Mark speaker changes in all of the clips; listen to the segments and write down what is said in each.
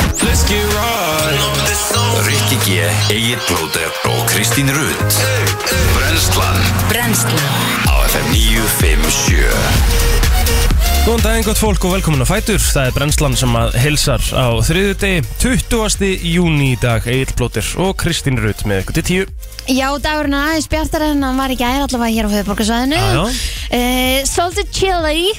Speaker 1: ekki ræð Rikki G, Egil Blóter og Kristín Rutt Brenslan
Speaker 2: Brennslan
Speaker 1: á FM 957
Speaker 3: Góðan daginn gott fólk og velkomin á Fætur Það er brennslan sem að hilsar á þriðu degi 20. júni í dag Egil Blóter og Kristín Rutt með ykkur til tíu
Speaker 4: Já, dagurinn er aðeins bjartar en hann var í gær allavega hér á höfuborgarsvæðinu
Speaker 3: Já, já.
Speaker 4: uh, Svolítið chilly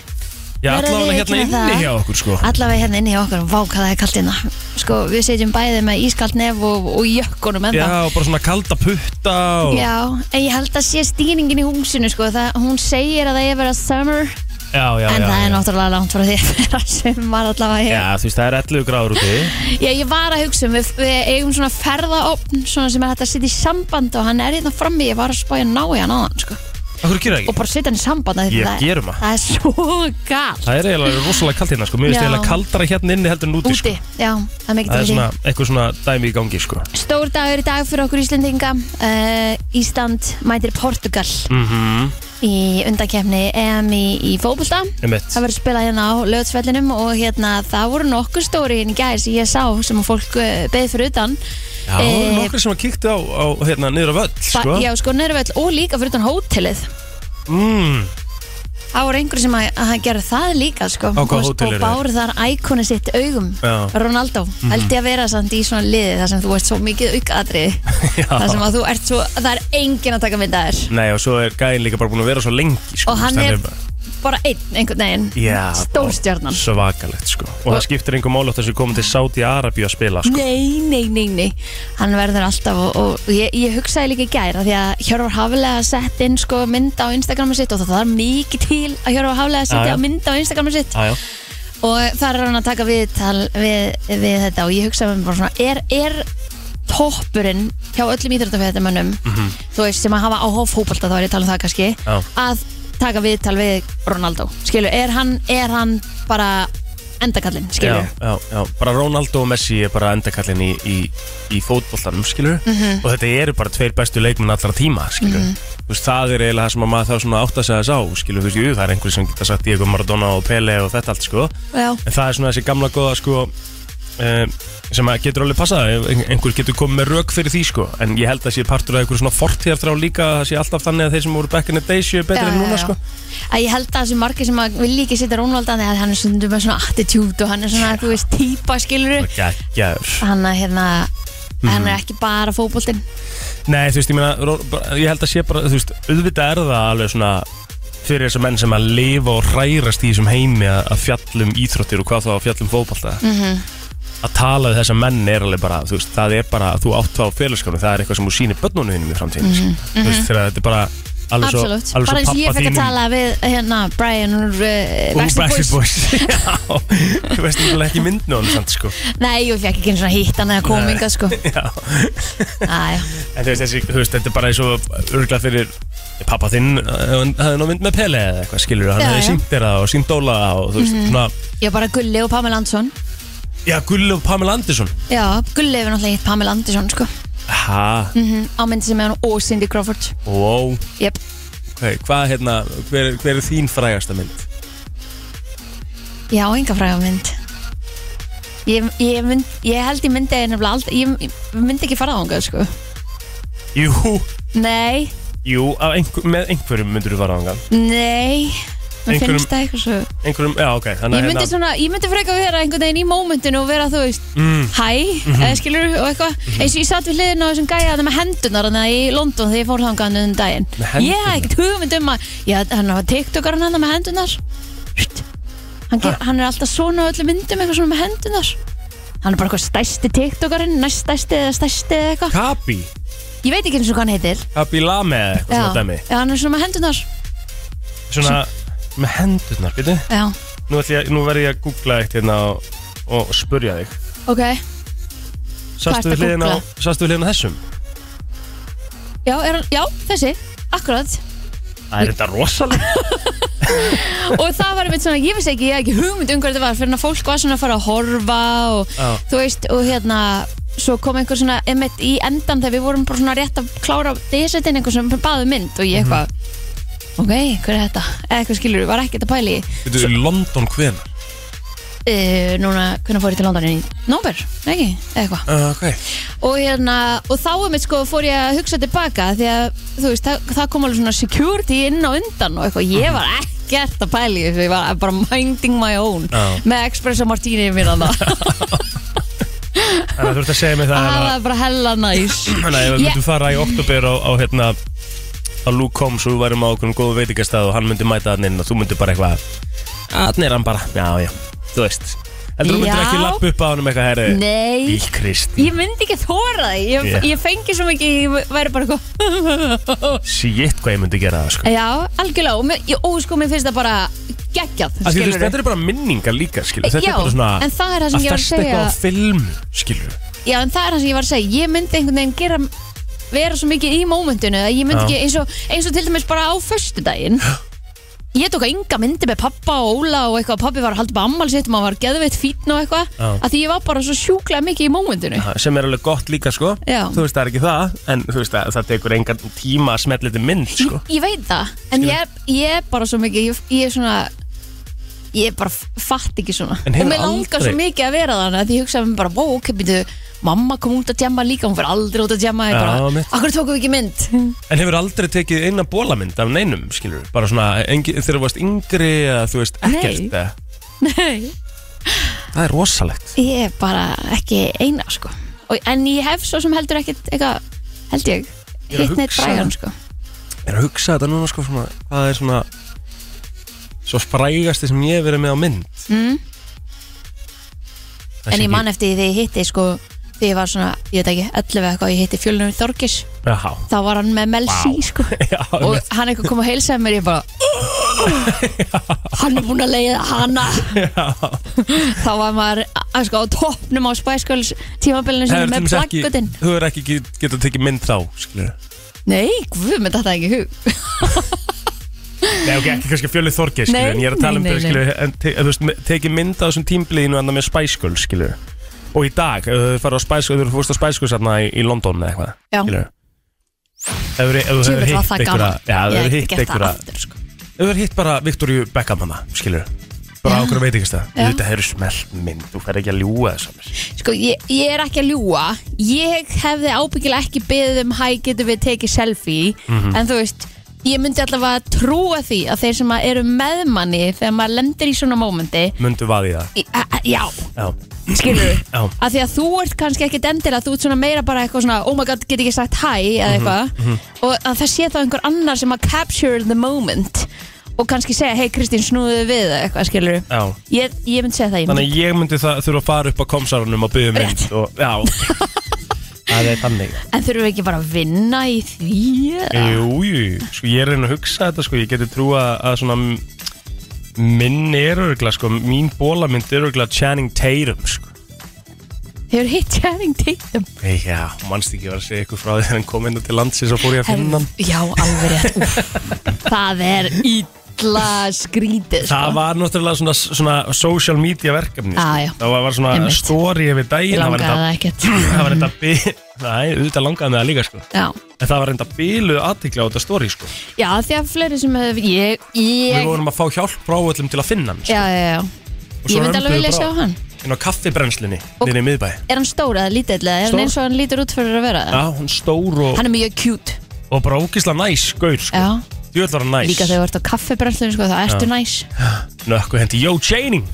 Speaker 3: Já,
Speaker 4: Verðið
Speaker 3: allavega hérna
Speaker 4: viðurkenna
Speaker 3: inni
Speaker 4: það.
Speaker 3: hjá okkur sko
Speaker 4: Allavega hérna inni hjá okkur, vá hvað það er kalt inna Sko, við setjum bæði með ískalt nef og, og jökkunum enda
Speaker 3: Já, og bara svona kalda putta og...
Speaker 4: Já, en ég held að sé stýringin í húsinu sko, það, hún segir að það er að vera summer
Speaker 3: já, já,
Speaker 4: en
Speaker 3: já,
Speaker 4: það
Speaker 3: já.
Speaker 4: er náttúrulega langt frá því að vera sumar allavega
Speaker 3: Já,
Speaker 4: hér.
Speaker 3: þú veist, það er 11 gráður úti
Speaker 4: Já, ég var að hugsa um, við, við eigum svona ferðaopn svona sem er hægt að setja í samband og hann er hérna frammi, ég var að spája ná í hann á sko.
Speaker 3: Akkur gera ekki?
Speaker 4: og bara setja hann í samband af því
Speaker 3: Ég
Speaker 4: það,
Speaker 3: gerum það.
Speaker 4: það er svo galt
Speaker 3: Það er eiginlega rosalega kalt hérna sko Mér finnst
Speaker 4: Já.
Speaker 3: eiginlega kaldara hérna inni heldur en úti sko
Speaker 4: úti, já, það er mikið til
Speaker 3: Það er
Speaker 4: því
Speaker 3: svona eitthvað svona dæmi í gangi sko
Speaker 4: Stór dagur í dag fyrir okkur Íslendinga uh, Ísland mætir Portugal
Speaker 3: mm -hmm.
Speaker 4: í undakefni EM í, í fótbolta
Speaker 3: Einmitt.
Speaker 4: Það verður spilað hérna á lögatsvellinum og hérna það voru nokkur stóri hérna í gær sem ég sá sem að fólk beði fyrir utan
Speaker 3: Já,
Speaker 4: Eh,
Speaker 3: nokkri sem að kíkti á, á hérna, niður á völl
Speaker 4: Ba-
Speaker 3: sko
Speaker 4: Já, sko, nörðvöll og líka fyrir utan hótelið
Speaker 3: mm.
Speaker 4: Það voru einhver sem að, að gera það líka sko
Speaker 3: Á hvaða
Speaker 4: Og-
Speaker 3: hótel
Speaker 4: Og
Speaker 3: eru
Speaker 4: báru þar ækonu sitt augum
Speaker 3: Já. Mhm.
Speaker 4: Ronaldo, mm held ég að vera samt í svona liði þar sem þú ert svo mikið aukadrið
Speaker 3: Já.
Speaker 4: þar sem að þú ert svo, það er engin að taka mynda þér
Speaker 3: Nei, og svo er gæinn líka bara búin að vera svo lengi sko
Speaker 4: Og hann
Speaker 3: Þannig
Speaker 4: er bara einn einhvern veginn
Speaker 3: Já,
Speaker 4: Stórstjarnan
Speaker 3: og Svakalegt sko Og, það skiptir einhver mál átt þessu komið til Saudi Arabíu að spila sko
Speaker 4: Nei, nei, nei, nei Hann verður alltaf og, og ég, ég hugsaði líka í gær af Því að Hjörvar Haflega sett inn sko, mynd á Instagramu sitt Og það þarf mikið til að Hjörvar Haflega
Speaker 3: Já, já.
Speaker 4: setja mynd á Instagramu sitt
Speaker 3: Jájá
Speaker 4: Og þar er hann að taka viðtal við, við þetta Og ég hugsaði mér bara svona Er, er toppurinn hjá öllum íþróttafæðamönnum Þú veist sem að hafa áhuga á fótbolta Þá er ég að tala um það kannski
Speaker 3: Mhm. Já.
Speaker 4: Að taka viðtal við Ronaldo Skilur, er hann, er hann bara endakallinn, skilur
Speaker 3: Já, já, já, bara Ronaldo og Messi er bara endakallin í, í, í fótbollanum, skilur
Speaker 4: Mm.
Speaker 3: og þetta eru bara tveir bestu leikmenn allra tíma, skilur
Speaker 4: Mhm.
Speaker 3: þú veist, það er eiginlega það sem að maður þarf svona að átta sig að sá, skilur, þú veist, jú, það er einhverjum sem geta sagt Diego Maradona og Pele og þetta allt, sko
Speaker 4: Já.
Speaker 3: en það er svona þessi gamla góða, sko um, sem að getur alveg passað Ein- einhver getur komið með rök fyrir því, sko en ég held að sé partur af einhverjum svona fortíðaftrá líka að það sé alltaf þannig að þeir sem voru back in the day séu betri
Speaker 4: Já,
Speaker 3: en
Speaker 4: já,
Speaker 3: núna,
Speaker 4: já.
Speaker 3: sko
Speaker 4: að ég held að þessi margir sem að vilja ekki setja Ronald að því að hann er svona með svona attitude og hann er svona, þú veist, típa skilur
Speaker 3: Gægjaður
Speaker 4: hann að hérna hann
Speaker 3: Mhm.
Speaker 4: er ekki bara fótboltinn
Speaker 3: Nei, þú veist, ég meina, ró- bara- ég held að sé bara, þú veist, auðvitað er það alveg svona fyrir þessar menn sem að lifa og hrærast í þessum heimi að, að fjallum íþróttir og hvað þá að fjallum fótballta
Speaker 4: Mhm.
Speaker 3: að tala við þessar menn er alveg bara, þú veist, það er bara, þú átt þá félagskánu, það er eitthvað sem þú sýnir börnunum þínum í framtíðin, þú veist, þegar þetta er bara alveg svo,
Speaker 4: Mhm, absolutt,
Speaker 3: alveg
Speaker 4: bara eins
Speaker 3: svo
Speaker 4: og ég
Speaker 3: pappa
Speaker 4: fekk að
Speaker 3: þínum
Speaker 4: tala við hérna Brian úr uh,
Speaker 3: og
Speaker 4: Backstreet
Speaker 3: Backstreet
Speaker 4: Boys
Speaker 3: Boys Já, þú veist, ég vil ekki myndna honum samt, sko
Speaker 4: nei, og ég fekk ekki einu svona hitt hann eða
Speaker 3: Nei.
Speaker 4: kominga sko
Speaker 3: Já,
Speaker 4: Æja.
Speaker 3: en þú veist, þessi, þú veist, þetta er bara eins og örgla fyrir pappa þinn ef hann hefði ná mynd með Pele eða eitthvað skilur hann
Speaker 4: Já, já.
Speaker 3: hefði
Speaker 4: Mhm.
Speaker 3: sínt þér það og sínt Óla það og þú veist, svona,
Speaker 4: ég var bara Gulli og Pamela Andersson
Speaker 3: já, Gulli og Pamela Andersson
Speaker 4: já, Gulli hefur náttúrulega hitt Pamela Andersson sko
Speaker 3: ha,
Speaker 4: mm á myndi sem er hann og Cindy Crawford
Speaker 3: wow
Speaker 4: yep.
Speaker 3: okay, hvað, hérna, hver, hver er þín frægasta mynd?
Speaker 4: Já, enga fræga mynd Ég, ég, mynd, ég held ég myndi nefnilega aldrei, ég, ég myndi ekki fara þangað sko.
Speaker 3: Jú,
Speaker 4: Nei,
Speaker 3: jú, af einhver, með einhverjum myndur þú fara þangað
Speaker 4: nei Mér
Speaker 3: Einhverjum-
Speaker 4: finnst það eitthvað svo
Speaker 3: einhverjum, já, ok,
Speaker 4: Ég
Speaker 3: þannig að hérna-
Speaker 4: myndi, svona, ég myndi freka vera einhvern veginn í mómentinu og vera þú veist
Speaker 3: mm, Mhm.
Speaker 4: Hæ, eða skilur og eitthvað eins og ég satt við hliðin á þessum gæja það með hendunar þannig í London þegar ég fór þangað hann um daginn
Speaker 3: Með hendurnar?
Speaker 4: Ég hef ekkert hugmynd um að já, hann var tiktokarinn hann með hendunar Hvitt. hann, ger, hann er alltaf svona á öllum myndum eitthvað svona með hendunar hann er bara eitthvað stæsti tiktokarinn næst stæsti eða stæsti eða eitthvað
Speaker 3: Kabi,
Speaker 4: ég veit ekki eins og hvað hann heitir
Speaker 3: Kabi Lame eða eitthvað svona dæmi
Speaker 4: já, hann er svona með hendunar
Speaker 3: svona, með hendurnar, veitu
Speaker 4: já,
Speaker 3: nú, ætla ég- nú verð ég að googla eitt hérna og, og spurja þig
Speaker 4: ok,
Speaker 3: Sastu
Speaker 4: ertu
Speaker 3: við
Speaker 4: að
Speaker 3: hliðina á-
Speaker 4: googla?
Speaker 3: sastu við hliðina á þessum?
Speaker 4: já, er, hann- já þessi akkurat
Speaker 3: Það er þetta rosalega
Speaker 4: og það var einmitt svona, ég vissi ekki, ég hef ekki hugmynd um hvað þetta var, fyrir að fólk var svona að fara að horfa og
Speaker 3: Já.
Speaker 4: þú veist, og hérna svo kom einhver svona, einmitt í endan þegar við vorum bara svona rétt að klára desettin einhver sem baði mynd og ég eitthvað ok, hver er þetta? eða eitthvað skilur, var ekkert að pæli
Speaker 3: Þetta er London hvenar
Speaker 4: uh, núna, hvernig fór ég til London í nómber, ekki, eða eitthvað
Speaker 3: Uh, okay.
Speaker 4: og, hérna, og þá um eitt sko fór ég að hugsa tilbaka því að þú veist, það, það kom alveg svona security inn og undan og eitthvað, ég var ekkert að pæli þessu, ég var bara minding my own
Speaker 3: Já.
Speaker 4: með Express og Martini mér að það,
Speaker 3: Þannig að þú ert að segja mig það hérna-
Speaker 4: það
Speaker 3: að-
Speaker 4: var bara hella næs
Speaker 3: Þannig að ef við
Speaker 4: Ég-
Speaker 3: myndum fara í oktober á, á hérna á Luke Combs og við værum á okkur góðu veitingastæð og hann myndi mæta hann inn og þú myndi bara eitthvað hann er hann bara, já já, þú veist en þú myndir
Speaker 4: Já.
Speaker 3: ekki lappa upp á honum eitthvað herri
Speaker 4: Nei,
Speaker 3: Í Kristi,
Speaker 4: ég myndi ekki þóra það ég,
Speaker 3: Já.
Speaker 4: ég fengi svo mikið, ég væri bara eitthvað
Speaker 3: shit hvað ég myndi gera það sko
Speaker 4: Já, algjörlega og, mér, ég- og sko mér finnst það bara geggjað
Speaker 3: Af því þú
Speaker 4: skilurðu.
Speaker 3: veist, þetta er bara minningar líka skilur þetta
Speaker 4: Já,
Speaker 3: er bara
Speaker 4: en
Speaker 3: svona
Speaker 4: það er það sem ég var að
Speaker 3: festa
Speaker 4: segja
Speaker 3: eitthvað á film skilur
Speaker 4: Já, en það er það sem ég var að segja Ég myndi einhvern veginn gera vera svo mikið í mómentinu að ég myndi
Speaker 3: Já.
Speaker 4: ekki eins og, eins og til dæmis bara á föstudaginn Ég tók að ynga myndi með pappa og Óla og eitthvað pappi var að halda upp ammál sitt og maður var geðveitt fítn og eitthvað
Speaker 3: Já.
Speaker 4: að því ég var bara svo sjúklega mikið í mómentinu
Speaker 3: Ha, sem er alveg gott líka sko
Speaker 4: Já.
Speaker 3: þú veist það er ekki það en þú veist það, það tekur engan tíma að smetla þetta mynd sko
Speaker 4: ég, ég veit það, en ég, er- ég er bara svo mikið ég, ég er svona ég bara f- fatt ekki svona
Speaker 3: En
Speaker 4: og
Speaker 3: hefur
Speaker 4: mér langar
Speaker 3: aldrei-
Speaker 4: svo mikið að vera þannig að því ég hugsaði mér bara, vó, ok, býtu mamma kom út að djama líka, hún fyrir aldrei út að djama ég
Speaker 3: Já,
Speaker 4: bara,
Speaker 3: mitt.
Speaker 4: akkur tókum við ekki mynd
Speaker 3: En hefur aldrei tekið eina bólamynd af neinum, skilur? Bara svona, engi, þegar þú varst yngri eða þú veist ekkert
Speaker 4: Nei.
Speaker 3: eða?
Speaker 4: nei,
Speaker 3: Það er rosalegt
Speaker 4: ég er bara ekki eina, sko og, en ég hef svo sem heldur ekkit eitthvað, held ég,
Speaker 3: Ég er að
Speaker 4: hitt neitt
Speaker 3: hugsa-
Speaker 4: bræðan, sko
Speaker 3: Ég er að hugsa þetta núna, sko, svona, hvað er svona Svo sprægasti sem ég hef verið með á mynd
Speaker 4: mm. en
Speaker 3: Það sé ekki-
Speaker 4: ég man eftir því ég hitti, sko því ég var svona, ég veit ekki, 11 eða eitthvað ég hitti fjölunum Þorgis,
Speaker 3: Jaha,
Speaker 4: þá var hann með Mel C, sko
Speaker 3: já,
Speaker 4: og
Speaker 3: og...
Speaker 4: hann eitthvað kom að heilsaði mér ég bara hann er búinn að leiða hana þá var maður að sko á toppnum á Spice Girls tímabilinu sinni
Speaker 3: Hefur til
Speaker 4: með
Speaker 3: dæmis ekki,
Speaker 4: plakkutinn
Speaker 3: þú er ekki get, getað tekið mynd þá, skilur
Speaker 4: nei, guð, með þetta ekki í hug
Speaker 3: Nei, ok, ekki kannski fjölið þorgið, skilur
Speaker 4: Nei,
Speaker 3: En ég er að tala um
Speaker 4: nei,
Speaker 3: þetta,
Speaker 4: nei,
Speaker 3: skilur En te, þú veist, me- tekið mynd á þessum tímbliðinu en það með Spice Girls, skilur Og í dag, ef þú farið á Spice Girls, ef þú fórst á Spice Girls hérna í, í London eða eitthvað
Speaker 4: já,
Speaker 3: skilur Ef þú ef þú hefur
Speaker 4: tjúfitt var
Speaker 3: hitt
Speaker 4: það
Speaker 3: einhverja
Speaker 4: gaman
Speaker 3: Já,
Speaker 4: ég
Speaker 3: ef þú hefur
Speaker 4: hef
Speaker 3: hitt
Speaker 4: ekki gert það
Speaker 3: einhverja
Speaker 4: aftur sko.
Speaker 3: Ef þú hefur hitt bara Viktoríu Beckham hana, skilur Bara okkur veit ekki stað
Speaker 4: Já.
Speaker 3: Þetta hefur smelt mynd, þú fer ekki að ljúga þess
Speaker 4: sko, ég, ég er ekki að ljúa ég hefði ábyggilega ekki beðið um hæ, getum við tekið selfie
Speaker 3: Mhm.
Speaker 4: en þú veist, ég myndi allavega trúa því að þeir sem að eru meðmanni þegar maður lendir í svona mómenti
Speaker 3: Mundu vaði það
Speaker 4: í- a- a- já,
Speaker 3: Já,
Speaker 4: skilur
Speaker 3: já,
Speaker 4: að því að þú ert kannski ekkit endilega þú ert svona meira bara eitthvað svona oh my god, get ekki sagt hæ eða
Speaker 3: Mhm,
Speaker 4: eitthvað og að það sé þá einhver annar sem að capture the moment og kannski segja hei Kristín snúðu við eða eitthvað skilur
Speaker 3: já
Speaker 4: ég, ég myndi segja það ég myndi
Speaker 3: Þannig að ég myndi það þurfa að fara upp á komsarunum og byggja mynd
Speaker 4: Rétt.
Speaker 3: og, Já Það er þannig
Speaker 4: en þurfum við ekki bara að vinna í því eða?
Speaker 3: Jú, jú, sko ég er að reyna að hugsa þetta sko, ég geti trúa að svona m- minn er örgla sko, mín bólamynd er örgla Channing Tatum sko
Speaker 4: hefur hitt Channing Tatum
Speaker 3: Nei, Já, mannst ekki að vera að segja ykkur frá því þegar hann kom inn til landsins og fór ég að finna hann
Speaker 4: Herð- já, alveg rétt úff. það er illa skrítið sko.
Speaker 3: Það var náttúrulega svona, svona social media verkefni sko.
Speaker 4: Á, já.
Speaker 3: Það var, var svona
Speaker 4: Einmitt.
Speaker 3: story yfir
Speaker 4: ég
Speaker 3: daginn Það var
Speaker 4: langaði það
Speaker 3: enda-
Speaker 4: ekkert
Speaker 3: Það var enda bíl Nei, auðvitað langaði með það líka sko
Speaker 4: já.
Speaker 3: En það var enda bíluð aðtikla á þetta story sko
Speaker 4: já, því að fleiri sem hefur ég,
Speaker 3: Við
Speaker 4: ég
Speaker 3: vorum að fá hjálp frá öllum til að finna hann sko.
Speaker 4: já, já, já
Speaker 3: Og svo
Speaker 4: ég myndi
Speaker 3: römbuðu
Speaker 4: alveg vilja
Speaker 3: bara
Speaker 4: sjá hann
Speaker 3: Inn á kaffibrennslunni,
Speaker 4: Og-
Speaker 3: niður í miðbæ
Speaker 4: Er hann stór eða lítill eða er
Speaker 3: Stór.
Speaker 4: hann eins og hann lítur út fyrir að vera
Speaker 3: Já, hún stór og,
Speaker 4: Hann er mjög cute
Speaker 3: og bara ógislega næs gaur sko
Speaker 4: Já,
Speaker 3: Jöld var hann næs
Speaker 4: líka þegar þú ert á kaffebrennslunum sko, þá ertu næs
Speaker 3: Nökku hendi, yo chaining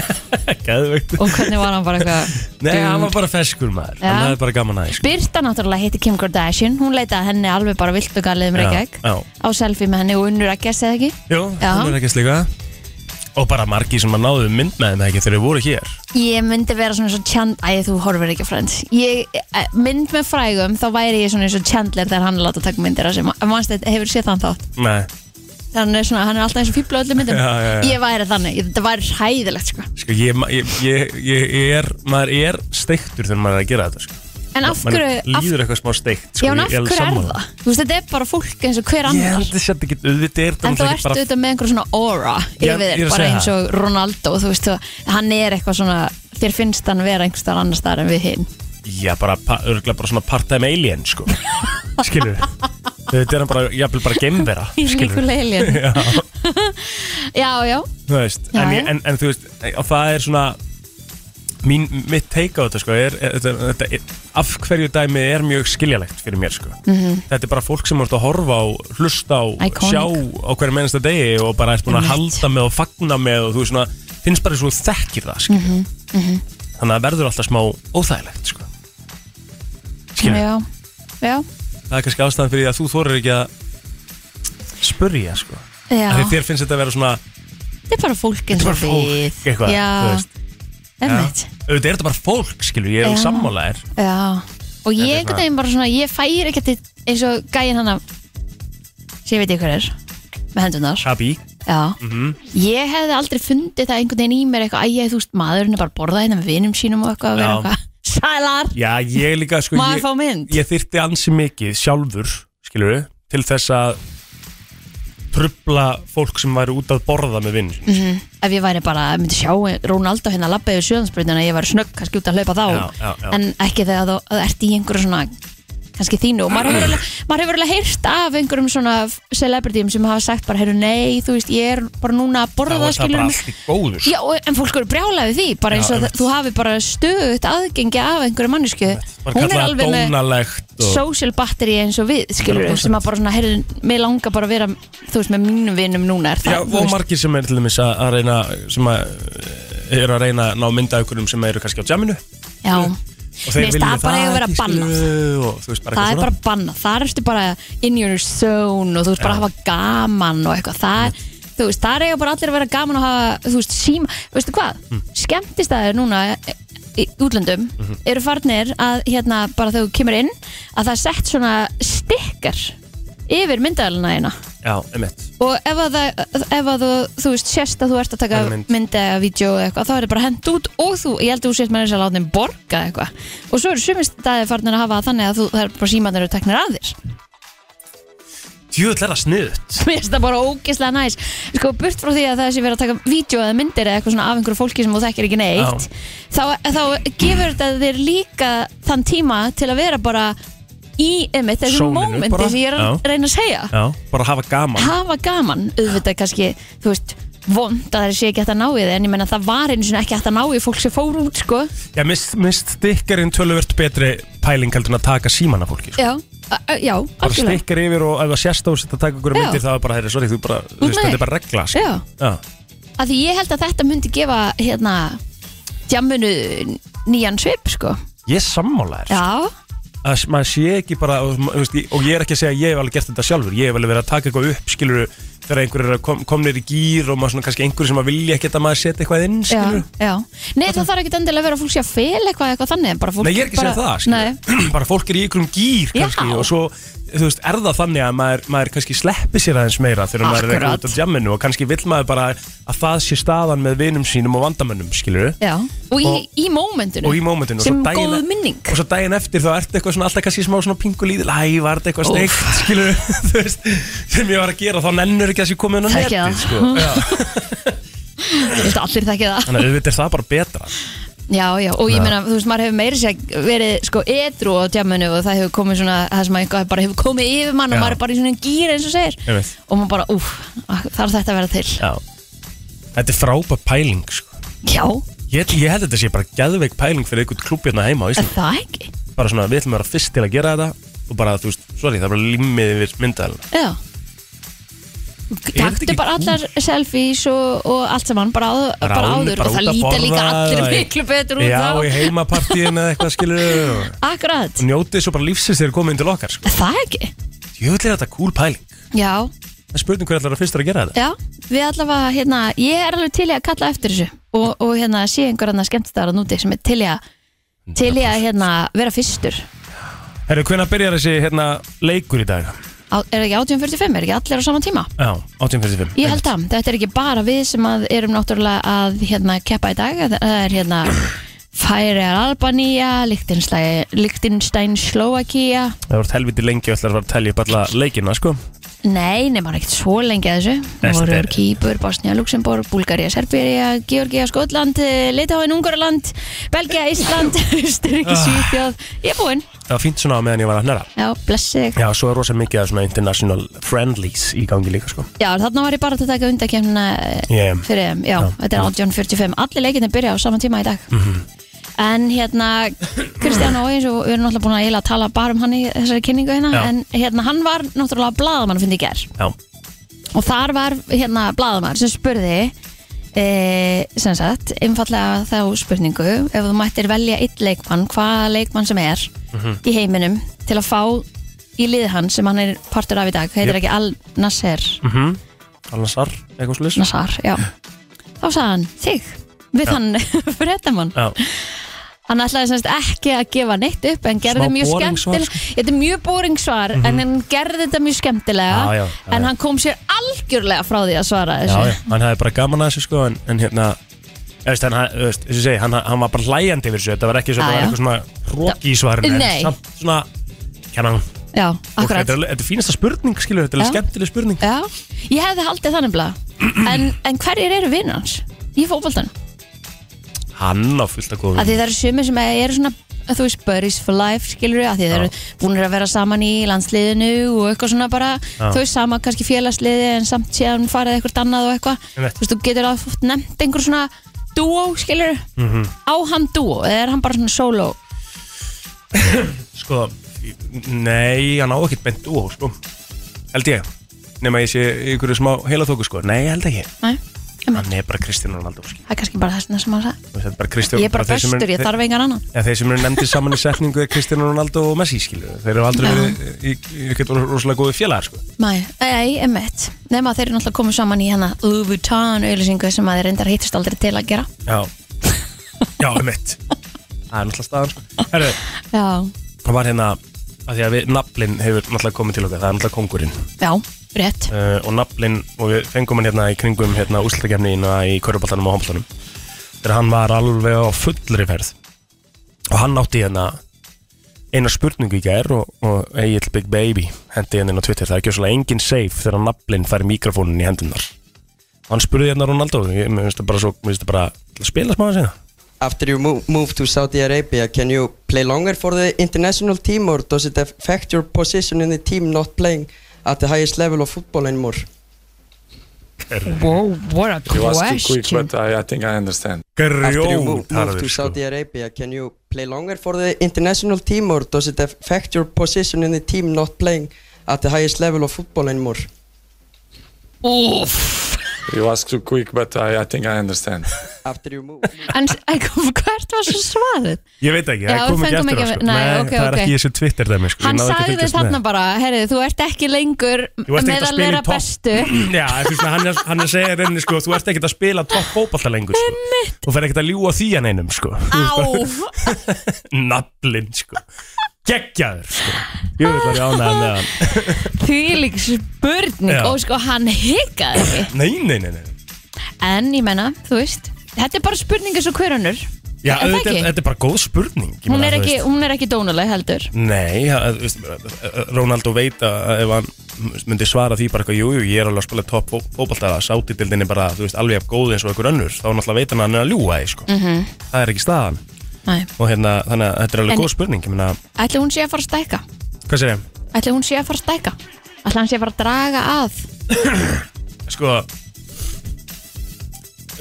Speaker 3: Geðveikt
Speaker 4: Og hvernig var hann bara eitthvað
Speaker 3: Nei, hann var bara feskur maður
Speaker 4: Já.
Speaker 3: Hann hafði bara gaman að því, sko.
Speaker 4: Birta náttúrulega heitir Kim Kardashian Hún leitaði henni alveg bara vilt og galið um Reykjavík
Speaker 3: Já, já.
Speaker 4: Á selfie með henni og unnur að gesta ekki
Speaker 3: Jú,
Speaker 4: Já.
Speaker 3: hún er ekki slíka Og bara margi sem að náðu mynd með þeim ekki þegar þau voru hér
Speaker 4: Ég myndi vera svona svo tjand Æ, þú horfir ekki á Friends ég, eh, Mynd með frægum, þá væri ég svona eins og Chandler Þegar hann er láta taka myndir af sem Manstu, hefur séð þann þátt
Speaker 3: Nei,
Speaker 4: Þannig er svona, hann er alltaf eins og fíbla öllum myndum
Speaker 3: Já, já, já.
Speaker 4: Ég væri þannig, ég- þetta væri hræðilegt sko.
Speaker 3: sko ég, ma- ég, ég, ég ég er Maður er steiktur þegar maður er að gera þetta sko.
Speaker 4: En af
Speaker 3: Man
Speaker 4: hverju, af
Speaker 3: líður eitthvað smá steikt sko.
Speaker 4: Já, en af
Speaker 3: ég
Speaker 4: hverju er
Speaker 3: alveg sammála.
Speaker 4: það? Þú veist, þetta er bara fólk eins og hver
Speaker 3: Ég
Speaker 4: annar
Speaker 3: held þess að þetta ekki auðvitað er þetta
Speaker 4: En þú ert
Speaker 3: náttúrulega ekki bara-
Speaker 4: auðvitað með einhver svona aura
Speaker 3: Já,
Speaker 4: yfir
Speaker 3: ég er
Speaker 4: þér,
Speaker 3: að
Speaker 4: bara
Speaker 3: segja
Speaker 4: eins og Ronaldo þú veist, þú- hann er eitthvað svona þér finnst hann vera einhver staðar annar staðar en við hinn
Speaker 3: Já, bara, pa- örugglega bara svona part-time alien, sko Skilur Þetta er hann bara, jafnvel bara gemvera
Speaker 4: Í líku leilin
Speaker 3: Já
Speaker 4: já, já,
Speaker 3: þú veist,
Speaker 4: Já,
Speaker 3: en,
Speaker 4: já.
Speaker 3: ég, en, en þú veist og það er svona mín, mitt teika á þetta sko er, er, þetta, þetta, er, af hverju dæmi er mjög skiljalegt fyrir mér sko þetta er bara fólk sem vorst að horfa á hlusta á,
Speaker 4: Mhm. Iconic.
Speaker 3: sjá á hverju mennsta degi og bara er búin að
Speaker 4: Einmitt.
Speaker 3: halda með og fagna með og þú veist svona, finnst bara eins og þú þekkir það mm
Speaker 4: Mhm,
Speaker 3: þannig að það verður alltaf smá óþægilegt sko skilur,
Speaker 4: já, já,
Speaker 3: það er kannski ástæðan fyrir því að þú þorir ekki að spurja sko,
Speaker 4: já.
Speaker 3: af því þér finnst þetta að vera svona
Speaker 4: Þetta er bara fólk eins
Speaker 3: Þetta
Speaker 4: og
Speaker 3: er bara fólk,
Speaker 4: við
Speaker 3: eitthvað, þú
Speaker 4: Já,
Speaker 3: veist.
Speaker 4: emmitt
Speaker 3: auðvitað er þetta bara fólk, skilur, ég er
Speaker 4: Já.
Speaker 3: sammála þér
Speaker 4: Já, og
Speaker 3: Þetta er
Speaker 4: ég einhvern veginn bara svona, ég færi ekkert í- eins og gæin hana sem ég veit ekki hver er, með hendunar
Speaker 3: Shabby
Speaker 4: Já,
Speaker 3: Mhm.
Speaker 5: Mhm.
Speaker 4: ég hefði aldrei fundið það einhvern veginn í mér eitthvað, æja, þú veist, maðurinn er bara að borða hérna með vinum sínum og eitthvað, að vera
Speaker 3: Já.
Speaker 4: eitthvað Sælar,
Speaker 3: Já, ég líka, sko
Speaker 4: má ég
Speaker 3: ég,
Speaker 4: fá mynd?
Speaker 3: ég þyrfti ansi mikið sjálfur, skilur til þess að trubla fólk sem væri út að borða með vinn mm.
Speaker 4: Mhm. Ef ég væri bara, myndi sjá Rónaldó hérna labba yfir sjöðansbreytina, ég væri snögg kannski út að hlaupa þá,
Speaker 3: Já, já, já.
Speaker 4: en ekki þegar þú að ert í einhverju svona kannski þínu og maður hefur alveg- maður hefur alveg heyrt af einhverjum svona celebritym sem hafa sagt bara, heyrðu nei, þú veist, ég er bara núna að borða
Speaker 3: Það var það
Speaker 4: skilurðu
Speaker 3: bara
Speaker 4: mig."
Speaker 3: allt í sko. góður
Speaker 4: Já, og- en fólk eru brjálæði því bara eins
Speaker 3: Já,
Speaker 4: og það-
Speaker 3: einmitt.
Speaker 4: þú hafi bara stöðut aðgengi af einhverju mannesku
Speaker 3: Man
Speaker 4: hún er
Speaker 3: kallaði
Speaker 4: alveg
Speaker 3: það
Speaker 4: með
Speaker 3: dónalegt og...
Speaker 4: social battery eins og við skilur
Speaker 3: 100%.
Speaker 4: sem að bara svona, heyrðu, mig langar bara að vera þú veist, með mínum vinum núna er það
Speaker 3: Já,
Speaker 4: þú
Speaker 3: og
Speaker 4: veist.
Speaker 3: margir sem er til dæmis að, að reyna sem að eh, eru að reyna að ná mynda einhverjum sem eru kannski á jaminu og
Speaker 4: Já,
Speaker 3: þeir
Speaker 4: Mér finnst
Speaker 3: vilja
Speaker 4: það bara eiga að vera
Speaker 3: ekki, skilurðu, og þú veist bara
Speaker 4: það er
Speaker 3: eitthvað
Speaker 4: bara bannað þar ertu bara in your zone og þú veist bara
Speaker 3: Já.
Speaker 4: að hafa gaman og eitthvað það er Þú veist, það eiga bara allir að vera gaman að hafa, þú veist, síma, veistu hvað,
Speaker 3: Hm.
Speaker 4: skemmtistæðir núna e, í útlöndum
Speaker 3: Mhm.
Speaker 4: eru farnir að hérna bara þegar þú kemur inn að það er sett svona stikkar yfir myndaðalina þína
Speaker 3: Já, emitt
Speaker 4: og ef að, það, ef að þú, þú veist, sérst að þú ert að taka
Speaker 3: Bara mynd.
Speaker 4: myndi eða vídeo eða eitthvað, þá er það bara hend út og þú, ég held að þú sést með þess að láta þeim borga eitthvað og svo eru sumist staðir farnir að hafa það þannig að þú, það er bara símandir eru teknir að þér
Speaker 3: Djúvill er það sniðut
Speaker 4: Mér finnst það bara ógeðslega næs Sko, burt frá því að það sé verið að taka vídeo eða myndir eða eitthvað svona af einhverju fólki sem þú þekkir ekki neitt þá, þá gefur þetta þér líka þann tíma til að vera bara í um þessu
Speaker 3: Sólinu bara.
Speaker 4: mómenti sem ég er að
Speaker 3: Já.
Speaker 4: reyna að segja
Speaker 3: Já, bara hafa gaman
Speaker 4: hafa gaman, auðvitað kannski þú veist, vond að það sé ekki hægt að ná í þið en ég menna það var einu svona ekki hægt að ná í fólk sem fór út, sko
Speaker 3: Já, mist, mist stikkarinn töluvert betri pæling heldur en að taka síman af fólki sko.
Speaker 4: Já, a- a- já,
Speaker 3: bara
Speaker 4: algjörlega
Speaker 3: stikkar yfir og ef það sést á þess að taka ykkur
Speaker 4: Já.
Speaker 3: myndir þá er bara, herri, sorry, þú bara, þú
Speaker 4: með
Speaker 3: veist, þetta
Speaker 4: þig.
Speaker 3: er bara regla sko.
Speaker 4: Já,
Speaker 3: Já.
Speaker 4: af því ég held að þetta myndi gefa hérna, djammunu nýjan svip, sko
Speaker 3: Ég er sammálaður
Speaker 4: Já,
Speaker 3: að maður sé ekki bara og, ma- þú veist, ég- og ég er ekki að segja að ég hef alveg gert þetta sjálfur ég hef alveg verið að taka eitthvað upp skilur þegar einhverjir eru að kom, komnir í gýr og maður svona kannski einhverjir sem að vilja ekki að maður setja eitthvað inn
Speaker 4: já,
Speaker 3: skilur
Speaker 4: já Nei, það þarf ekki endilega að vera að fólk sé að fel eitthvað, eitthvað þannig bara fólk
Speaker 3: Nei, ég er ekki að
Speaker 4: bara,
Speaker 3: segja það,
Speaker 4: Nei,
Speaker 3: skilur bara fólk er í einhverjum gýr
Speaker 4: Já.
Speaker 3: kannski og svo, þú veist, er það þannig að maður, maður kannski sleppi sér aðeins meira þegar maður er
Speaker 4: Akkurat.
Speaker 3: eitthvað út af jamminu og kannski vill maður bara að það sé staðan með vinum sínum og vandamönnum, skilur
Speaker 4: já Og í,
Speaker 3: Og-
Speaker 4: í mómentinu
Speaker 3: og í mómentinu og
Speaker 4: Sem
Speaker 3: svo daginn-
Speaker 4: góð minning
Speaker 3: og svo daginn eftir þá ertu eitthvað svona alltaf kannski smá svona pingu líðil æ, var þetta eitthvað
Speaker 4: Úff.
Speaker 3: steikt, skilur þú veist, sem ég var að gera, þá nennur ekki að þessi komið inn á
Speaker 4: Það ekki það.
Speaker 3: netið, sko Já.
Speaker 4: Ég held að Allir þekkja það
Speaker 3: þannig að auðvitað er það bara betra
Speaker 4: Já, já, og ég
Speaker 3: Já.
Speaker 4: meina, þú veist, maður hefur meiri sér verið sko edru á djamunu og það hefur komið svona, það sem eitthvað bara hefur komið yfir mann
Speaker 3: Já.
Speaker 4: og maður er bara í svona gýr eins og segir
Speaker 3: Einmitt.
Speaker 4: og maður bara, úf, þarf þetta að vera til Já,
Speaker 3: Já. þetta er frábæð pæling, sko Ég, ég held að þetta sé bara geðveik pæling fyrir einhvern klubb hérna heima á
Speaker 4: er
Speaker 3: Íslandi
Speaker 4: það ekki?
Speaker 3: bara svona við ætlum að vera fyrst til að gera þetta og bara þú veist, sorry, það er bara límið yfir myndaðalina
Speaker 4: Já
Speaker 3: þetta ekki
Speaker 4: Taktu bara allar selfies og, og allt saman, bara, áður,
Speaker 3: Bara
Speaker 4: bara
Speaker 3: áður,
Speaker 4: áður
Speaker 3: bara
Speaker 4: og það
Speaker 3: út að
Speaker 4: líta
Speaker 3: borða
Speaker 4: líka allir
Speaker 3: eða-
Speaker 4: miklu betur út
Speaker 3: Já,
Speaker 4: þá
Speaker 3: í heimapartíin eða eitthvað skilur og
Speaker 4: Akkurat,
Speaker 3: njótið svo bara lífsins þegar komið inn til okkar sko.
Speaker 4: er það ekki?
Speaker 3: Jöfnlega er þetta cool pæling
Speaker 4: Já,
Speaker 3: Það er spurning hver allar að fyrstur að gera þetta
Speaker 4: já, við allavega, hérna, ég er alveg til í að kalla eftir þessu og, og hérna, sé einhver annar skemmtistæðar að núti sem er til í að til í að hérna, vera fyrstur
Speaker 3: Herru, hvenær byrjar þessi hérna, leikur í dag?
Speaker 4: á, er það ekki 1845, er ekki allir á sama tíma
Speaker 3: Já, 18.45
Speaker 4: ég held það, þetta er ekki bara við sem að erum náttúrulega að hérna, keppa í dag það er hérna Færiðar Albanía, Lichtenstein Lichtenstein Slovakia
Speaker 3: Það voru helviti lengi og ætlar að fara að telja upp alla leikina sko.
Speaker 4: nei, nema ekkert svo lengi að þessu
Speaker 3: Nei,
Speaker 4: Nú voru
Speaker 3: þetta er-
Speaker 4: Kýpur, Bosnia, Luxemburg, Búlgaria, Serbíria Georgia,
Speaker 3: Ah.
Speaker 4: Skotland, Litáin, Ungarland Belgia, Ísland, Östuríki, Svíþjóð ég er búinn,
Speaker 3: það var fínt svona á meðan ég var að hnara
Speaker 4: Já, blessi þig
Speaker 3: Já, svo er rosa mikið af svona international friendlies í gangi líka sko
Speaker 4: Já, þarna var ég bara að taka undakefnina yeah.
Speaker 3: yeah.
Speaker 4: fyrir þeim, já,
Speaker 3: Já.
Speaker 4: þetta er 18.45 Allir leikinni byrja á sama tíma í dag
Speaker 3: Mhm,
Speaker 4: En hérna, Kristján Ói eins og við erum náttúrulega búin að eiginlega tala bara um hann í þessari kynningu hérna
Speaker 3: Já.
Speaker 4: En hérna, hann var náttúrulega blaðamann að finna í ger
Speaker 3: Já,
Speaker 4: Og þar var hérna blaðamann sem spurði e, sem sagt, einfallega þá spurningu ef þú mættir velja eitt leikmann hvaða leikmann sem er
Speaker 3: mhm.
Speaker 4: í heiminum til að fá í lið hann sem hann er partur af í dag heitir
Speaker 3: Jöp.
Speaker 4: ekki Al Nasser
Speaker 3: Al-Nassar, eitthvað slis
Speaker 4: Nassar, já þá sagði hann þig við
Speaker 3: Já.
Speaker 4: hann frettamann
Speaker 3: Já,
Speaker 4: hann ætlaði semst ekki að gefa neitt upp en gerði
Speaker 3: Smá
Speaker 4: mjög
Speaker 3: boring svar, sko. Mhm.
Speaker 4: skemmtilega þetta er mjög boring svar en hann gerði þetta mjög skemmtilega
Speaker 3: Já, já, já,
Speaker 4: en
Speaker 3: já.
Speaker 4: hann kom sér algjörlega frá því að svara
Speaker 3: já,
Speaker 4: þessu
Speaker 3: já, hann hefði bara gaman að þessu sko en, en hérna, ég veist, hann, þú veist, þessi segi, hann, hann var bara hlæjandi yfir þessu Þetta var ekki svo,
Speaker 4: Já,
Speaker 3: það
Speaker 4: já.
Speaker 3: var eitthvað svona roki í svarinu en
Speaker 4: Nei.
Speaker 3: Samt svona, hérna,
Speaker 4: já
Speaker 3: og
Speaker 4: akkurat
Speaker 3: þetta er, þetta er fínasta spurning skilur, þetta er
Speaker 4: Já.
Speaker 3: skemmtileg spurning
Speaker 4: Já, ég hefði haldið þannig blá en, en hverjir eru vinnar hans? Í fótboltan?
Speaker 3: Hann á fullt að góða
Speaker 4: Af því það eru sömur sem eru svona þú veist, buddies for life, skilur við því þeir eru búinir að vera saman í landsliðinu og eitthvað svona bara,
Speaker 3: Já.
Speaker 4: þú veist, sama kannski félagsliði en samt síðan farið eitthvað annað og eitthvað,
Speaker 3: Einmitt.
Speaker 4: þú veist, þú getur að nefnt einhver svona dúó, skilur mm
Speaker 3: Mhm.
Speaker 4: -hmm. á hann dúó, eða er hann bara svona solo
Speaker 3: Sko, nei, hann á ekkert beint úr, sko Held ég Nefn að ég sé í einhverju smá heila þóku, sko Nei, ég held ekki
Speaker 4: Nei, Einmitt.
Speaker 3: Hann er bara Kristján Ronaldo, sko
Speaker 4: það er kannski bara þessna sem hann sagði
Speaker 3: Þú veist, Þetta er bara Kristján
Speaker 4: ég er bara
Speaker 3: þeir sem
Speaker 4: bestur, ég þarf engan annan
Speaker 3: Já, þeir sem eru nefndið saman í setningu er Kristján Ronaldo og Messi, skilur Þeir eru aldrei
Speaker 4: Já.
Speaker 3: verið í, í, í, í rosalega góði félagar, sko
Speaker 4: Nei, ei, emmett Nefn að þeir eru náttúrulega komið saman í hérna Louis Vuitton auðlýsingu sem að þeir reyndar hittist aldrei til að gera
Speaker 3: Já Já, um mitt Það er náttúrulega staðan, sko Herru,
Speaker 4: Já,
Speaker 3: það var hérna að því að við, naflin hefur náttúrulega komið til okkar Það er náttúrulega kongurinn
Speaker 4: já, rétt
Speaker 3: uh, og naflinn og við fengum hann hérna í kringum hérna úslutakefniðina í Köruboltanum og Homboltanum þegar hann var alveg á fullri ferð og hann átti hérna eina spurningu í gær og, og Egil Big Baby hendi hérna inn á Twitter það er ekki svolítið engin safe þegar naflinn fær mikrofónin í hendunar og hann spurði hérna Ronaldo ég mér finnst það bara svo, mér finnst það bara til að spila smá að segja
Speaker 2: After you move, move to Saudi Arabia, can you play longer for the international team or does it affect your position in the team not playing at the highest level of football anymore?
Speaker 4: Wow, what a
Speaker 6: You asked too quick, but I, I think I understand.
Speaker 2: After you move, move
Speaker 3: Grjótarður
Speaker 2: to
Speaker 3: sko.
Speaker 2: Saudi Arabia, can you play longer for the international team or does it affect your position in the team not playing at the highest level of football anymore?
Speaker 6: You asked too quick, but I, I think I understand.
Speaker 2: After you move...
Speaker 4: En s- en hvert var svo svarið?
Speaker 3: Ég veit ekki,
Speaker 4: Já,
Speaker 3: það kom
Speaker 4: við
Speaker 3: ekki
Speaker 4: fengum
Speaker 3: eftir á
Speaker 4: ekki-
Speaker 3: sko.
Speaker 4: nei,
Speaker 3: Nei,
Speaker 4: ok,
Speaker 3: það er
Speaker 4: ok.
Speaker 3: ekki í þessu Twitter dæmi sko. Ég
Speaker 4: Hann
Speaker 3: náði ekki að
Speaker 4: sagði
Speaker 3: fylgjast með.
Speaker 4: þarna bara Herri, þú ert ekki lengur
Speaker 3: Þú ert ekkert að
Speaker 4: meðal
Speaker 3: spila
Speaker 4: vera
Speaker 3: í topp
Speaker 4: bestu
Speaker 3: Já, þú veist, hann er, hann er að segja reyni sko, þú ert ekkert að spila topp fótballta lengur sko. Þú fer ekkert að ljúa því hann einum sko.
Speaker 4: Á,
Speaker 3: Naflinn sko. Geggjaður sko. Ég veit að ég ánægði með hann
Speaker 4: þvílík spurning
Speaker 3: Já.
Speaker 4: Og sko, hann hikaði ekki
Speaker 3: Nei, nei, nei, nei.
Speaker 4: En ég menna, þú veist Þetta er bara spurningi svo hver önnur
Speaker 3: Já,
Speaker 4: Er það
Speaker 3: þetta,
Speaker 4: ekki?
Speaker 3: þetta er bara góð spurning Ég
Speaker 4: Hún
Speaker 3: meina,
Speaker 4: er
Speaker 3: þú
Speaker 4: ekki,
Speaker 3: veist.
Speaker 4: hún er ekki dónuleg heldur
Speaker 3: Nei, það- þú veist, eh, Ronaldo veit að ef hann myndi svara því bara eitthvað, jú, jú, ég er alveg að spila topp fótballta sátidildin er bara, þú veist, alveg jafn góð eins og einhver önnur, þá náttúrulega veit hann að hann er að ljúa því sko. Það er ekki staðan
Speaker 4: Mhm. Nei.
Speaker 3: og hérna, þannig að þetta er alveg
Speaker 4: En-
Speaker 3: góð spurning ég meina,
Speaker 4: Ætli hún sé að fara að stækka
Speaker 3: hvað segir ég?
Speaker 4: Ætli hún sé að fara að stækka Ætli hann sé að fara að draga að
Speaker 3: sko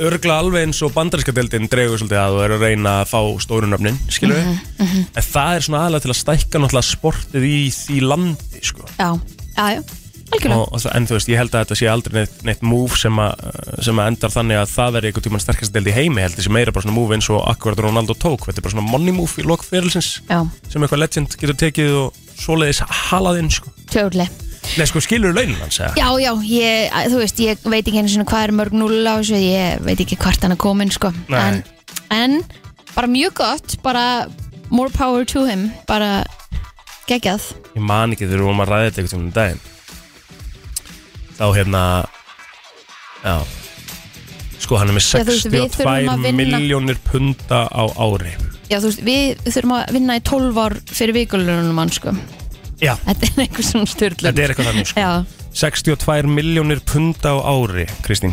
Speaker 3: örgla alveg eins og bandarinska deildin dregur svolítið að og er að reyna að fá stórunöfnin, skilur
Speaker 4: Mhm.
Speaker 3: við en það er svona aðlega til að stækka náttúrulega sportið í því landi, sko
Speaker 4: Já, já, já, algjörlega
Speaker 3: og, og það, en þú veist, ég held að þetta sé aldrei neitt, neitt move sem, a, sem að endar þannig að það verði einhvern tímann sterkast deild í heimi, held þessi meira bara svona move eins og akkurat Ronaldo tók, þetta er bara svona money move í lokfyrilsins,
Speaker 4: Já,
Speaker 3: sem eitthvað legend getur tekið og svoleiðis halaðinn, sko
Speaker 4: tjóðlega
Speaker 3: Nei, sko, skilur launin hans, eða?
Speaker 4: Já, já, ég, að- þú veist, ég veit ekki einu sinni hvað er mörg null á þessu Ég veit ekki hvart hann er komin, sko
Speaker 3: Nei.
Speaker 4: en, en, bara mjög gott, bara more power to him Bara geggjað
Speaker 3: ég man ekki þegar við vorum að ræða þetta einhvern tímann um daginn þá hérna já sko hann er með
Speaker 4: Já, þú veist, við þurfum að
Speaker 3: 62
Speaker 4: vinna-
Speaker 3: miljónir punta á ári
Speaker 4: Já, þú veist, við þurfum að vinna í 12 ár fyrir vikulunum mann, sko
Speaker 3: já,
Speaker 4: Þetta er einhver svona styrlun
Speaker 3: þetta er eitthvað þannig sko.
Speaker 4: Já,
Speaker 3: 62 miljónir punta á ári Kristín,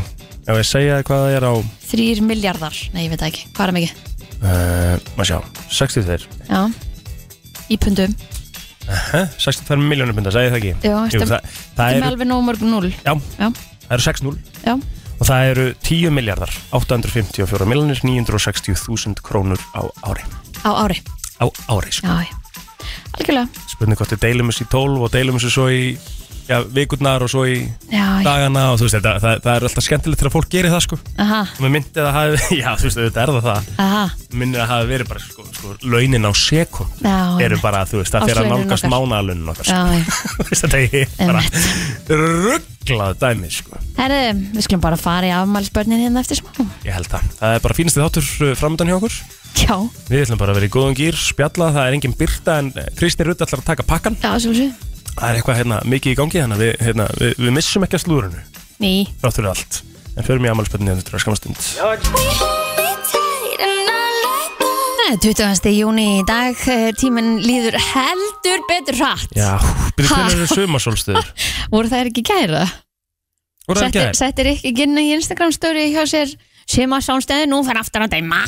Speaker 3: ef ég segja þér hvað það er á
Speaker 4: þrýr
Speaker 3: eh,
Speaker 4: miljardar, nei, ég veit það ekki, hvað er mikið
Speaker 3: uh, maður sjá, 62
Speaker 4: Já, í pundum
Speaker 3: Hæ? 62 miljónum punda, sagði ég það ekki?
Speaker 4: Já, ertu-
Speaker 3: það, það,
Speaker 4: Það er
Speaker 3: eru,
Speaker 4: alveg nóg mörg núl
Speaker 3: já,
Speaker 4: Já,
Speaker 3: það eru 6-0
Speaker 4: já,
Speaker 3: og það eru 10 miljardar 854 miljonir 960.000 krónur á ári
Speaker 4: á ári
Speaker 3: á ári, sko.
Speaker 4: Já, já, algjörlega
Speaker 3: spurning hvort við deilum þessu í 12 og deilum þessu svo í já, vikurnar og svo í
Speaker 4: Já, já,
Speaker 3: dagana og þú veist, þetta, það, það er alltaf skemmtilegt þegar fólk gerir það, sko
Speaker 4: aha,
Speaker 3: Mér myndi að það hafi, já, þú veist, þetta er það það
Speaker 4: aha
Speaker 3: minnir að hafi verið bara, sko, sko launin á sekund
Speaker 4: Já,
Speaker 3: eru
Speaker 4: einmitt.
Speaker 3: bara, þú veist, það fyrir að
Speaker 4: Árslaunin
Speaker 3: nálgast
Speaker 4: okkar.
Speaker 3: mánalunin
Speaker 4: Já,
Speaker 3: okkar, sko
Speaker 4: já
Speaker 3: Þú veist, þetta er bara rugglað dæmi, sko
Speaker 4: Herri, við skulum bara fara í afmælsbörnin hérna eftir smá
Speaker 3: Ég held það. Það er bara fínasti þáttur uh, framöndan hjá okkur.
Speaker 4: Já,
Speaker 3: Við ætlum bara að vera í góðum gýr, spjalla, það er engin byrta en eh, Kristi Rutt ætlar að taka pakkan.
Speaker 4: já, svolítið
Speaker 3: Það er eitthvað hérna, mikið í gangi þannig að við, hérna, við, við missum ekki að slúrunu,
Speaker 4: Ný,
Speaker 3: þrátt fyrir allt. En förum í hérna amalspöndinu þetta er skamastund.
Speaker 4: það er 20. júni í dag Eh, Tíminn líður heldur betur hratt
Speaker 3: Já, byrju
Speaker 4: Ha?
Speaker 3: hvernig eru sumarsólstöður?
Speaker 4: Voru þær ekki gæra?
Speaker 3: Hvor er það
Speaker 4: Settir,
Speaker 3: ekki
Speaker 4: settir ekki gynna í Instagram story hjá sér sem að sánstöði nú fer aftur að dæma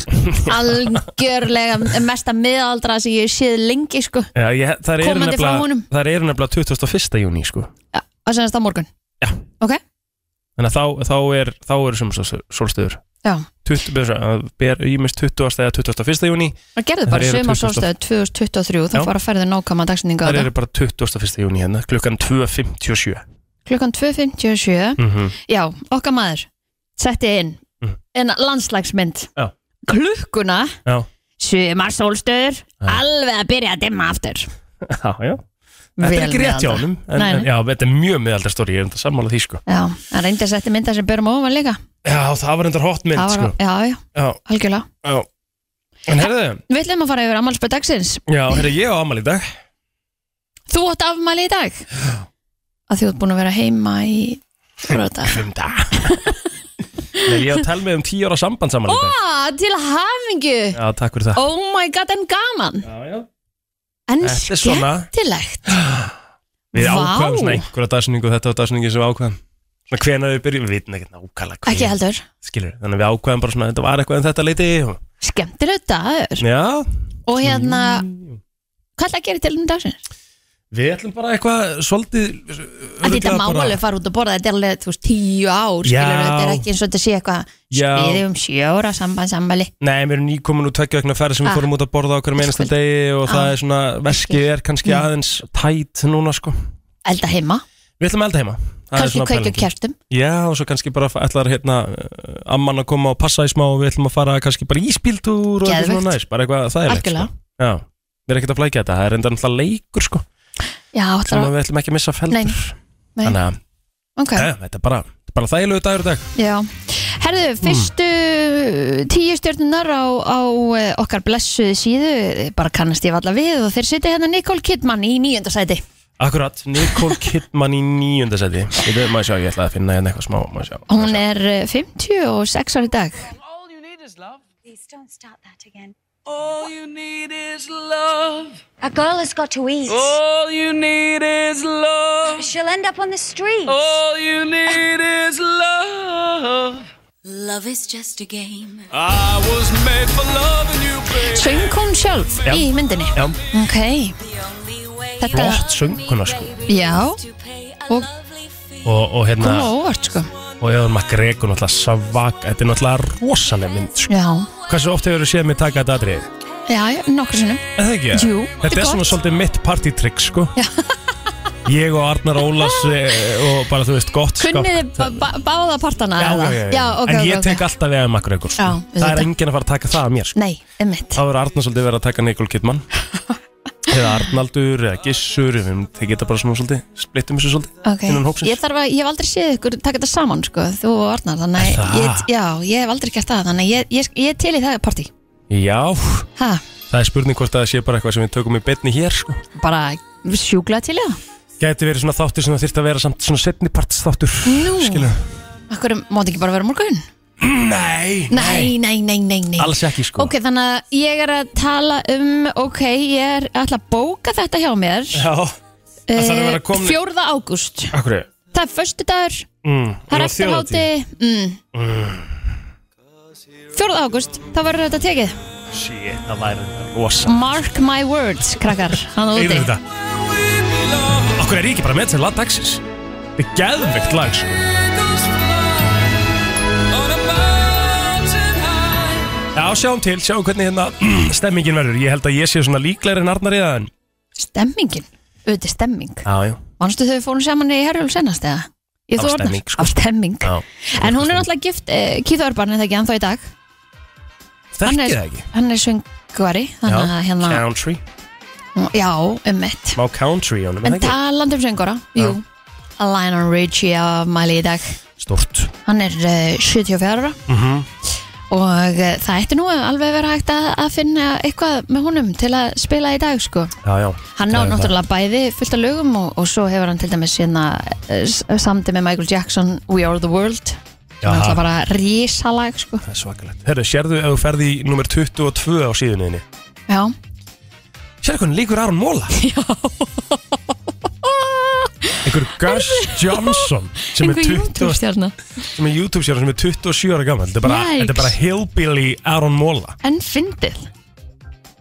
Speaker 4: algjörlega mesta miðaldra sem ég hef séð lengi sko
Speaker 3: Já, ég, það eru
Speaker 4: Komandi frá
Speaker 3: nefnilega,
Speaker 4: honum.
Speaker 3: það eru nefnilega 21. júni, sko.
Speaker 4: Já, að senast á morgun
Speaker 3: Já.
Speaker 4: ok,
Speaker 3: Þannig að þá, þá, er, þá eru sumarsólstöður.
Speaker 4: já,
Speaker 3: 20, ber, ber, ímist 20. eða 21. júni,
Speaker 4: það gerðu
Speaker 3: Þær
Speaker 4: bara
Speaker 3: eru
Speaker 4: suma
Speaker 3: 20.
Speaker 4: sólstöðu 2023 þá
Speaker 3: Já.
Speaker 4: fara að ferðu nákama dagsendinga
Speaker 3: það eru bara 21. júni hérna, klukkan 2.57.
Speaker 4: klukkan 2.57
Speaker 3: Mm
Speaker 4: já, okkar maður setti inn
Speaker 3: Mhm.
Speaker 4: en landslagsmynd
Speaker 3: Já.
Speaker 4: klukkuna
Speaker 3: Já.
Speaker 4: sumar sólstöður
Speaker 3: Já.
Speaker 4: alveg að byrja að dimma aftur
Speaker 3: Já, já. Þetta er
Speaker 4: Vel
Speaker 3: ekki rétt hjá
Speaker 4: miðaldra.
Speaker 3: honum en,
Speaker 4: Nei, nei.
Speaker 3: en, Já, þetta er mjög miðaldar stóri, ég er enda sammála því sko
Speaker 4: já, hann reyndi að setja mynda sem börum ofan líka
Speaker 3: Já, það var enda hot mynd
Speaker 4: Það
Speaker 3: sko
Speaker 4: var, já, já,
Speaker 3: Já,
Speaker 4: algjörlega
Speaker 3: já En herðu,
Speaker 4: Við ætlum að fara yfir afmælspöð dagsins
Speaker 3: já, herðu ég á amal í dag
Speaker 4: Þú átt afmæli í dag að þú ert búin að vera heima í Rota.
Speaker 3: Fimm dag Nei, ég á tel með um tíu ára sambandsamal í dag
Speaker 4: Á, til hamingju
Speaker 3: Já, takk fyrir það
Speaker 4: Oh my god, en gaman
Speaker 3: Já, já
Speaker 4: En
Speaker 3: Þetta er svona
Speaker 4: skemmtilegt
Speaker 3: Við
Speaker 4: Vá.
Speaker 3: ákvæðum svona einhverja dagsinningu Þetta var dagsinningu sem við ákvæðum Svona hvenær við byrjum, við vitum ekkert nákvæmlega hvenær.
Speaker 4: Ekki heldur,
Speaker 3: Skilur, þannig að við ákvæðum bara svona Þetta var eitthvað en þetta leiti og...
Speaker 4: skemmtilegt dagur
Speaker 3: Já
Speaker 4: Og hérna,
Speaker 3: Mm.
Speaker 4: hvað ætla að gera til um dagsins?
Speaker 3: Við ætlum bara eitthvað svolítið
Speaker 4: Að
Speaker 3: örugglega
Speaker 4: þetta má
Speaker 3: bara-
Speaker 4: alveg fara út og borða Þetta er alveg, þú veist, tíu ár
Speaker 3: Já.
Speaker 4: skilurðu, Þetta er ekki eins og þetta sé eitthvað
Speaker 3: Já.
Speaker 4: Spiði um sjóra sambandsambali
Speaker 3: Nei, mér er nýkomin úr tveggja vegna ferð sem
Speaker 4: Ah.
Speaker 3: við fórum út að borða okkur með einasta
Speaker 4: Kvöld.
Speaker 3: degi og það
Speaker 4: Ah. Mm.
Speaker 3: er svona, veskið er kannski aðeins tætt núna sko.
Speaker 4: Elda heima,
Speaker 3: Við ætlum að elda heima. Það er
Speaker 4: kannski
Speaker 3: svona
Speaker 4: kveikja
Speaker 3: pælingin.
Speaker 4: kjartum
Speaker 3: Já, og svo kannski bara ætlar hérna eh, amman að koma og passa í smá og við ætlum að fara kannski bara í spíltúr og eitthvað
Speaker 4: Geðveikt.
Speaker 3: svona næs, bara eitthvað það er leitt sko.
Speaker 4: Algjörlega.
Speaker 3: Já, við erum ekkert að flækja þetta, það er enda náttúrulega leikur sko,
Speaker 4: Já,
Speaker 3: sem
Speaker 4: ætlar
Speaker 3: að
Speaker 4: að
Speaker 3: við ætlum ekki að missa
Speaker 4: Nei,
Speaker 3: feldur.
Speaker 4: nei.
Speaker 3: Þannig að
Speaker 4: Ok,
Speaker 3: eh, þetta er bara, þetta er bara þægilegu dagur í dag.
Speaker 4: Já, herðu,
Speaker 3: Mm.
Speaker 4: fyrstu tíu stjórnunar á, á eh, okkar blessuðu síðu bara kannast ég valla við og þeir sitja hérna Nicole Kidman í nýjönda sæti
Speaker 3: Akkurat, Nicole Kidman í nýjunda seti. Ég veit, maður sjá, ég ætla að finna hérna eitthvað smá, maður sjá.
Speaker 4: hún er eh, 56 ári dag
Speaker 7: Please don't start that again. All you need is love. A girl has got to eat. All you need is love. She'll end up on the street. All you need is love. Love is just a game.
Speaker 4: söng hún sjálf
Speaker 3: Já.
Speaker 4: í myndinni
Speaker 3: Já.
Speaker 4: ok, þetta
Speaker 3: Flott sönguna sko.
Speaker 4: já, og
Speaker 3: og, og hérna
Speaker 4: hún var óvart sko
Speaker 3: og Evan McGregor náttúrulega svag þetta er náttúrulega rosaleg mynd sko.
Speaker 4: já,
Speaker 3: hversu oft hefur þú séð mig taka þetta atrið
Speaker 4: já, já, nokkur sinnum
Speaker 3: en það ekki
Speaker 4: Jú, þetta
Speaker 3: þetta
Speaker 4: er
Speaker 3: er svona
Speaker 4: gott.
Speaker 3: svolítið mitt partytrygg sko ég og Arnar Ólas eh, og bara þú veist gott skap-
Speaker 4: kunnið þið ba- ba- báða partana
Speaker 3: já,
Speaker 4: eða?
Speaker 3: já, já, já.
Speaker 4: já, ok,
Speaker 3: en
Speaker 4: ok,
Speaker 3: ég
Speaker 4: ok.
Speaker 3: tek alltaf Evan McGregor sko.
Speaker 4: Já,
Speaker 3: það er
Speaker 4: auðvitað.
Speaker 3: enginn að fara að taka það að mér sko.
Speaker 4: nei, einmitt
Speaker 3: þá verður Arnar svolítið verið að taka Nicole Kidman eða Arnaldur eða Gissur við höfum tekið þetta bara svona svolítið splittum þessu svolítið
Speaker 4: Ok,
Speaker 3: innan hópsins.
Speaker 4: ég þarf að, ég hef aldrei séð ykkur taka þetta saman sko, þú og Arnar þannig að
Speaker 3: Er það?
Speaker 4: ég, já, ég hef aldrei gert það þannig að ég, ég, ég er til í það partí
Speaker 3: já,
Speaker 4: ha,
Speaker 3: það er spurning hvort að það sé bara eitthvað sem við tökum í betni hér sko.
Speaker 4: bara sjúkla til í það
Speaker 3: Gæti verið svona þáttur sem það þyrfti að vera samt svona setniparts þáttur
Speaker 4: Nú. Akkur mátt ekki bara vera morgun?
Speaker 3: Nei,
Speaker 4: Nei, nei, nei, nei, nei
Speaker 3: Alls ekki sko
Speaker 4: Ok, þannig að ég er að tala um ok, ég er alltaf að bóka þetta hjá mér
Speaker 3: Já Það þarf að
Speaker 4: Eh,
Speaker 3: vera komin Fjó...
Speaker 4: 4. ágúst
Speaker 3: Akkur
Speaker 4: Það er föstudagur,
Speaker 3: mm,
Speaker 4: það er
Speaker 3: á
Speaker 4: eftir
Speaker 3: þjóðhátíð.
Speaker 4: háti mm. 4. ágúst, þá verður þetta tekið
Speaker 3: Shit, það væri þetta rosa
Speaker 4: Mark my words, krakkar Hann úti
Speaker 3: Eða þetta Okkur er ég ekki bara með til lag dagsins Þetta er geðveikt lag sko. Já, sjáum til, sjáum hvernig hérna stemmingin verður Ég held að ég sé svona líklegri en Arnar í það en
Speaker 4: Stemmingin, auðvitað stemming
Speaker 3: Já, já,
Speaker 4: Manstu þau fórum saman í Herjól senast eða? Ég
Speaker 3: Af
Speaker 4: þú Arnar?
Speaker 3: stemming, sko.
Speaker 4: Af stemming
Speaker 3: já
Speaker 4: En hún er náttúrulega gift uh, Keith Urban er það ekki ennþá í dag hann
Speaker 3: Þekkið
Speaker 4: er-
Speaker 3: það ekki
Speaker 4: Hann er söngvari Þannig að hérna
Speaker 3: country
Speaker 4: Já, um mitt
Speaker 3: Má country í honum,
Speaker 4: En
Speaker 3: er það
Speaker 4: talandi um söngvara, jú Lionel Richie afmæli í dag
Speaker 3: ekki Stort
Speaker 4: Hann er uh, 74 ára
Speaker 3: Mhm.
Speaker 4: Og uh, það ætti nú alveg vera hægt að, að finna eitthvað með honum til að spila í dag sko.
Speaker 3: Já, já
Speaker 4: Hann á
Speaker 3: Það er
Speaker 4: náttúrulega bæði fullt af lögum og, og svo hefur hann til dæmis hérna, eh, s- samdi með Michael Jackson We Are The World sem er
Speaker 3: Já.
Speaker 4: náttúrulega bara risalag sko.
Speaker 3: Það er svakalegt Herru, sérðu ef þú ferði í nummer 22 á síðuninni
Speaker 4: Já,
Speaker 3: Sérðu hvernig líkur Aron Móla? Já Einhver Gus Johnson sem er
Speaker 4: einhver
Speaker 3: 20
Speaker 4: YouTube-stjarna
Speaker 3: sem er YouTube sér sem er 27 ára gammal þetta er bara,
Speaker 4: Yikes.
Speaker 3: þetta er bara hillbilly Aron Móla
Speaker 4: En fyndið,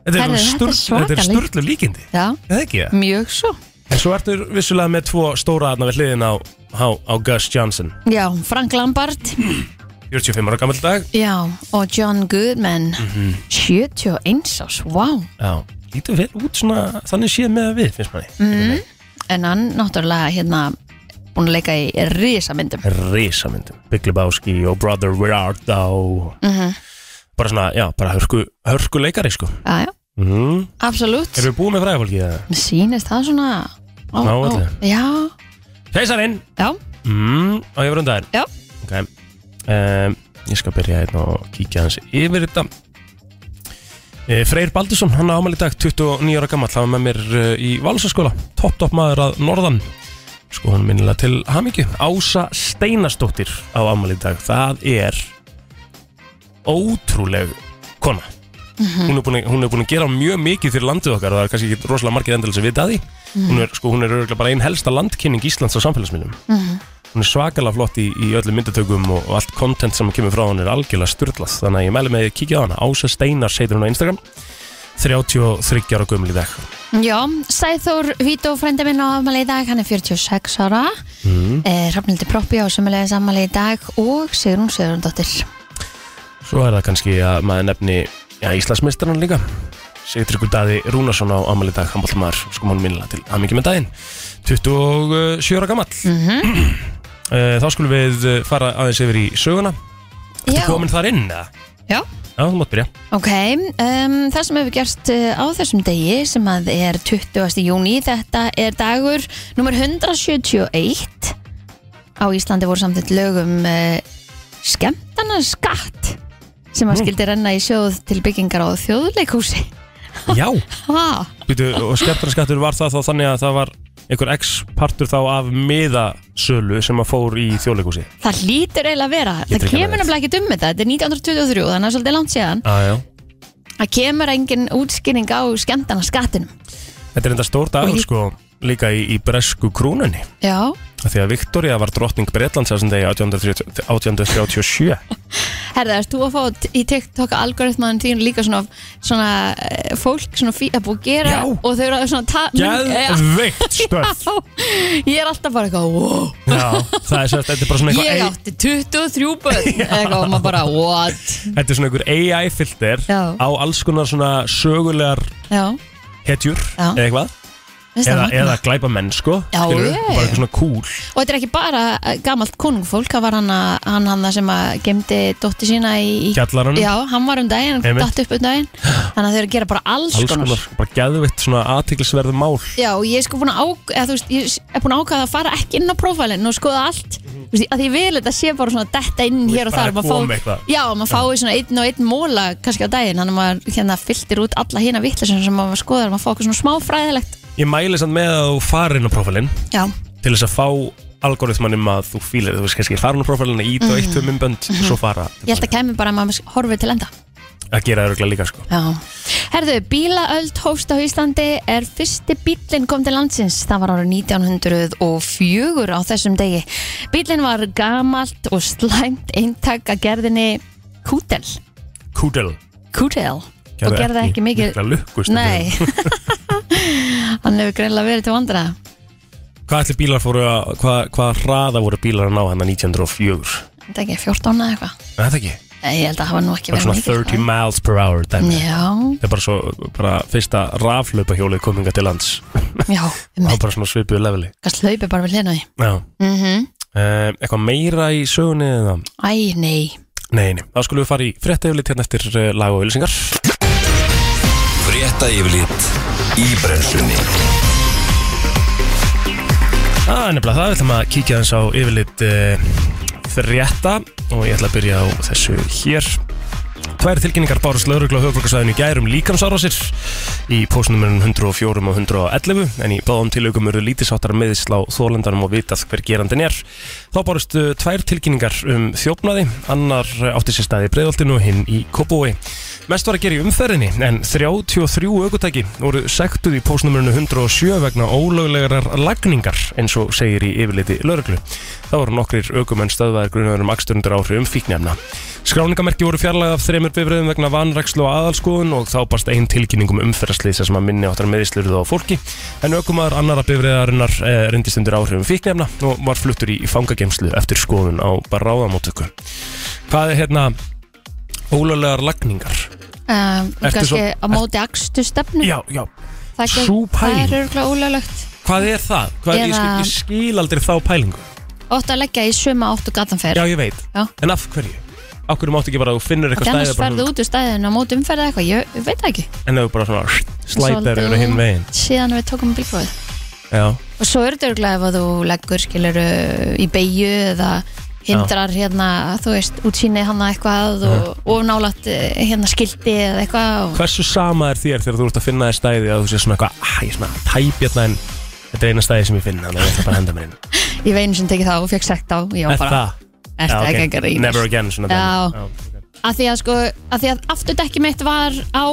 Speaker 3: þetta
Speaker 4: Herru,
Speaker 3: er,
Speaker 4: þetta er Mm.
Speaker 3: sturl, þetta er
Speaker 4: svakalegt.
Speaker 3: sturlu líkindi
Speaker 4: já,
Speaker 3: eða ekki það?
Speaker 4: mjög svo
Speaker 3: en svo ertu vissulega með tvo stóra aðna við hliðin á, á, á Gus Johnson
Speaker 4: Já, Frank Lambard
Speaker 3: 45 ára gammal dag
Speaker 4: Já, og John Goodman
Speaker 3: Mhm.
Speaker 4: Mhm. 71 ás, wow
Speaker 3: já lítið vel út svona þannig séð með við finnst manni mm.
Speaker 4: En hann náttúrulega hérna búin að leika í risamyndum
Speaker 3: risamyndum Big Lebowski og Brother Where Art Thou
Speaker 4: Mhm.
Speaker 3: bara svona já bara hörku, hörku leikari sko
Speaker 4: Já, já,
Speaker 3: mm.
Speaker 4: absolutt
Speaker 3: erum við búin með fræðafólki eða?
Speaker 4: Mér sýnist það svona ó,
Speaker 3: Ná,
Speaker 4: ó,
Speaker 3: öllu.
Speaker 4: Já,
Speaker 3: Feisarinn
Speaker 4: já,
Speaker 3: mm, á ég verðum
Speaker 4: já
Speaker 3: Ok um, Ég skal byrja hérna og kíkja hans yfir þetta Eh, Freyr Baldursson, hann ámæli í dag 29 ára gammal, hann var með mér eh, í Valsaskóla, topp topp maður að norðan sko hann minnilega til hamingju Ása Steinastóttir á ámæli í dag, það er ótrúleg kona hún, er búin, að- hún er búin að gera mjög mikið fyrir landið okkar og það er kannski ekki rosalega margir endilega sem vita að því hún er, sko, hún er örugglega bara ein helsta landkynning Íslands á samfélagsmiðlum
Speaker 4: Mhm.
Speaker 3: hún er svakalega flott í, í öllum myndatökum og, og allt content sem kemur frá hún er algjörlega styrlað þannig að ég mæli með því að kíkja á hana Ása Steinar heitir hún á Instagram 33 ára gömul í dag
Speaker 4: Já, Sæþór Vító frændi minn á afmæli í dag, hann er 46 ára mm. eh, Rafnildi Proppi á sömulegis afmæli í dag og Sigrun Sigurðardóttir
Speaker 3: svo er það kannski að maður nefni ja, Íslandsmeistaran líka Sigtryggur Daði Rúnarsson á ámæli í dag hann bóttum maður sko mánum minnilega til að mikið með daginn 27 ára gamall mm
Speaker 4: Mhm.
Speaker 3: þá skulum við eh, fara aðeins yfir í söguna
Speaker 4: Já,
Speaker 3: Ertu komin þar inn eða?
Speaker 4: já
Speaker 3: Já, þú mátt byrja
Speaker 4: Ok, um, það sem hefur gerst uh, á þessum degi sem að er 20. júni, þetta er dagur nummer 171 á Íslandi voru samtitt lögum uh, skemmtana skatt sem að skildi renna í sjóð til byggingar á þjóðleikúsi
Speaker 3: Já,
Speaker 4: ha,
Speaker 3: Býtu, og skemmtarnarskattur var það þá þannig að það var einhver x-partur þá af miðasölu sem að fór í þjóðleikúsi
Speaker 4: Það lítur eiginlega að vera,
Speaker 3: Lítur
Speaker 4: það
Speaker 3: ekki að
Speaker 4: kemur
Speaker 3: vera.
Speaker 4: nefnilega ekkert um þetta, þetta er 1923 þannig að það er svolítið langt séðan
Speaker 3: ah,
Speaker 4: að kemur engin útskýring á skemmtana skattinum
Speaker 3: Þetta er enda stór dagur
Speaker 4: Og ég-
Speaker 3: sko líka í, í bresku krúnunni
Speaker 4: Já,
Speaker 3: af því að Viktoria var drottning Bretlands þessum degi 1830 1837
Speaker 4: Herða, erst þú að fá t- í TikTok algoritmaðan þín líka svona, svona eh, fólk, svona fí, að búið að gera
Speaker 3: Já.
Speaker 4: og þau eru að svona ta...
Speaker 3: Geðveikt stöð
Speaker 4: Já, ég er alltaf bara eitthvað, wow,
Speaker 3: Já, það er, sérst, þetta er bara svona
Speaker 4: ég
Speaker 3: einhver
Speaker 4: átti 23 börn, eitthvað, og maður bara, what?
Speaker 3: Þetta er svona einhver AI-filter
Speaker 4: Já.
Speaker 3: á alls konar svona sögulegar
Speaker 4: Já,
Speaker 3: hetjur
Speaker 4: Já.
Speaker 3: eða eitthvað
Speaker 4: veist það
Speaker 3: eða,
Speaker 4: magna?
Speaker 3: eða glæpa menn sko
Speaker 4: Já,
Speaker 3: skilurðu,
Speaker 4: já,
Speaker 3: bara
Speaker 4: já.
Speaker 3: eitthvað svona cool
Speaker 4: Og þetta er ekki bara eh, gamalt konungfólk, það var hann, að- hann, hann það sem að gemdi dótti sína í... í
Speaker 3: Kjallaranum
Speaker 4: Já, hann var um daginn,
Speaker 3: Einmitt.
Speaker 4: datt upp um daginn, þannig að þau eru að gera bara alls,
Speaker 3: alls konar, bara geðvitt svona aðtiklisverðu mál
Speaker 4: Já, og ég er sko búin að ákvæða, eða þú veist, ég er búin að ákvæða að fara ekki inn á prófælinn og skoða allt, þú veist, að ég vil þetta sé bara svona detta inn hér og
Speaker 3: Mhm. bara
Speaker 4: þar, maður
Speaker 3: koma
Speaker 4: fái-
Speaker 3: eitthvað.
Speaker 4: já, maður fái svona einn og einn móla kannski á daginn, þannig að maður hérna fyltir út alla hina vittlisum sem maður skoðar, maður fá okkur svona smá fræðilegt.
Speaker 3: Ég mæli samt með að þú farir inn á prófælinn
Speaker 4: Já,
Speaker 3: til þess að fá algoritmanum að þú fílir þú veist kannski farin á prófælinn ít og eitt um umbönd
Speaker 4: Mhm.
Speaker 3: mm svo fara
Speaker 4: ég held að kæmi bara að maður horfið til enda.
Speaker 3: að gera það örgulega líka sko
Speaker 4: Já. Herðu, bílaöld hófst á Íslandi er fyrsti bílinn kom til landsins. Það var árið 1904 á þessum degi. Bílinn var gamalt og slæmt eintak að gerðinni Kútel.
Speaker 3: Kúdel
Speaker 4: Kútel. og gerði ekki mikið
Speaker 3: mikla lukkust
Speaker 4: Nei Hann hefur greinlega verið til vandra
Speaker 3: Hvað ætli bílar fóru að, hvað, hvað hraða voru bílar að ná hérna hann 1904?
Speaker 4: Þetta ekki 14 eða eitthvað
Speaker 3: Er þetta ekki?
Speaker 4: Nei, ég held að hafa nú ekki
Speaker 3: Bara
Speaker 4: verið
Speaker 3: svona 30 miles per hour dæmi.
Speaker 4: Já,
Speaker 3: Það er bara svo, bara fyrsta raflaupa hjólið kominga til lands
Speaker 4: já,
Speaker 3: Það
Speaker 4: með
Speaker 3: er bara svona svipuðu leveli
Speaker 4: kannski hlaupi bara við hlina því
Speaker 3: Já
Speaker 4: mm
Speaker 3: Eh, Eitthvað meira í sögunni eða?
Speaker 4: Æ, nei
Speaker 3: Nei, nei, þá skulum við fara í frétteflit hérna eftir eh, lag og auðlýsingar
Speaker 1: Frétta yfirlit í brennslunni
Speaker 3: Það er nefnilega það, við ætlum að kíkja aðeins á yfirlit uh, frétta og ég ætla að byrja á þessu hér. Tvær tilkynningar bárust lauruglu á höfuborgarsvæðinu í gærum líkamsárásir í pósnumurinn 104 og 111 en í báðum tilaukum eru lítisáttar meðisla á þólendanum og vitað hver gerandin er. Þá bárust eh, tvær tilkynningar um þjófnaði, annar eh, átti sér staði í breiðoltinu og hinn í Kópói. Mest var að gera í umferðinni en 33 aukutæki voru sektuð í postnumurinu 107 vegna ólöglegarar lagningar eins og segir í yfirliti lauruglu. Það voru nokkrir aukumenn stöðvæðir grunarum aksturundur áhrifum fíknefna. Skráningamerki um voru fjarlægð af þremur bifröðum vegna vanrækslu og aðalskoðun og þá barst einn tilkynningum umferðarslýsa sem að minni áttar meðislurðu á fólki en aukumar annara bifröðarinnar e, reyndist undir áhrifum fíknefna og var fluttur í fangagemslu eftir skoðun á bráðamóttöku. Hvað er hérna ólöglegar lagningar?
Speaker 4: um,
Speaker 3: Ertu
Speaker 4: Kannski
Speaker 3: svo-
Speaker 4: á móti akstu stefnu
Speaker 3: Já, já,
Speaker 4: Það gef-
Speaker 3: sú
Speaker 4: það
Speaker 3: pæling.
Speaker 4: er örgulega ólöglegt
Speaker 3: hvað er það? Hvað, ég, skil,
Speaker 4: Eða-
Speaker 3: ég skil aldrei þá pælingu
Speaker 4: Ótt að leggja í söma áttu gatan fer
Speaker 3: Já, ég veit,
Speaker 4: Já.
Speaker 3: en af hverju? Af hverju máttu ekki bara, þú finnur
Speaker 4: Þannig
Speaker 3: eitthvað
Speaker 4: annars
Speaker 3: stæði bara,
Speaker 4: ferðu út úr stæðinu á móti umferða eitthvað, ég, ég veit það ekki
Speaker 3: En ef þú bara svona slætar yfir
Speaker 4: Svolítið
Speaker 3: hinn veginn
Speaker 4: Síðan við tókum bílprófið
Speaker 3: Já,
Speaker 4: Og svo er þetta örgulega ef að þú leggur skilur í beigju eða hindrar hérna, þú veist, útsýni hana eitthvað og, og nálat hérna skildi eða eitthvað og,
Speaker 3: hversu sama er þér þegar þú ert að finna þér stæði að þú sé svona eitthvað, ah, ég er svona tæpjarna en þetta er eina stæði sem ég finn þannig að ég ætla bara að henda mér inn
Speaker 4: ég veginn sem tekið það og fekk sekt á ég var
Speaker 3: Er
Speaker 4: bara,
Speaker 3: það?
Speaker 4: er
Speaker 3: Já,
Speaker 4: það
Speaker 3: ok.
Speaker 4: ekki að grínast
Speaker 3: Never again, svona
Speaker 4: Já.
Speaker 3: dæmi. Já, ok.
Speaker 4: að því að sko, að því að afturdekki mitt var á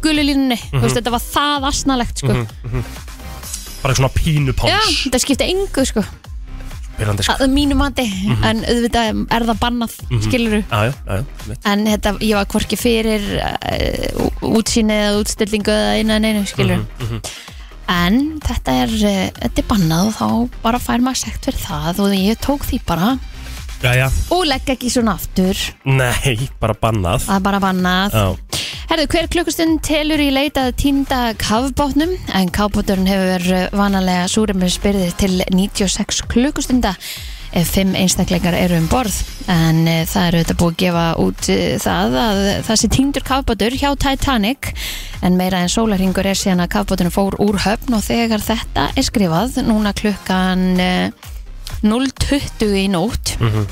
Speaker 4: gululínunni þú veist, þetta var það asnalegt sko
Speaker 3: Mhm. Bara svona
Speaker 4: já,
Speaker 3: pínu
Speaker 4: um-
Speaker 3: póns
Speaker 4: þetta skipti engu sko
Speaker 3: Pirrandi, sko.
Speaker 4: að að mínu mati, en auðvitað er það bannað, mm
Speaker 8: Mhm.
Speaker 4: skiluru
Speaker 3: Mhm. Já, já, já, já, mitt.
Speaker 4: en þetta, ég var hvorki fyrir uh, útsýni eða útstillingu eða einu en einu, skilur
Speaker 8: Mhm.
Speaker 3: Mhm,
Speaker 4: en þetta er uh, þetta er bannað og þá bara fær maður sekt fyrir það og ég tók því bara
Speaker 3: já, já.
Speaker 4: og legg ekki svona aftur
Speaker 3: Nei, bara bannað
Speaker 4: það er bara bannað
Speaker 3: Já,
Speaker 4: Herðu, hver klukkustund telur í leitað týnda kafbátnum en kafbáturinn hefur eh, vanalega súrefnisbyrði til 96 klukkustunda ef fimm einstaklingar eru um borð en e, það eru þetta búið að gefa út e, það að það sé týndur kafbátur hjá Titanic en meira en sólarhingur er síðan að kafbáturinn fór úr höfn og þegar þetta er skrifað núna klukkan e, 0.20 í nótt
Speaker 3: mhm,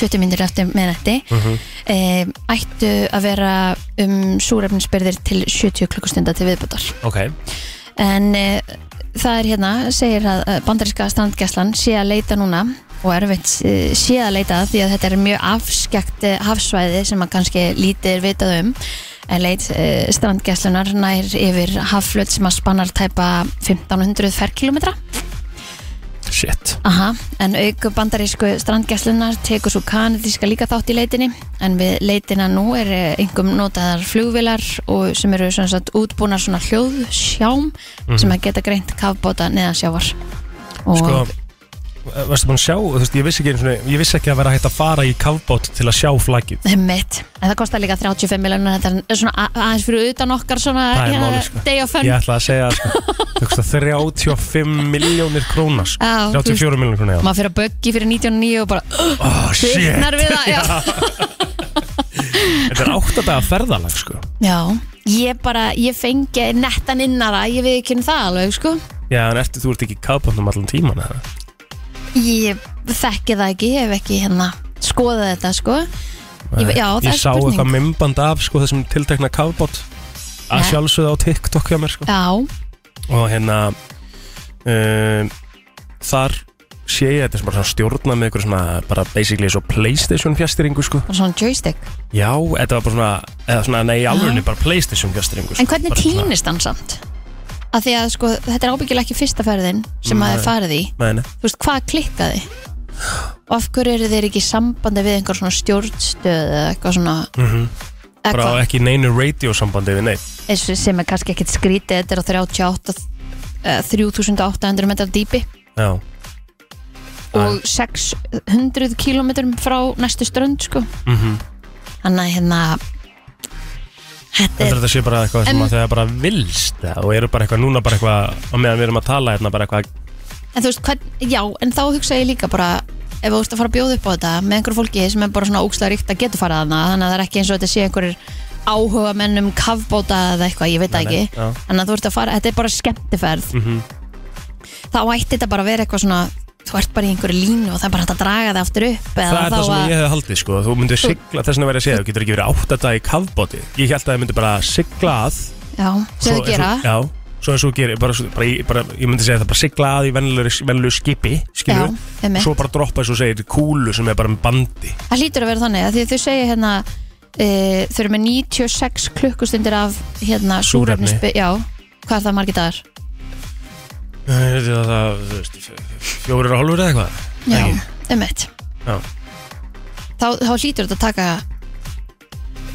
Speaker 4: 20 myndir eftir meðnætti eh, ættu að vera um súrefnisbyrðir til 70 klukkustunda til viðbútar
Speaker 3: ok
Speaker 4: en eh, það er hérna, segir að eh, bandaríska strandgæslan sé að leita núna og erfitt eh, sé að leita því að þetta er mjög afskjækt eh, hafsvæði sem að kannski lítið er vitað um en leit eh, strandgæslunar nær yfir hafflut sem að spannar tæpa 1500 ferkilometra
Speaker 3: Shit
Speaker 4: Aha, en auku bandarísku strandgæslunar tekur svo kanadíska líka þátt í leitinni en við leitina nú er eh, engum notaðar flugvilar og sem eru sem sagt, útbúnar svona hljóðsjám
Speaker 3: Mhm.
Speaker 4: sem að geta greint kafbóta neðan sjávar og
Speaker 3: Sko, varstu búin að sjá, þú veist, ég vissi ekki, einu sinni- ég vissi ekki að vera hægt að fara í kafbót til að sjá flaggið.
Speaker 4: mitt, en það kostar líka 35 miljonar þetta er svona a- aðeins fyrir utan okkar svona hérna,
Speaker 3: Það er málið, sko.
Speaker 4: day of fun
Speaker 3: Ég ætla að segja, sko, þú veist, 35 miljónir króna, sko,
Speaker 4: Já, þú
Speaker 3: 34 miljónir króna, já.
Speaker 4: maður fyrir að böggi fyrir 99 og bara
Speaker 3: Oh, shit,
Speaker 4: kviknar við það já.
Speaker 3: þetta er 8 daga ferðalag, sko.
Speaker 4: já, ég bara, ég fengi nettan innara, ég við ekki það alveg sko
Speaker 3: Já, en eftir þú ert ekki í kafbótnum allan tíman, eða?
Speaker 4: Ég þekki það ekki, ég hef ekki hérna skoðað þetta sko ég, Já, það
Speaker 3: Ég
Speaker 4: er
Speaker 3: sá
Speaker 4: spurning
Speaker 3: eitthvað mymband af, sko, þessum tiltekna kafbót, að
Speaker 4: Nei.
Speaker 3: sjálfsögða á TikTok hjá mér, sko.
Speaker 4: Já,
Speaker 3: og hérna um, þar sé ég þetta sem bara svona stjórna með ykkur svona bara basically svo Playstation fjastýringu sko
Speaker 4: bara svona joystick
Speaker 3: já, þetta var bara svona, eða svona nei, í alvörinu bara Playstation fjastýringu sko.
Speaker 4: En hvernig
Speaker 3: Bara svona-
Speaker 4: týnist hann samt? Af því að sko, þetta er ábyggilega ekki fyrsta ferðin sem
Speaker 3: Nei.
Speaker 4: maður er farið í
Speaker 3: Nei, nei.
Speaker 4: Þú veist, hvað klikkaði? Og af hverju eru þeir ekki í sambandi við einhver svona stjórnstöð eða eitthvað svona Eða
Speaker 3: Mhm. bara
Speaker 4: hvað?
Speaker 3: ekki neinu radiosambandi við neitt
Speaker 4: eins og sem er kannski ekkit skrítið þetta er á 38 eh, 3800 metrar dýpi
Speaker 3: Já,
Speaker 4: og 600 km frá næstu strönd sko
Speaker 3: mm
Speaker 4: þannig að hérna þetta
Speaker 3: Þetta
Speaker 4: er
Speaker 3: þetta sé bara eitthvað sem
Speaker 4: En-
Speaker 3: að þegar bara vilst eða, og eru bara eitthvað núna bara eitthvað og meðan við erum að tala hérna bara eitthvað
Speaker 4: en þú veist hvað, já, en þá hugsa ég líka bara ef þú ert að fara að bjóða upp á þetta með einhverju fólki sem er bara svona ógstlega ríkt að geta farað þarna þannig að það er ekki eins og þetta sé einhverjir áhuga mennum kafbóta eða eitthvað, ég veit það
Speaker 3: Nei, nei,
Speaker 4: ekki
Speaker 3: já.
Speaker 4: þannig að þú ert að fara, þetta er bara skemmtiferð
Speaker 3: mm -hmm.
Speaker 4: þá ætti þetta bara að vera eitthvað svona þú ert bara í einhverju línu og það er bara hægt að draga það aftur upp eða
Speaker 3: Það er
Speaker 4: þá
Speaker 3: það sem
Speaker 4: að-
Speaker 3: ég hefði haldið sko Þú myndir sigla, þess vegna verið að segja Þú getur ekki verið átt að í kafbóti Ég held að það myndir bara sigla að
Speaker 4: já, sem
Speaker 3: svo-
Speaker 4: þau gera
Speaker 3: svo- Já, svo eins og þú gerir bara, svo- bara, ég- bara, Ég myndi segja það bara sigla að í venlulegu skipi
Speaker 4: já,
Speaker 3: Skilur
Speaker 4: einmitt.
Speaker 3: Svo bara droppa eins og þú segir kúlu sem er bara með bandi
Speaker 4: Það hlýtur að vera þannig að því að þau segja hérna e, þau eru með 96 klukkustundir af hérna
Speaker 3: Súrefni.
Speaker 4: súrefnisbi- Já, hvað er það margir dagar?
Speaker 3: Eh, Það, það, þú veist, fjórir og hálfur eða eitthvað
Speaker 4: Já,
Speaker 3: Ekki?
Speaker 4: um eitt
Speaker 3: Já.
Speaker 4: þá, þá hlýtur þetta að taka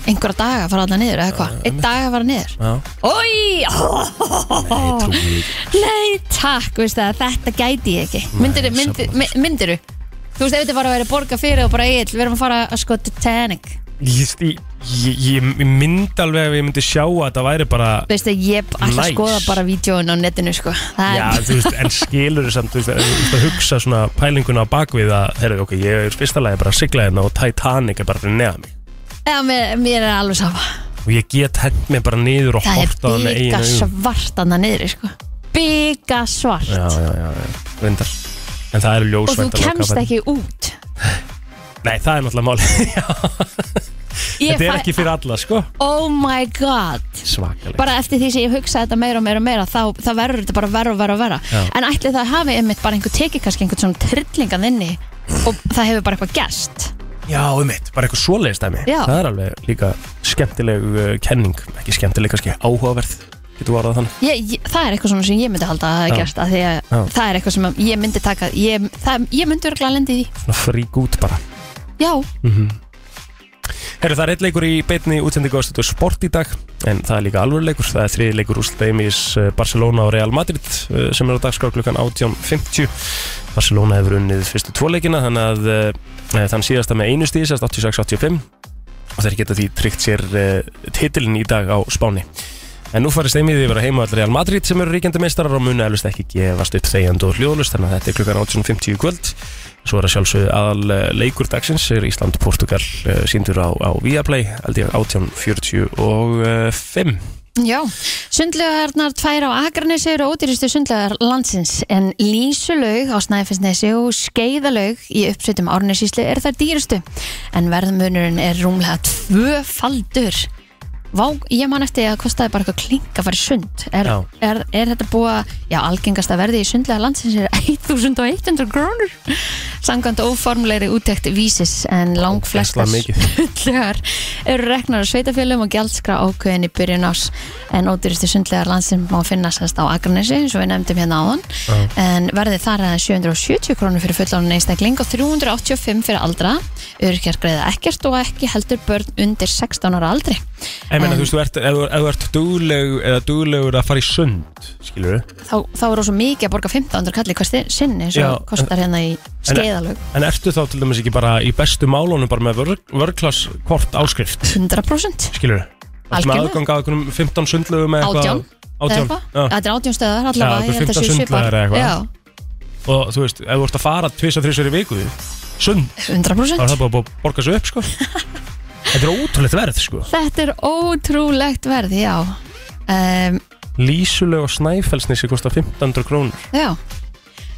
Speaker 4: einhverja daga að fara allar niður eða hvað? Einn dag að fara niður
Speaker 3: Já.
Speaker 4: Ói! Nei, takk, veist það, þetta gæti ég ekki Myndirðu, myndir, myndirðu Þú veist, ef þetta var að vera borga fyrir og bara eitt Við erum að fara að sko Titanic
Speaker 3: Ég, ég, ég, ég myndi alveg ef ég myndi sjá að það væri bara
Speaker 4: Þú veist að ég ætla að
Speaker 3: Nice.
Speaker 4: skoða bara vídjóin á netinu sko Það
Speaker 3: Já,
Speaker 4: er,
Speaker 3: þú veist, en skilur samt, þú veist, að- þú veist að hugsa svona pælinguna á bakvið að, heyrðu, ok, ég er fyrsta lagi bara að sigla hérna og Titanic er bara fyrir neða mig
Speaker 4: já, mér, mér er alveg sama
Speaker 3: og ég get hent mig bara niður og
Speaker 4: Það er
Speaker 3: horta á hana
Speaker 4: bíka
Speaker 3: eiginu
Speaker 4: svart annað niðri sko Bíka svart
Speaker 3: Já, já, já, já, reyndar En það eru
Speaker 4: Og þú
Speaker 3: ljósvænt
Speaker 4: kemst ekki út
Speaker 3: Nei, það er náttúrulega máli
Speaker 4: Ég
Speaker 3: Þetta er
Speaker 4: fæ-
Speaker 3: ekki fyrir alla, sko
Speaker 4: Oh my god
Speaker 3: Svakaleg
Speaker 4: Bara eftir því sem ég hugsa þetta meira og meira og meira Þá, þá verður þetta bara verra og verra og verra
Speaker 3: Já.
Speaker 4: En ætli það hafi einmitt bara einhver tekið kannski einhvern svona trillingan inni Og það hefur bara eitthvað gerst
Speaker 3: Já, um eitt, bara eitthvað svoleiðist dæmi
Speaker 4: Já.
Speaker 3: Það er alveg líka skemmtileg uh, kenning Ekki skemmtileg, kannski áhugaverð Getur varðað þannig
Speaker 4: ég, ég, það er eitthvað svona sem ég myndi halda að hafa
Speaker 3: Já.
Speaker 4: gerst af því að
Speaker 3: Já.
Speaker 4: það er eitthvað sem ég myndi taka ég, það, ég myndi örglega lendi í því.
Speaker 3: Svona frík út bara
Speaker 4: já,
Speaker 3: Herru, það er eitt leikur í beinni útsendingu á stöðu sport í dag en það er líka alvöru leikur, það er þriði leikur úr stæmis Barcelona og Real Madrid eh, sem er á dagskrá klukkan 18.50 Barcelona hefur unnið fyrstu tvoleikina þannig að eh, þann síðasta með einu stíð sérst 86-85 og þeir geta því tryggt sér eh, titilin í dag á Spáni En nú farið stæmið yfir að heima allir Real Madrid sem eru ríkjandi meistarar og muni elvist ekki gefast upp þegjandi og hljóðlust þannig að þetta er klukkan 18.50 í kvöld Svo er að sjálfsögðu aðal eh, leikur dagsins er Ísland-Portugal síndur á, á Viaplay, held ég 1845
Speaker 4: já sundlögarnar tvær á Akranesi eru ódýristu sundlögar landsins en lísulaug á Snæfellsnesi og skeiðalaug í uppsveitum Árnesíslu er þær dýristu en verðmunurinn er rúmlega tvöfaldur Vá, ég man eftir að kostaði bara eitthvað klink að fara í sund er,
Speaker 3: Já.
Speaker 4: er, er þetta búið að, já, algengasta verði í sundlega landsins er 1100 grónur samkvæmt óformleiri úttekt vísis en langflestar
Speaker 3: Ógeðslega mikið.
Speaker 4: sundlegar eru reknar á sveitafjölum og gjaldskrá ákveðin í byrjun ás en ódýristu sundlegar landsins má finna sérst á Akranesi, eins og við nefndum hérna áðan en verði þar aðeins 770 krónur fyrir fullanum einstakling og 385 fyrir aldra, örkjar greiða ekkert og ekki heldur börn undir 16 ára aldri
Speaker 3: En meina,
Speaker 4: En-
Speaker 3: þú veist, þú ert, ef, þú- ef þú ert dugleg, eða duglegur að fara í sund skilur við,
Speaker 4: þá, þá er svo mikið að borga 1500 kalli hvað sinni eins
Speaker 3: Já,
Speaker 4: og kostar hérna í skeiðalög
Speaker 3: en ertu þá til dæmis ekki bara í bestu málunum bara með vör- vörklass kort áskrift,
Speaker 4: 100%
Speaker 3: skilur við Ertu með
Speaker 4: Algjörlega.
Speaker 3: aðgang að einhvernum 15 sundlegu með
Speaker 4: átján eða
Speaker 3: átján,
Speaker 4: eitthvað.
Speaker 3: já.
Speaker 4: þetta er átján stöðar
Speaker 3: Já,
Speaker 4: allavega
Speaker 3: eitthvað
Speaker 4: ég held að
Speaker 3: 15
Speaker 4: séu
Speaker 3: sundlaugar
Speaker 4: svipar.
Speaker 3: eða eitthvað.
Speaker 4: Já,
Speaker 3: og þú veist, ef þú ert að fara tvisa þrísverju viku sund, þá er
Speaker 4: 100%
Speaker 3: það bara búið að borga svo upp, sko Þetta er ótrúlegt verð, sko
Speaker 4: þetta er ótrúlegt verð já um,
Speaker 3: Lísuleg og Snæfellsnesi kostar 1500 krónur
Speaker 4: já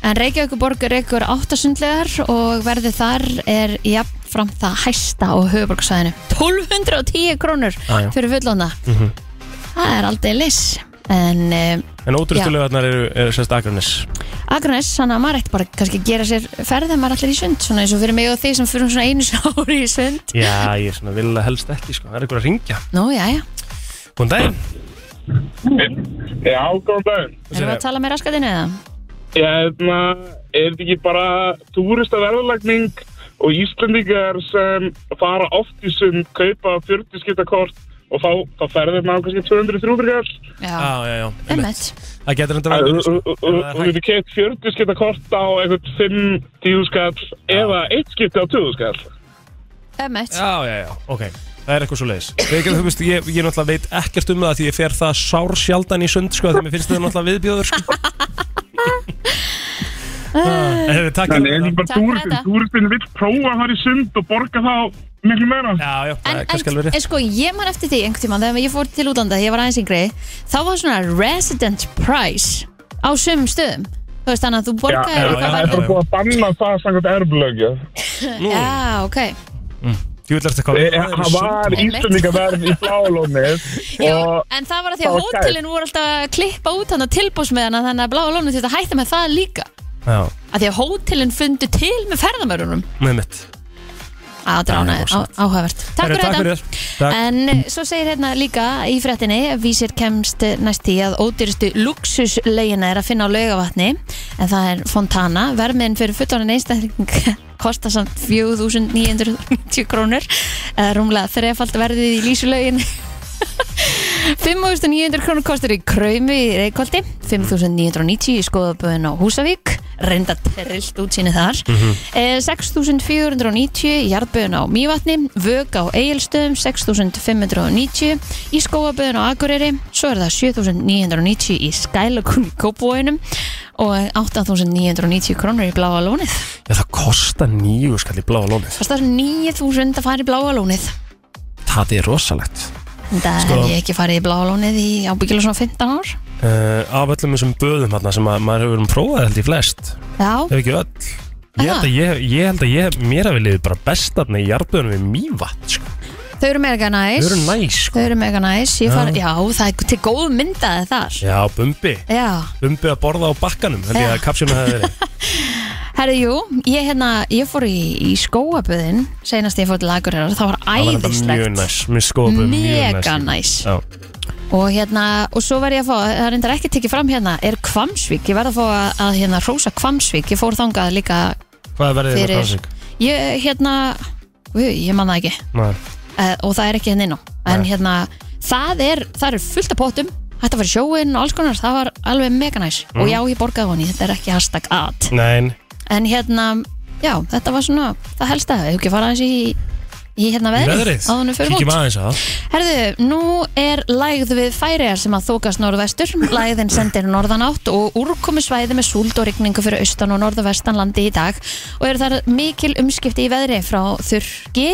Speaker 4: en Reykjavíkuborg er ykkur áttasundlegar og verði þar er jafnfram það hæsta á höfuborgsvæðinu 1210 krónur
Speaker 3: ah, já.
Speaker 4: fyrir fullóna það er aldrei liss en um,
Speaker 3: En ótrústulegarnar eru, eru sérst Akranes
Speaker 4: Akranes, þannig að maður ætti bara kannski að gera sér ferð þegar maður allir í sund, svona eins og fyrir mig og þig sem fyrir svona einu sinni á ári í sund
Speaker 3: Já, ég er svona vil að helst ekki sko. Það er ykkur að ringja
Speaker 4: Nú, já, já,
Speaker 3: Góðan daginn
Speaker 9: Já, góðan daginn. hérna,
Speaker 4: erum við að tala með raskatinu eða?
Speaker 9: Ég hefna, er þetta ekki bara túristaverðalagning og Íslendingar sem fara oft í sund, kaupa 40 skiptakort og þá, þá ferðir maður kannski 200-300 gall
Speaker 4: Já,
Speaker 3: Já, já, já einmitt.
Speaker 4: emmitt
Speaker 3: Það getur enda verið sko.
Speaker 9: og við keitt 40 skiptakort á einhvern 5-10 skall eða 1 skipti á 20 skall
Speaker 4: Emmitt
Speaker 3: Já, já, já, ok Það er eitthvað svo leiðis Ég, veist, ég, ég náttúrulega veit ekkert um það Því ég fer það sár sjaldan í sund sko, Þegar mér finnst það náttúrulega viðbjóður sko.
Speaker 4: Ah.
Speaker 3: Hefur takk
Speaker 9: Þannig er þetta
Speaker 3: fyrir
Speaker 9: bara
Speaker 3: þetta.
Speaker 4: Takk fyrir
Speaker 9: túristinn,
Speaker 4: þetta.
Speaker 9: túristinn vill prófa að fara í sund og borga þá miklu meira
Speaker 3: Já, já, það
Speaker 4: En,
Speaker 3: er kannski
Speaker 4: en,
Speaker 3: alveg rétt
Speaker 4: en sko, ég man eftir því einhvern tímann þegar ég fór til útlanda, ég var aðeins yngri þá var svona resident price á sömum stöðum þú veist þannig að þú borgaði
Speaker 9: Já,
Speaker 3: já,
Speaker 4: eitthvað
Speaker 3: já,
Speaker 4: verð
Speaker 3: já.
Speaker 9: Það er búið að banna það samkvæmt erblöggja
Speaker 3: Nú,
Speaker 4: já, ok
Speaker 3: Jú vil eftir hvað
Speaker 9: Það Eh, var
Speaker 4: Einmitt.
Speaker 9: Íslendingaverð í blálónið
Speaker 4: já,
Speaker 9: og
Speaker 4: en það var að því
Speaker 9: það
Speaker 4: að
Speaker 9: var kæft.
Speaker 4: hótelin voru alltaf að klippa út hann að tilbúsmiðana þannig að bláa lónu þetta hætta með það líka
Speaker 3: Já,
Speaker 4: að því að hótelin fundu til með ferðamörunum
Speaker 3: með mitt
Speaker 4: að það er
Speaker 3: Það er
Speaker 4: ánægð- á- áhugavert takk fyrir
Speaker 3: Herru, takk
Speaker 4: þetta
Speaker 3: fyrir Takk.
Speaker 4: En eh, svo segir hérna líka í fréttinni Vísir kemst eh, næst í að ódýrstu luxuslegina er að finna á laugavatni en það er Fontana vermiðin fyrir fullorinn einstakling kostar samt 4.990 krónur eða rúmlega þrefald verðið í lísulaugin 5.900 krónur kostar í Kraumi í Reykjóldi 5.990 í skoðaböðin á Húsavík reynda trillt útsýni þar mm 6.490 í jarðböðin á Mývatni Vög á Egilstöðum 6.590 í skóaböðin á Akureyri svo er það 7.990 í Skælakun í Kópavóinum og 8.990 krónur í Bláa Lónið
Speaker 3: Já, það kostar nýju skall í bláa lónið
Speaker 4: kostar 9.000 að fara í Bláa Lónið
Speaker 3: Það er rosalegt
Speaker 4: það
Speaker 3: Sko-
Speaker 4: hef ég ekki farið í Bláa Lónið í ábyggjala svona 15 ár
Speaker 3: uh, Af öllum þessum böðum hana, sem að, maður hefur um prófað held í flest
Speaker 4: Já,
Speaker 3: Ef ekki öll Ég held
Speaker 4: Aha.
Speaker 3: að, ég, ég held að ég, mér hafi liðið bara best þarna í jarðböðunum við Mývatn sko.
Speaker 4: Þau eru mega næs
Speaker 3: Þau eru næs sko.
Speaker 4: Þau eru mega næs Ég far, já. það er til góð myndaði þar
Speaker 3: Já, Bumbi
Speaker 4: Já,
Speaker 3: Bumbi að borða á bakkanum held ég
Speaker 4: Já.
Speaker 3: að kapsjónu hefði verið
Speaker 4: herri, jú Ég, hérna, ég fór í, í skóaböðin Seinast ég fór til Akureyrar Það var
Speaker 3: Það var þetta mjög
Speaker 4: æðislegt
Speaker 3: næs Mér skoðum mjög næs
Speaker 4: Mega næs
Speaker 3: Já,
Speaker 4: og, hérna, og svo var ég að fá Það reyndar ekki tekið fram hérna Er Kvamsvík Ég verð að fá að, að hérna, rósa Kvamsvík Ég fór þangað líka
Speaker 3: hvað verðið þið með
Speaker 4: Fyrir-
Speaker 3: Kvansvík?
Speaker 4: Ég, hérna Jú, ég man það ekki
Speaker 3: Nei,
Speaker 4: uh, og það er ekki henni inn á en
Speaker 3: Nei.
Speaker 4: hérna, það er, það er fullt af pottum hægt að fara í sjóin og alls konar það var alveg mega næs
Speaker 3: Mhm.
Speaker 4: og já, ég borgaði honi, þetta er ekki hashtag ad
Speaker 3: Nein,
Speaker 4: en hérna, já, þetta var svona það helsta, hefur ekki farað þessi í, í hérna veðrið,
Speaker 3: veðrið
Speaker 4: áðunum fyrir
Speaker 3: Kíkjum
Speaker 4: mót
Speaker 3: aðeins að það
Speaker 4: Herðu, nú er lægð við færiðar sem að þókast norðvestur, lægðin sendir norðan átt og úrkomi svæði með súld og rigningu fyrir austan og norðvestan landi í dag og eru þar mikil umskipti í veðri frá þurki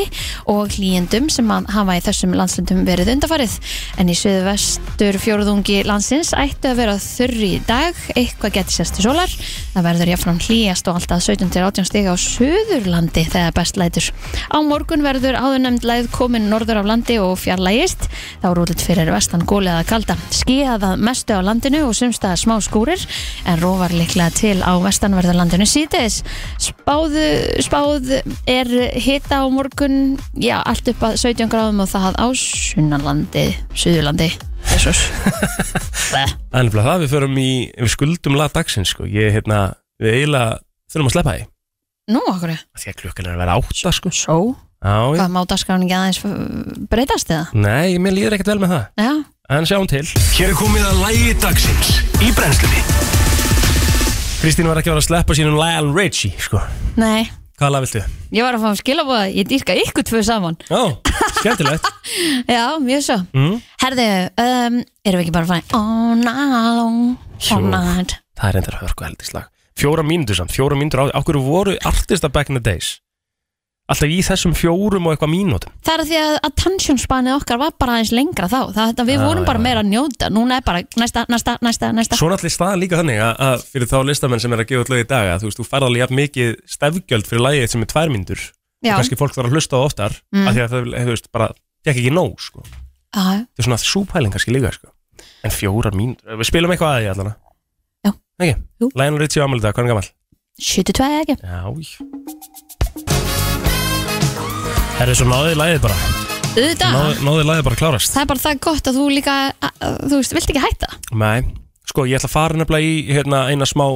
Speaker 4: og hlýjendum sem að hafa í þessum landslundum verið undafarið en í suðvestur fjórðungi landsins ættu að vera þurri í dag, eitthvað getur sérst til sólar það verður jafnfram hlýjast og alltaf 17-18 stig á Suðurlandi þegar best lætur. Á morgun verður áðurnemnd læð komin norður af landi og fjarlægist. Þá er útlitt fyrir vestan gólið að kalda. Skíðað að mestu á landinu og sumstaða smá skúrir en róvar líklega til á vestanverðu landinu síðdeis. Spáðu, spáð er hita á morgun, já, allt upp að 17 gráðum og það á sunnanlandi, Suðurlandi. Jesus.
Speaker 3: En nefnilega það, við förum í, við skuldum lag dagsins sko. Ég, hérna, við eiginlega þurfum að sleppa því
Speaker 4: Nú, okkur,
Speaker 3: Af Því að klukkan er að vera átta sko.
Speaker 4: sjó,
Speaker 3: Já, ég,
Speaker 4: hvað má dagskráin ekki aðeins uh, breytast eða?
Speaker 3: nei, mér líður ekkert vel með það
Speaker 4: Já,
Speaker 3: En sjáum til
Speaker 1: Hér er komið að lægi dagsins í brennslunni
Speaker 3: Kristín var ekki að vera að sleppa sínum Lyle Richie sko.
Speaker 4: nei.
Speaker 3: Hvað lag viltu?
Speaker 4: Ég var að fá að skilabóða, ég dýrka ykkur tvö saman
Speaker 3: Já, skemmtilegt
Speaker 4: Já, mjög svo
Speaker 3: mm.
Speaker 4: Herðu, um, erum við ekki bara að fara í All night long,
Speaker 3: Jú.
Speaker 4: all night
Speaker 3: Það er reyndar hörku heldislag Fjóra mínútur samt, fjóra mínútur á því Akkur voru artista back in the days Alltaf í þessum fjórum og eitthvað mínútum
Speaker 4: Það er að því að attention spanið okkar var bara aðeins lengra þá Það þetta við
Speaker 3: Já,
Speaker 4: vorum bara
Speaker 3: já,
Speaker 4: meira að njóta Núna er bara næsta, næsta, næsta, næsta
Speaker 3: Svo náttúrulega er staðan líka þannig að, að fyrir þá listamenn sem er að gefa út lög í dag að þú veist, þú færð alveg jafn mikið stefgjöld fyrir lagið sem er tvær mínútur og
Speaker 4: Já,
Speaker 3: kannski fólk þarf að hlusta á það oftar
Speaker 4: Mm.
Speaker 3: af því að það, þú veist, bara gekk ekki nóg sko. þetta
Speaker 4: já,
Speaker 3: er svona súpæling kannski líka sko. en fjórar mínútur, við spilum eitthvað að því allan
Speaker 4: Já.
Speaker 3: Ekki?
Speaker 4: Jú.
Speaker 3: Lionel Richie á Amalita, hvað er hann gammal?
Speaker 4: 72 ekki
Speaker 3: Já Herri, svo náðið lagið bara
Speaker 4: Þetta,
Speaker 3: Náðið náði lagið bara klárast
Speaker 4: það er bara það gott að þú líka að, að, Þú veist, vilt ekki hætta
Speaker 3: Nei, sko, ég ætla að fara nefnilega í hérna, eina smá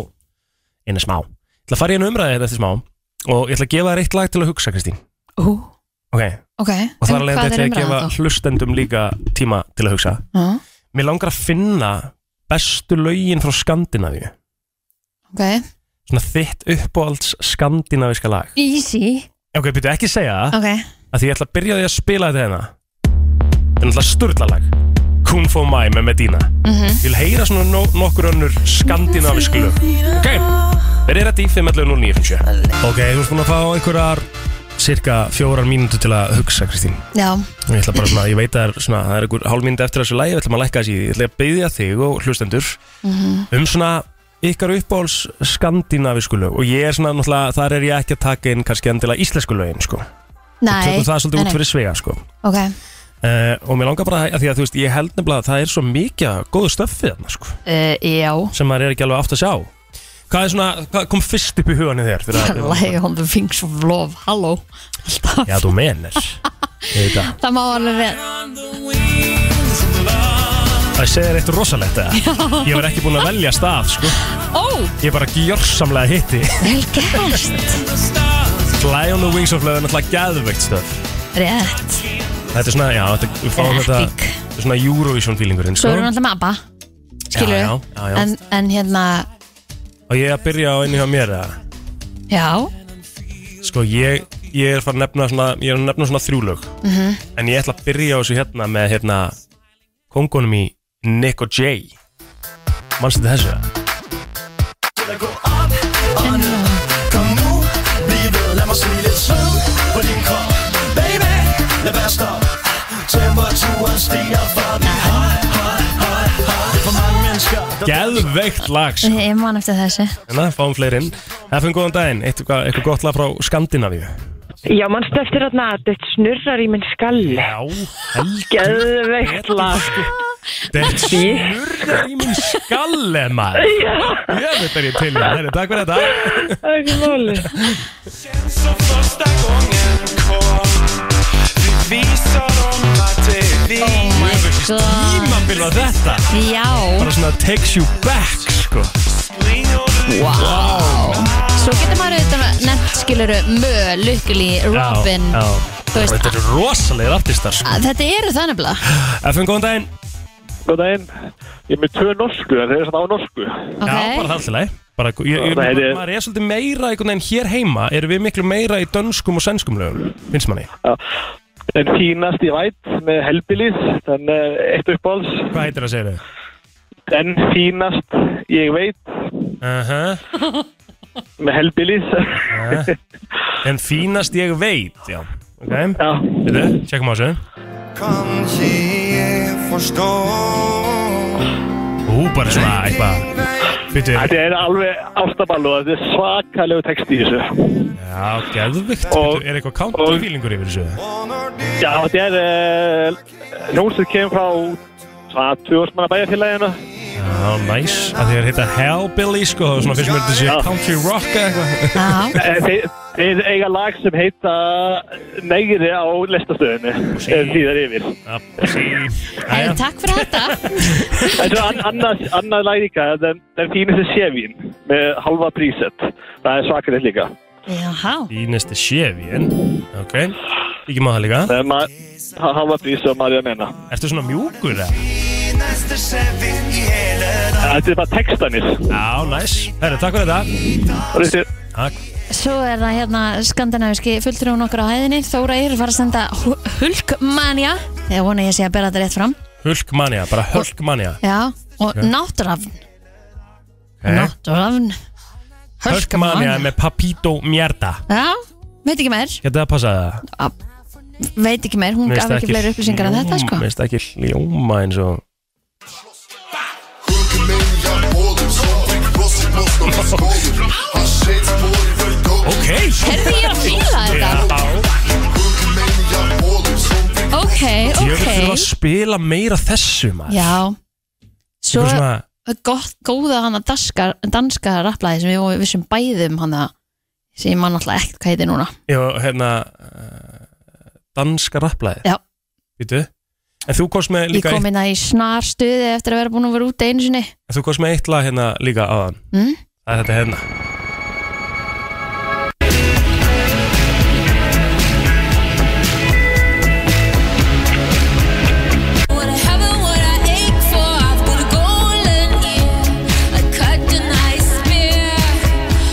Speaker 3: Eina smá Ég ætla að fara í einu umræði hérna eftir smá Og ég ætla að gefa þér eitt lag til að hugsa, Kristín
Speaker 4: Ú,
Speaker 3: Ok,
Speaker 4: ok
Speaker 3: og þar
Speaker 4: Um
Speaker 3: alveg
Speaker 4: hvað
Speaker 3: þetta
Speaker 4: er
Speaker 3: ég að gefa
Speaker 4: umræðan þá?
Speaker 3: hlustendum líka tíma til að hugsa
Speaker 4: Já,
Speaker 3: Mér langar að finna bestu lögin frá Skandinavíu
Speaker 4: Ok,
Speaker 3: Svona þitt uppáhalds skandinavíska lag
Speaker 4: easy
Speaker 3: Ok, byrju ekki segja það
Speaker 4: Ok,
Speaker 3: að því ég ætla að byrja á því að spila þetta hérna Þetta er náttúrulega sturlalag Kung Fu Mai með Medina
Speaker 4: Mm.
Speaker 3: Ég vil heyra svona no nokkur önnur skandinavísk lög Ok, verið þetta í 5129 Ok, þú ert búin að fá einhverjar cirka fjórar mínútu til að hugsa, Kristín
Speaker 4: já,
Speaker 3: Og Ég ætla bara svona, ég veit að það er svona, það er einhver hálf mínúti eftir þessu lagi, við ætlum að lækka þessi í því. Ég ætla að byggja þig og hlustendur
Speaker 4: Mhm.
Speaker 3: um svona ykkar uppáhalds skandinavísku lög og ég er svona náttúrulega, þar er ég ekki að taka inn kannski endilega íslensku lögin, sko
Speaker 4: nei
Speaker 3: tökum það svolítið út
Speaker 4: nei,
Speaker 3: fyrir svega sko.
Speaker 4: nei. Ok,
Speaker 3: uh, og mér langar bara að, að því að þú veist ég held nefnilega að það er svo mikið af góðu stöfið þarna, sko,
Speaker 4: uh, já
Speaker 3: sem maður er ekki alveg átt að sjá hvað er svona, hvað kom fyrst upp í huganum þér fyrir að,
Speaker 4: Læg on the things of love, halló Alltaf.
Speaker 3: já þú menir það
Speaker 4: Það má alveg rétt
Speaker 3: Það segir eitt rosalegt eða Ég var ekki búin að velja stað sko
Speaker 4: Ó,
Speaker 3: Ég bara gjörsamlega hitti
Speaker 4: vel gæst
Speaker 3: Fly on the Wings of Love er náttúrulega gæðveikt stöf
Speaker 4: Rétt
Speaker 3: Þetta er svona, já, þetta, við fáum þetta
Speaker 4: Epic.
Speaker 3: þetta er Svona Eurovision feelingurinn
Speaker 4: Svo
Speaker 3: sko
Speaker 4: erum við alltaf með ABBA Skilur
Speaker 3: Já, já, já, já.
Speaker 4: En, en hérna,
Speaker 3: Og ég að byrja á einu hjá mér eða
Speaker 4: já
Speaker 3: Sko ég, ég er fara að nefna svona, ég er að nefna svona þrjúlög
Speaker 4: Mhm.
Speaker 3: -hmm. En ég ætla að byrja á þessu hérna með hérna Kongunum í Nick og Jay Manstu þetta þessu? eða? Geðveikt lag sko.
Speaker 4: Ég man eftir þessu
Speaker 3: Hérna, fáum fleiri inn Efum góðan daginn, eitthvað, eitthvað gott lag frá Skandinavíu
Speaker 10: Já, mannstu eftir þarna að þetta snurrar í minn skalli.
Speaker 3: Já, helgi
Speaker 10: Geðveikt lag.
Speaker 3: Þetta snurðar í minn skalle maður Ég veit að ég til í það, Herri, takk fyrir þetta
Speaker 10: Það er ekki máli.
Speaker 3: Tímabil var þetta
Speaker 4: Já,
Speaker 3: Bara svona takes you back sko
Speaker 4: svo getur maður auðvitað nefnt skiluru Mö, Lukkeli, Robin
Speaker 3: Já, já.
Speaker 4: Þú veist,
Speaker 3: Þetta eru rosalegir artistar sko
Speaker 4: að- Þetta eru það nefnilega
Speaker 3: FM, góðan daginn
Speaker 11: Góð daginn, ég er með tvö norsku, en þeir eru svona á norsku.
Speaker 3: Já, bara
Speaker 4: Ok,
Speaker 3: það alltaf leið bara, ég, ég,
Speaker 11: Það
Speaker 3: maður,
Speaker 11: heiti-
Speaker 3: maður er svolítið meira einhvern veginn hér heima erum við miklu meira í dönskum og sænskum lögum finnst manni
Speaker 11: En fínast ég væt með helbilið, þann uh, eitt uppáhalds.
Speaker 3: hvað heitir það segir þau
Speaker 11: En fínast ég veit
Speaker 3: uh
Speaker 11: með helbilið.
Speaker 3: en fínast ég veit já ok
Speaker 11: Já,
Speaker 3: Þetta, tjekkum á þessu Ú, bara svona eitthvað Býtu,
Speaker 11: þetta er alveg ástaball og þetta er svakalegu text í þessu.
Speaker 3: já, geðvikt
Speaker 11: Og-
Speaker 3: Býtu, er eitthvað country
Speaker 11: og-
Speaker 3: feelingur yfir þessu?
Speaker 11: Já, þetta er uh, hljómsið kemur frá svona tjóðsmanna bæjarfélaginu.
Speaker 3: Já, næs Að því að heita Hellbilly, sko og Svona fyrst mér þetta sé
Speaker 11: Já.
Speaker 3: country rock eða eitthvað
Speaker 4: já,
Speaker 11: Eh, Þeir, þeir eiga lag sem heita Negri á lestastöðinu, ef því það yfir.
Speaker 3: Já, sí.
Speaker 4: Hey,
Speaker 3: Jæja.
Speaker 4: takk fyrir þetta
Speaker 11: Þetta er an- annað, annað lag líka, den, den fínasti sévín með halva prísett. Það er svakalegt líka.
Speaker 4: Jáhá,
Speaker 3: Fínasti séfin Ok, ekki maður það líka
Speaker 11: Það er ma ha- halva prís og maður er að menna.
Speaker 3: Ertu svona mjúkur eða?
Speaker 11: Þetta er bara textanir.
Speaker 3: Já, næs Herru, takk fyrir þetta
Speaker 11: Og þetta er-
Speaker 3: Takk
Speaker 4: svo er það hérna skandinaviski fulltrúin okkar á hæðinni Þóra Eir var að senda hu- Hulkmania Ég vona ég sé að bera þetta rétt fram
Speaker 3: Hulkmania, bara Hulkmania
Speaker 4: Já, og Náttrafn
Speaker 3: okay.
Speaker 4: Náttrafn
Speaker 3: Hulkmania með Papito Mjerda
Speaker 4: Já, veit ekki meir
Speaker 3: Geta það passað það?
Speaker 4: Veit ekki meir, hún
Speaker 3: Mér finnst
Speaker 4: gaf
Speaker 3: það
Speaker 4: ekki fleiri upplýsingar en þetta
Speaker 3: hljóma-
Speaker 4: sko
Speaker 3: Mér finnst það ekki hljóma eins og Ok
Speaker 4: Herði ég er að fíla þetta Ok,
Speaker 3: Ég vil þurfa að
Speaker 4: ok
Speaker 3: spila meira þessu maður
Speaker 4: Já Svo
Speaker 3: Eitthvað svona,
Speaker 4: gott, góða hana danska, danska rapplæði sem við vissum bæðum hana sem ég man alltaf ekkert hvað heiti núna
Speaker 3: já, hérna eh, Danska rapplæði
Speaker 4: Já.
Speaker 3: Vítu En þú komst með
Speaker 4: Ég
Speaker 3: líka
Speaker 4: kom
Speaker 3: eitt,
Speaker 4: inn að í snar stuði eftir að vera búin að vera út einu sinni
Speaker 3: en Þú komst með eitt lag hérna líka aðan
Speaker 4: Mm.
Speaker 3: Það er þetta hérna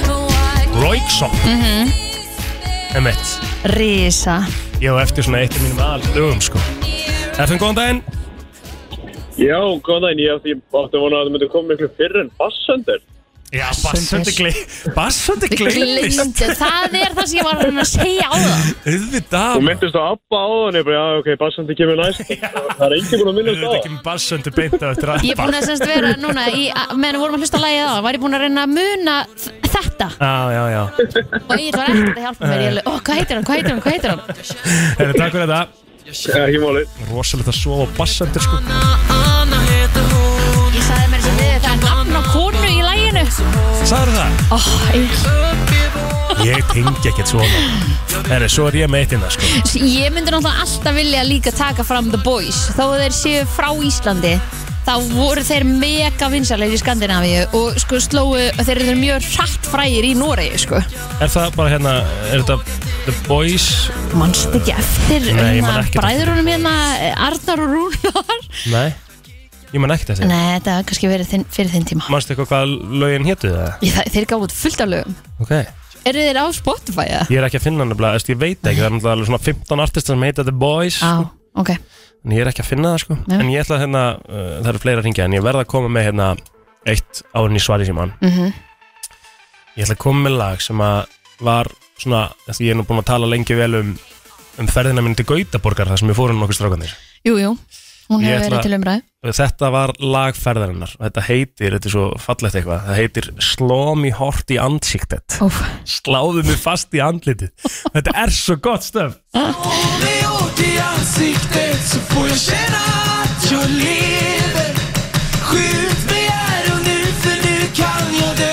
Speaker 3: song
Speaker 4: Mhm.
Speaker 3: Emmett
Speaker 4: Rísa
Speaker 3: Ég á eftir svona eitt af mínum aðlugum sko FM, góðan daginn
Speaker 12: Já, góðan daginn, ég átti, átti að vona að það myndi koma miklu fyrr en bassendur.
Speaker 3: Já, Bassandi gleið Bassandi gleið
Speaker 4: Glimtu, það er það sem ég var að reyna að segja á það
Speaker 3: Auðvitað
Speaker 12: Þú myndist á Abba á hann, ég bara, já, ok, bassendur kemur næst. það er enginn búin að minnast á
Speaker 3: Þetta kemur Bassandi beint á eftir
Speaker 4: Ég er búin að semst vera núna í, að- meðan við vorum að hlusta á lagið á var ég búin að reyna að muna þ- þetta
Speaker 3: Já, já, já
Speaker 4: og ég var ekkert að hjálpa mér ég alveg, ó, hvað heitir hann, hvað heitir hann, hvað heitir hann
Speaker 3: Herri, takk fyrir þetta Ekki máli Rosalegt að sofa á Bassandi sko
Speaker 4: Ég sagði mér sem við það er nafn á konu í læginu
Speaker 3: Sagður það?
Speaker 4: Ó, ég
Speaker 3: Ég tengi ekkert svona Herri, svo er ég með eitt innan sko
Speaker 4: Ég myndi náttúrulega alltaf vilja líka taka fram The Boys Þó að þeir séu frá Íslandi Þá voru þeir mega vinsalegir í Skandinavíu Og sko slóu, og þeir eru mjög hratt frægir í Noregi sko
Speaker 3: Er það bara hérna, er þetta The Boys?
Speaker 4: Manst ekki eftir
Speaker 3: Nei, ég man
Speaker 4: hérna,
Speaker 3: ekkert eftir-
Speaker 4: bræðurunum hérna eh, Arnar og Rúnar
Speaker 3: Nei, ég man ekkert eftir
Speaker 4: Nei, þetta var kannski verið þinn, fyrir þinn tíma
Speaker 3: Manstu eitthvað hvað lögin hétu það?
Speaker 4: ég, það, Þeir gáðu út fullt af lögum
Speaker 3: Ok
Speaker 4: Eru þeir á Spotify eða?
Speaker 3: Ég er ekki að finna hann nefnilega, þú veist, ég veit ekki Það er náttúrulega alveg svona 15 artistar sem heita The Boys
Speaker 4: Á, ok
Speaker 3: En ég er ekki að finna það sko
Speaker 4: Nei.
Speaker 3: En ég ætla að hérna, uh, það eru fleira að ringja En ég verða að koma með hérna eitt árin í svari síman
Speaker 4: Mhm.
Speaker 3: Ég ætla að koma með lag sem að var svona Því ég er nú búin að tala lengi vel um um ferðina minn til Gautaborgar þar sem ég fórum nokkuð strákanir
Speaker 4: Jú, jú, hún
Speaker 3: Ég
Speaker 4: hefur
Speaker 3: ætla-
Speaker 4: verið til umræðu
Speaker 3: Þetta var lagferðarinnar Þetta heitir, þetta er svo fallegt eitthvað Það heitir Sló mig hort í andsiktet
Speaker 4: Óf.
Speaker 3: Sláðu mig fast í andlitið Þetta er svo gott stöf
Speaker 13: mig út í ansiktet så får jag känna att jag lever Skjut mig här och nu för nu kan jag dö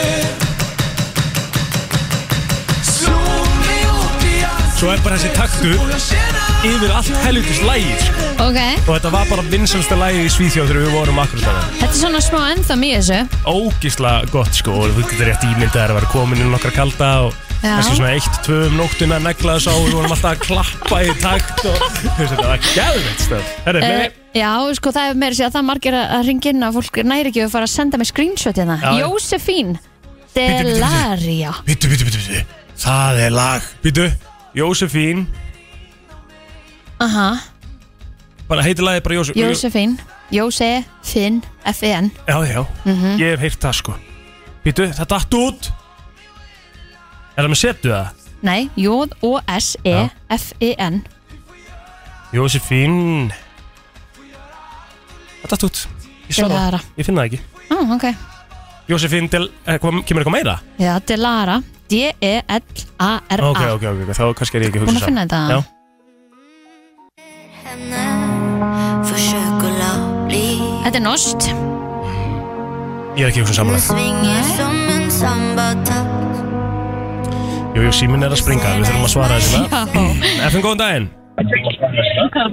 Speaker 13: Slå mig út i ansiktet
Speaker 3: Svo er bara þessi taktur Yfir allt helvitis lægir
Speaker 4: Ok,
Speaker 3: Og þetta var bara vinsalsta lægir í Svíþjóð Þegar við vorum akkur þarna
Speaker 4: þetta er svona smá ennþá í þessu
Speaker 3: Ógisla gott sko Og þú getur rétt ímyndað þér að vera komin inn nokkra kalda Og
Speaker 4: Já.
Speaker 3: kannski svona eitt, tvö um nóttina Negla þess á og við vorum alltaf að klappa í takt Og þú veist, þetta var gæðveitt stöf Herri,
Speaker 4: Eh,
Speaker 3: uh,
Speaker 4: Já, sko það er meira að segja að það er margir að- að ringa inn að fólk næri ekki að fara að senda mig screenshot hérna
Speaker 3: Já, já.
Speaker 4: Jósefín Delaria
Speaker 3: Býtu, býtu, býtu, býtu Það er lag Býtu Jósefín
Speaker 4: Aha,
Speaker 3: Bara heitir lagið bara Jósef
Speaker 4: Jósefín Jósefín E F-E-N
Speaker 3: Já, já
Speaker 4: Mhm.
Speaker 3: Ég hef heyrt það sko Býtu, það datt út Er það með setu það?
Speaker 4: Nei, E J-O-S-E-F-E-N
Speaker 3: Jósefín Það datt út Ég svar
Speaker 4: Delara.
Speaker 3: það Ég finn það ekki
Speaker 4: Ó, Ah, ok
Speaker 3: Jósefín del eh, kom, Kemur eitthvað meira?
Speaker 4: Já, Delara E D-E-L-A-R-A
Speaker 3: Ok, ok, ok ok, Þá kannski er ég ekki að hugsa
Speaker 4: Búin að finna þetta?
Speaker 3: Já
Speaker 4: Þetta er nost
Speaker 3: Ég er ekki að hugsa samanlega Jú, jú, síminn er að springa Við þurfum að svara þessu það? FN, góðan daginn FN,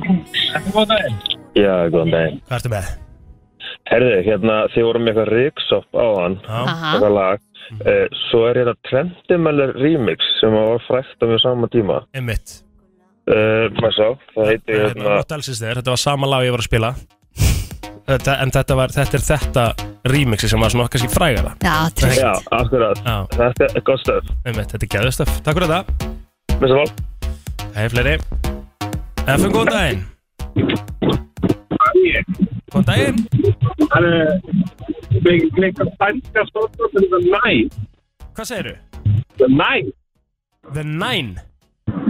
Speaker 3: góðan daginn
Speaker 8: Já, góðan daginn.
Speaker 3: Hvað ertu með?
Speaker 8: Herðu, hérna, þið vorum með eitthvað riksopp á hann,
Speaker 3: Aha.
Speaker 8: eitthvað lag.
Speaker 3: Mhm.
Speaker 8: Eh, svo er hérna Trendimeller remix sem var frækt á mjög sama tíma.
Speaker 3: Emmitt
Speaker 8: Uh, maður sá, það heitir hérna...
Speaker 3: Not Else Is There, þetta var sama lag ég var að spila þetta, En þetta, var, þetta er þetta remixi sem var svona kannski frægara
Speaker 4: Já,
Speaker 3: tryggt.
Speaker 8: Já, akkurat. Þetta er gott stöð.
Speaker 3: Einmitt, Þetta er gæðustöf, takk fyrir þetta
Speaker 8: Mr. Val
Speaker 3: Hei fleiri FM, góðan daginn Góðan daginn
Speaker 9: Það er mikla sænska stofnum sem það næ.
Speaker 3: Hvað segirðu?
Speaker 9: The Knife.
Speaker 3: The Nine?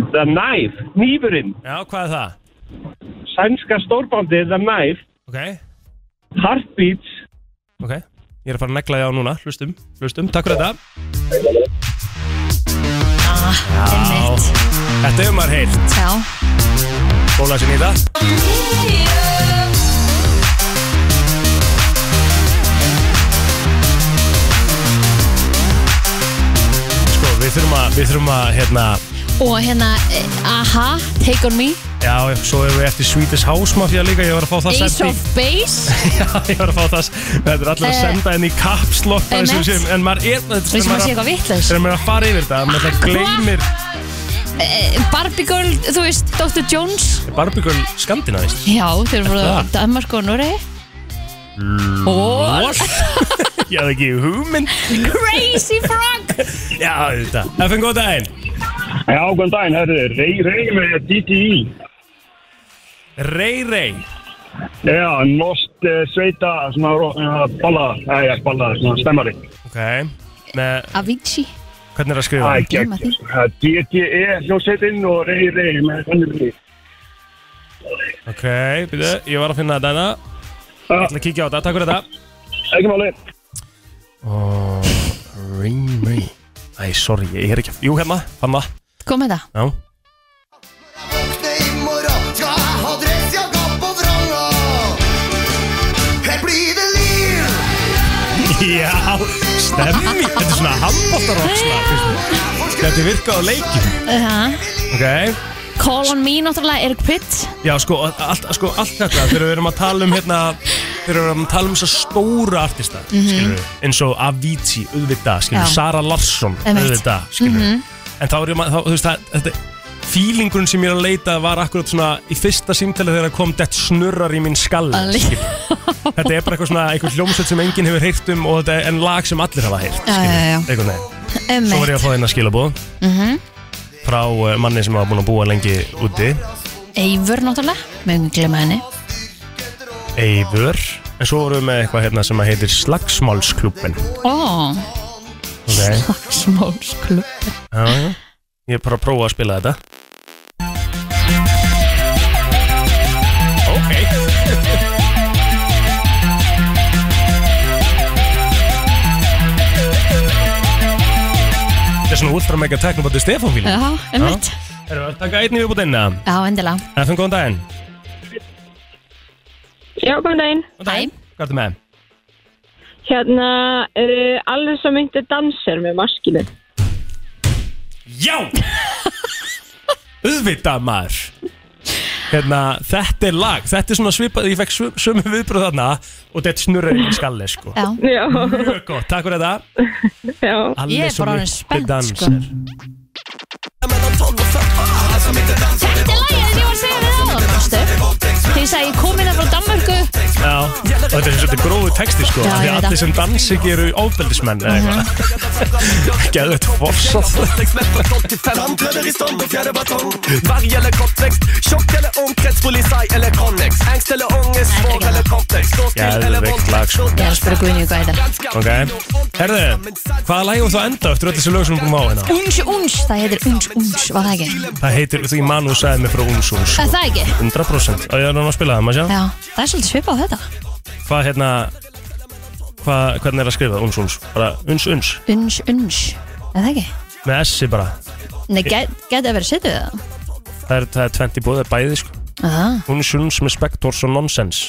Speaker 9: The Knife, nýfurinn.
Speaker 3: Já, hvað er það?
Speaker 9: Sænska stórbandið The Knife.
Speaker 3: Ok,
Speaker 9: Heartbeats.
Speaker 3: ok Ég er að fara að negla þig á núna, hlustum, hlustum, takk fyrir þetta Já, þetta hefur maður heyrt
Speaker 4: Já
Speaker 3: Bóla sér nýta Sko, við þurfum að, við þurfum að, hérna
Speaker 4: Og hérna, eh, aha, Take On Me
Speaker 3: Já, já, svo erum við eftir Swedish House Mafia líka Ég var að fá það
Speaker 4: Ace
Speaker 3: sent
Speaker 4: of
Speaker 3: í
Speaker 4: Base
Speaker 3: Já, ég var að fá það Þetta er allir að
Speaker 4: Eh,
Speaker 3: senda henni í kapslokk
Speaker 4: einmitt.
Speaker 3: En maður er þetta er
Speaker 4: Vill maður
Speaker 3: að-
Speaker 4: sé eitthvað vitlaus?
Speaker 3: Þegar maður er að fara yfir þetta Maður það gleymir
Speaker 4: Eh, Barbie Girl, þú veist, Dr. Jones
Speaker 3: Barbie Girl skandinavist
Speaker 4: Já, þeir eru
Speaker 3: Er
Speaker 4: frá
Speaker 3: það?
Speaker 4: Danmark og Noregi
Speaker 3: Lol Ég hafði ekki hugmynd
Speaker 4: Crazy Frog
Speaker 3: Já, þetta FN, góð daginn
Speaker 14: Já, góðan daginn, herri, rey, rey með E. DTI
Speaker 3: Rey, rey
Speaker 14: Já, norst uh, sveita, svona uh, balla, eða uh, balla, svona stemmari
Speaker 3: Ok Með,
Speaker 4: Avicii
Speaker 3: hvernig er að skrifa?
Speaker 14: Æ, gegn.
Speaker 4: Gleyma því.
Speaker 14: DTE hljóseitinn E, og rey, rey með stemmari
Speaker 3: Ok, býðu, ég var að finna þetta hérna Ég ætla að kíkja á þetta, takk fyrir þetta
Speaker 14: Ekki máli
Speaker 3: oh, Rey, rey Æ, sorry, ég er ekki Jú, hérna, hann það
Speaker 4: Kom með það
Speaker 3: Já Já, stemmi Þetta er svona sko.
Speaker 4: Ah,
Speaker 3: handbóttarokkslag Þetta virkaði á leikinu
Speaker 4: uh,
Speaker 3: Ok,
Speaker 4: Call on me náttúrulega Eric Pitt
Speaker 3: já sko allt, sko, allt þetta Þegar við erum að tala um hérna Þegar við erum að tala um þessa stóra artista mm
Speaker 4: Mhm.
Speaker 3: Eins og Avicii, auðvitað skilur,
Speaker 4: Já.
Speaker 3: Sara Larsson,
Speaker 4: Einmitt.
Speaker 3: auðvitað skilur.
Speaker 4: Mhm.
Speaker 3: En þá er ég ma- þá, þú veist það þetta, Feelingurinn sem ég er að leita var akkurat svona Í fyrsta símtali þegar kom Dett snurrar í minn skall
Speaker 4: Ali.
Speaker 3: Þetta er bara eitthvað svona Eitthvað hljómsveit sem enginn hefur heyrt um Og þetta er en lag sem allir hafa heyrt
Speaker 4: Já, já, já.
Speaker 3: Einhvern veginn
Speaker 4: Emmett.
Speaker 3: Svo var ég að fá þeirna skilabóð
Speaker 4: Um, Mhm.
Speaker 3: frá eh, manni sem hafa búin að búa lengi úti
Speaker 4: Eivur náttúrulega Mögum glemma henni
Speaker 3: Eivör En svo vorum við með eitthvað hérna sem að heitir Slagsmálsklubben
Speaker 4: Ó,
Speaker 3: okay.
Speaker 4: Slagsmálsklub
Speaker 3: Já, já. Ég er bara að prófa að spila þetta Þetta er svona ultra mega teknobóti Stefán fílum
Speaker 4: Já, einmitt.
Speaker 3: Erum við að taka einni viðbútt einna?
Speaker 4: Já, endilega
Speaker 3: Efum, góðan daginn
Speaker 15: Já, góðan daginn.
Speaker 3: Hæ. Hvað ertu með?
Speaker 15: Hérna, uh, alveg svo myndi danser með maskinu.
Speaker 3: Já Uðvitað maður Hérna, þetta er lag Þetta er svona svipað, ég fekk sö- sömu viðbröð þarna Og þetta snurrar í minn skalli sko
Speaker 4: Já.
Speaker 15: Já.
Speaker 3: Mjög gott, takk fyrir þetta
Speaker 15: Já.
Speaker 3: Alveg svo miklu dans.
Speaker 4: Þetta er lagið en ég var að segja við áðan Vastu Þegar ég sagði ég kom hérna frá Danmörku
Speaker 3: Já, og þetta er svolítið gróðu texti sko
Speaker 4: Já,
Speaker 3: af Því
Speaker 4: ég
Speaker 3: að
Speaker 4: veit
Speaker 3: allir
Speaker 4: það.
Speaker 3: sem dansi geru óbeldismenn eða eitthvað Geðvett forsað
Speaker 13: Tandlöder i stånd och fjärde batong Varg eller kortväxt, tjock eller ung, kretspolisaj eller connex Angst eller ångest, svag eller komplex Ståstil eller
Speaker 3: Geðveikt lag sko
Speaker 4: Ég er að spyrja Guðni hvað heitir
Speaker 3: Ok, herðu, hvaða lag um þú að enda eftir öll þessi lög sem við búum á hérna?
Speaker 4: Unns, unns, það heitir unns, unns, var það ekki?
Speaker 3: Það heitir, því Manu sagði mig frá sko. Uns Uns
Speaker 4: Er það ekki?
Speaker 3: 100% og ég er núna að spila það, maður sjá
Speaker 4: Já, það er svolítið svipað á þetta
Speaker 3: hvað hérna hvað, hvernig er að skrifa uns uns bara uns uns
Speaker 4: Unns, unns, er það ekki?
Speaker 3: með essi bara
Speaker 4: Nei, geti að vera setið það
Speaker 3: það er, það er tvent í búið bæði sko
Speaker 4: Aha.
Speaker 3: uns uns með spektors og nonsens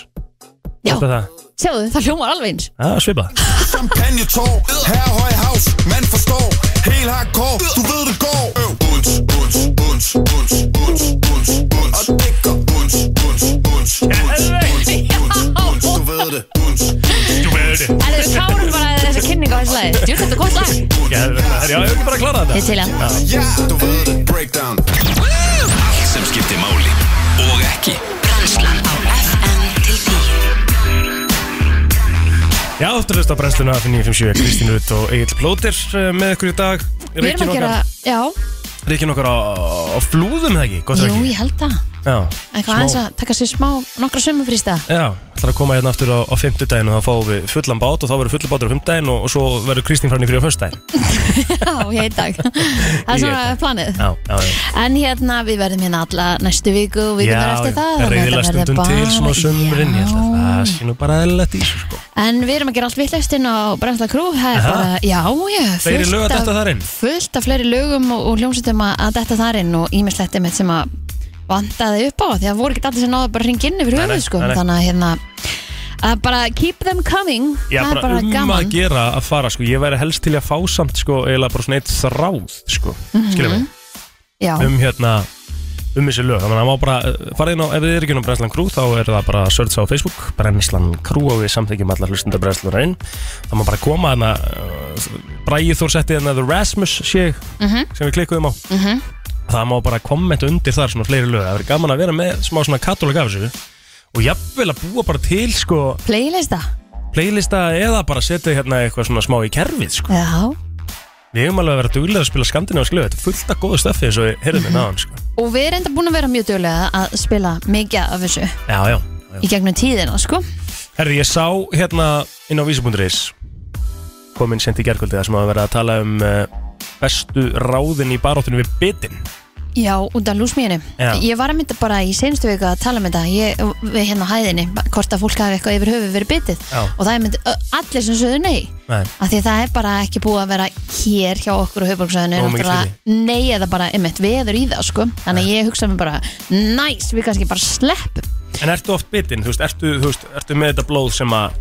Speaker 4: Já.
Speaker 3: Þetta er það
Speaker 4: Sjáðu, það hljómar alveg eins
Speaker 3: Já, svipa
Speaker 16: Champagne tår, herre høj havs, man forstår Helt hardcore, du ved det går Uns, uns, uns, uns, uns, uns, uns Og det går uns, uns, uns, uns, uns, uns, uns Du ved det, uns,
Speaker 3: Du ved det
Speaker 4: Það er klárum bara þessi kynning á þessu lagi Jú, þetta er gott lag
Speaker 3: Já, já, ég vil bara klara þetta
Speaker 4: Ég til hann.
Speaker 16: Ja, du ved det, breakdown
Speaker 1: Allt sem skiptir máli og ekki
Speaker 3: Já, þú veist að brennsluna fyrir 957 Kristín Rutt og Egil Plóter eh, með ykkur í dag
Speaker 4: Við erum að gera, já,
Speaker 3: Ríkin okkar á, á flúðum, eða ekki? Gott er
Speaker 4: jú,
Speaker 3: ekki?
Speaker 4: ég held það
Speaker 3: Já
Speaker 4: Eitthvað aðeins að taka sér smá, nokkra sumufrýsta
Speaker 3: Já, það er að koma hérna aftur á, á fimmtudaginn og þá fáum við fullan bát og þá verður fullan bátur á fimmtudaginn og, og svo verður Kristín frá henni fyrir á föstudaginn
Speaker 4: Já, ég heit dag Það er
Speaker 3: Ég
Speaker 4: svona
Speaker 3: veit
Speaker 4: planið
Speaker 3: Já, já, já
Speaker 4: En hérna, við verðum hérna alla næstu viku og vikunar eftir það þannig að þetta
Speaker 3: reyðilega
Speaker 4: verður
Speaker 3: stundum til
Speaker 4: bara-
Speaker 3: svona sömurinn Ég held að það sé nú bara eðlilegt í þessu sko
Speaker 4: En við erum að gera allt vittlust inn á Brensla Krú Það er
Speaker 3: Aha.
Speaker 4: bara, já, já
Speaker 3: Fleiri
Speaker 4: fullt
Speaker 3: lög að
Speaker 4: af-
Speaker 3: detta þar inn?
Speaker 4: Fullt af fleiri lögum og, og hljómsveitum að, að detta þar inn og ímislegt einmitt sem að vantaði upp á því að voru ekki allir sem náðu bara að ringa inn yfir
Speaker 3: Nei, nei,
Speaker 4: höfuð sko
Speaker 3: nei, nei.
Speaker 4: þannig að hérna að bara keep them coming það
Speaker 3: Já,
Speaker 4: er
Speaker 3: bara,
Speaker 4: bara
Speaker 3: um að
Speaker 4: gaman
Speaker 3: gera að fara sko Ég væri helst til í að fá samt sko eiginlega bara svona eitt þráð sko
Speaker 4: Mhm.
Speaker 3: Skiljum við
Speaker 4: Já,
Speaker 3: um hérna um þessi lög, þannig að maður bara farið inn á, ef þið er ekki inn á Brennslan Crew þá er það bara að searcha á Facebook, Brennslan Crew og við samþykjum allar hlustundar Brennsluna inn þá maður bara að koma hérna uh, Bræði Þór setti hérna The Rasmus sé ég,
Speaker 13: Mhm.
Speaker 3: sem við klikkuðum á
Speaker 13: Mhm.
Speaker 3: það má bara kommenta undir þar svona fleiri lög, það verður gaman að vera með smá svona katalog af þessu og jafnvel að búa bara til sko
Speaker 4: playlista
Speaker 3: playlista eða bara setja hérna eitthvað svona smá í kerfið sko.
Speaker 4: Já
Speaker 3: Við hefum alveg að vera duglega að spila skandinavísk lög Þetta er fullt af góðu stöfið eins og við heyrðum hérna áðan sko.
Speaker 4: Og við erum enda búin að vera mjög duglega að spila mikið af þessu
Speaker 3: Já, já, já.
Speaker 4: í gegnum tíðina, sko
Speaker 3: Herri, ég sá hérna inn á vísi.is komin sent í gerkvöldi þar sem að vera að tala um uh, bestu ráðin í baróttinu við bitin
Speaker 4: Já, út af lúsmíðinu
Speaker 3: Já.
Speaker 4: Ég var að mynda bara í senstu viku að tala um þetta ég, við hérna á hæðinni, hvort að fólk hafi eitthvað yfir höfu verið bitið
Speaker 3: Já.
Speaker 4: og það er mynd ö, allir sem sögðu nei
Speaker 3: Nei.
Speaker 4: af því að það er bara ekki búið að vera hér hjá okkur á höfuborgsöðinu
Speaker 3: Nógu mikið
Speaker 4: nei eða bara einmitt veður í það sko. þannig að ég hugsa mér bara, næs við kannski bara sleppum
Speaker 3: En ertu oft bitin, þú veist, ertu, þú veist, ertu með þetta blóð sem að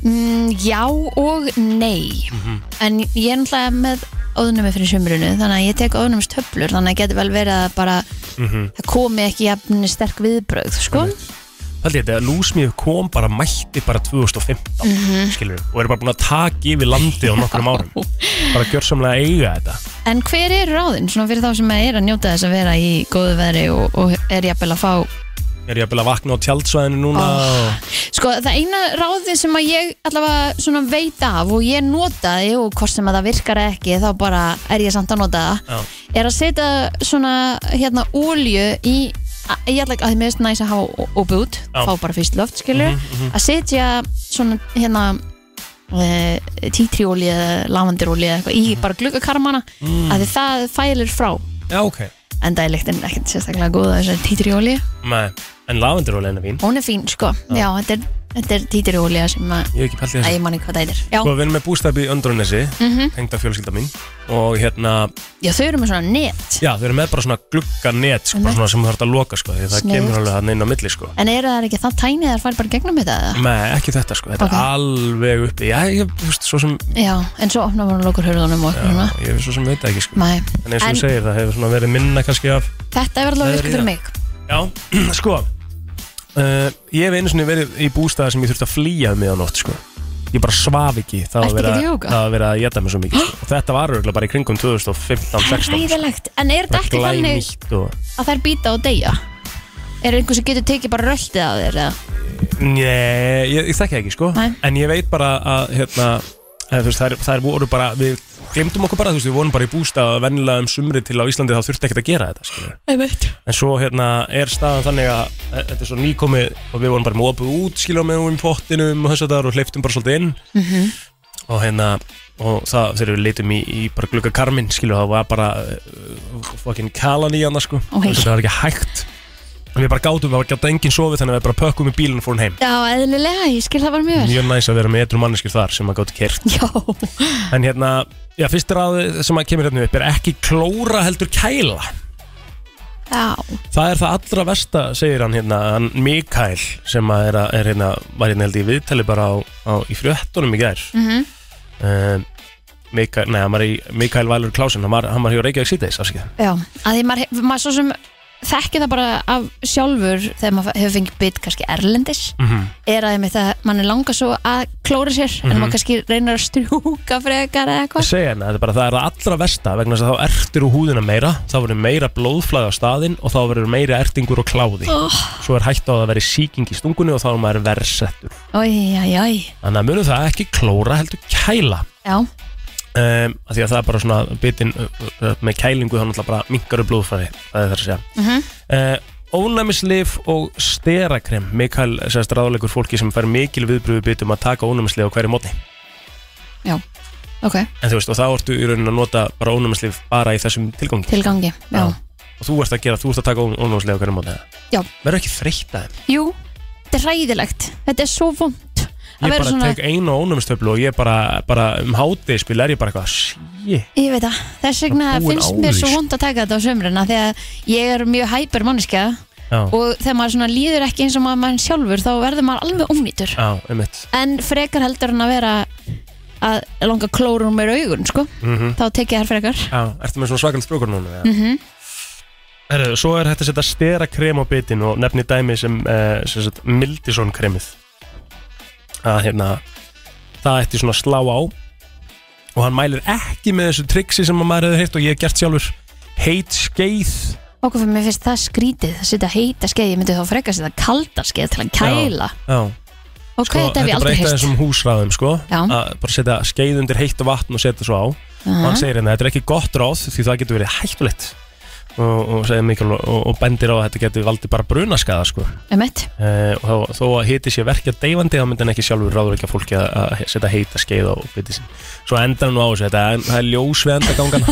Speaker 4: mm, Já og nei
Speaker 3: Mhm,
Speaker 4: En ég er náttúrulega með óðnumi fyrir sumrunu Þannig að ég tek óðnumistöflur Þannig að getur vel verið að bara
Speaker 3: Mhm.
Speaker 4: Það komi ekki jafn sterk viðbrögð Sko
Speaker 3: Haldi ég þetta að lúsmíð kom bara mætti bara 2015
Speaker 4: Mhm.
Speaker 3: skilur, og eru bara búin að taka yfir landið á nokkrum árum bara gjörsamlega eiga þetta
Speaker 4: En hver er ráðin? Svona fyrir þá sem er að njóta þess að vera í góðu veðri Og, og er jafnvel að fá
Speaker 3: er ég að byrja að vakna á tjaldsvæðinu núna og...
Speaker 4: Sko það eina ráðið sem að ég allavega svona veit af Og ég notaði og hvort sem að það virkar eða ekki Þá bara er ég samt að nota það
Speaker 3: Já.
Speaker 4: er að setja svona hérna ólju í a- ég ætla ekki að því meðist næs að hafa opið út
Speaker 13: Já.
Speaker 4: fá bara fyrst loft skilur
Speaker 13: Mhm, mhm.
Speaker 4: að setja svona hérna e, títriólju eða lavandirólju eða eitthvað í bara gluggakarmana
Speaker 3: Mm.
Speaker 4: að því það fælir frá
Speaker 3: Já, ok
Speaker 4: en það er lyktin ekkert sérstaklega góð að þessari títriólju
Speaker 3: Nei, en lavenduróleina vín
Speaker 4: hún er fín sko, já, þetta er, þetta er títriólja sem að,
Speaker 3: Ég hef ekki pælt í
Speaker 4: að
Speaker 3: þessu
Speaker 4: ég man ekki hvað það er já.
Speaker 3: Sko, við erum með bústæpi í Öndrunnesi
Speaker 4: Mhm.
Speaker 3: tengda fjölskylda mín og hérna,
Speaker 4: já, þau eru með svona net
Speaker 3: já, þau eru með bara svona glugganet sko, bara
Speaker 4: Einmitt.
Speaker 3: svona sem þú þarf að loka sko, því það
Speaker 4: Sniðugt.
Speaker 3: kemur alveg hann inn á milli sko.
Speaker 4: en eru það ekki það tænið þar fær bara gegnum þetta eða?
Speaker 3: Nei, ekki þetta sko, þetta
Speaker 4: Ok.
Speaker 3: er alveg uppi Já, ég, þú veist, svo sem
Speaker 4: já, en svo opnar maður lókur hörðunum og
Speaker 3: Já,
Speaker 4: okkur svona
Speaker 3: ég svo sem veit það ekki sko
Speaker 4: Nei.
Speaker 3: En eins og
Speaker 4: En-
Speaker 3: þú segir, það hefur svona verið minna kannski af
Speaker 4: Þetta er verið
Speaker 3: Það
Speaker 4: að
Speaker 3: er
Speaker 4: virka
Speaker 3: í það.
Speaker 4: fyrir mig
Speaker 3: Já, sko uh, Ég hef einu sinni verið í bústæða sem ég þurfti að flýja um mig á nótt sko Ég bara svaf ekki
Speaker 4: Ertu
Speaker 3: Það var
Speaker 4: ekki að
Speaker 3: verið
Speaker 4: djóka?
Speaker 3: það var verið að geta mig svo mikið sko. Og þetta var örgulega bara í kringum 2015-16
Speaker 4: Ræðilegt, en er þetta ekki þannig
Speaker 3: og...
Speaker 4: að þær býta og deyja? Er einhver sem getur tekið bara röltið á þér? eða?
Speaker 3: Nei, ég, ég þekki það ekki sko
Speaker 4: Nei.
Speaker 3: En ég veit bara að hérna, eða, þú veist, þær, þær voru bara Við glemdum okkur bara, þú veist, við vorum bara í bústað Vennilega um sumri til á Íslandi þá þurfti ekkert að gera þetta skilur.
Speaker 4: Einmitt.
Speaker 3: En svo hérna er staðan þannig að e- Þetta er svo nýkomið og við vorum bara með opið út Skilur með um pottinum og þess að það Og hleyptum bara svolítið inn
Speaker 13: Mhm.
Speaker 3: Og hérna Og það þegar við leitum í, í bara glugga karminn Skilur það var bara uh, Fucking kalan í hana sko
Speaker 4: Oj.
Speaker 3: Þetta var ekki hægt En Við bara gátum, það var gætt enginn sofið Þannig að við bara pökkum í bílinn og fórum heim
Speaker 4: Já, eðlilega, ég skil það bara mjög vel
Speaker 3: mjög næs að vera með eitthvað manneskir þar sem að gátt kert
Speaker 4: Já
Speaker 3: En hérna, já, fyrst ráð sem að kemur hérna upp er ekki klóra heldur kæla
Speaker 4: Já,
Speaker 3: Það er það allra versta, segir hann hérna, hann Mikael sem að er, að, er hérna, var hérna held ég í viðtali bara á, á í frjöttunum í gær
Speaker 13: Mhm.
Speaker 3: um, Mikael, nei, hann var í Mikael Valur Klausen, hann var, hann var hjá Reykjavík síðdeis, afskið
Speaker 4: já að því maður, hef- maður svo sem þekkir það bara af sjálfur þegar maður hefur fengið bit kannski erlendis
Speaker 3: Mhm.
Speaker 4: er að einmitt að mann er langar svo að klóra sér en
Speaker 3: Mhm.
Speaker 4: maður kannski reynar að strjúka frekar eða
Speaker 3: Ég
Speaker 4: eitthvað
Speaker 3: segi hérna, þetta er bara það er það allra versta vegna þess að þá ertir úr húðina meira þá verður meira blóðflæði á staðinn og þá verður meira ertingur og kláði
Speaker 4: Oh.
Speaker 3: svo er hægt á að vera síking í stungunni og þá er maður versettur
Speaker 4: Ói, já, já,
Speaker 3: þannig að munum það ekki klóra heldur kæla
Speaker 4: já
Speaker 3: um, af því að það er bara svona bitin uh, uh, með kælingu þá náttúrulega bara minkaru blóðflæði það er það að segja
Speaker 4: Mhm.
Speaker 3: Uh, ónæmislif og sterakrem Mikael sérst ráðleikur fólki sem fær mikil viðbröðu bitum að taka ónæmislif á hverju mótni
Speaker 4: Já, ok,
Speaker 3: en þú veist og þá ertu í raunin að nota bara ónæmislif bara í þessum tilgangi
Speaker 4: tilgangi, já,
Speaker 3: og þú ert að gera, þú ert að taka ónámslega hverjum móti
Speaker 4: já.
Speaker 3: verður ekki þreytt að þeim
Speaker 4: Jú, þetta er hræðilegt Þetta er svo vond
Speaker 3: ég bara tek einu ónámstöflu og ég bara, bara um hátið spil er ég bara eitthvað sí-
Speaker 4: Ég veit það, þess vegna
Speaker 3: Bara búin
Speaker 4: finnst
Speaker 3: á
Speaker 4: mér
Speaker 3: því,
Speaker 4: svo
Speaker 3: sko.
Speaker 4: vond að taka þetta á sömruna því að ég er mjög hæpur manneskja
Speaker 3: Já.
Speaker 4: og þegar maður svona líður ekki eins og maður mann sjálfur þá verður maður alveg ónýtur
Speaker 3: á, einmitt
Speaker 4: en frekar heldur en að vera að langa klórun mér augun sko
Speaker 3: Mhm.
Speaker 4: þá tek ég þær frekar
Speaker 3: á, ertu með svona svakant sprókur núna
Speaker 4: mm
Speaker 3: mm. Heru, svo er hægt að setja stera krem á bitin og nefni dæmi sem, uh, sem sagt, Mildison kremið að hérna það ætti svona að slá á og hann mælir ekki með þessu triksi sem að maður hefur heyrt og ég hef gert sjálfur heit skeið
Speaker 4: okkur fyrir mér finnst það skrítið að setja heita skeið, ég myndi þá frekar setja kalda skeið til að kæla
Speaker 3: Já, já.
Speaker 4: Ok, þetta hef ég
Speaker 3: Sko, bara
Speaker 4: aldrei
Speaker 3: eitt af
Speaker 4: heyrt
Speaker 3: þessum húsráðum sko,
Speaker 4: Já.
Speaker 3: að bara setja skeið undir heitt vatn og setja svo á
Speaker 4: Aha.
Speaker 3: og hann segir hérna, þetta er ekki gott ráð því það getur verið hættulegt og, og segir mikil og, og bendir á að þetta getur valdið bara brunaskaða sko.
Speaker 4: Emmett
Speaker 3: Eh, og þó, þó að hiti sé verkja deyfandi þá myndi hann ekki sjálfur ráður ekki að fólki að- að he- setja heita skeið á biti sín svo endar hann nú á þessu, þetta er, það er ljós við endagangana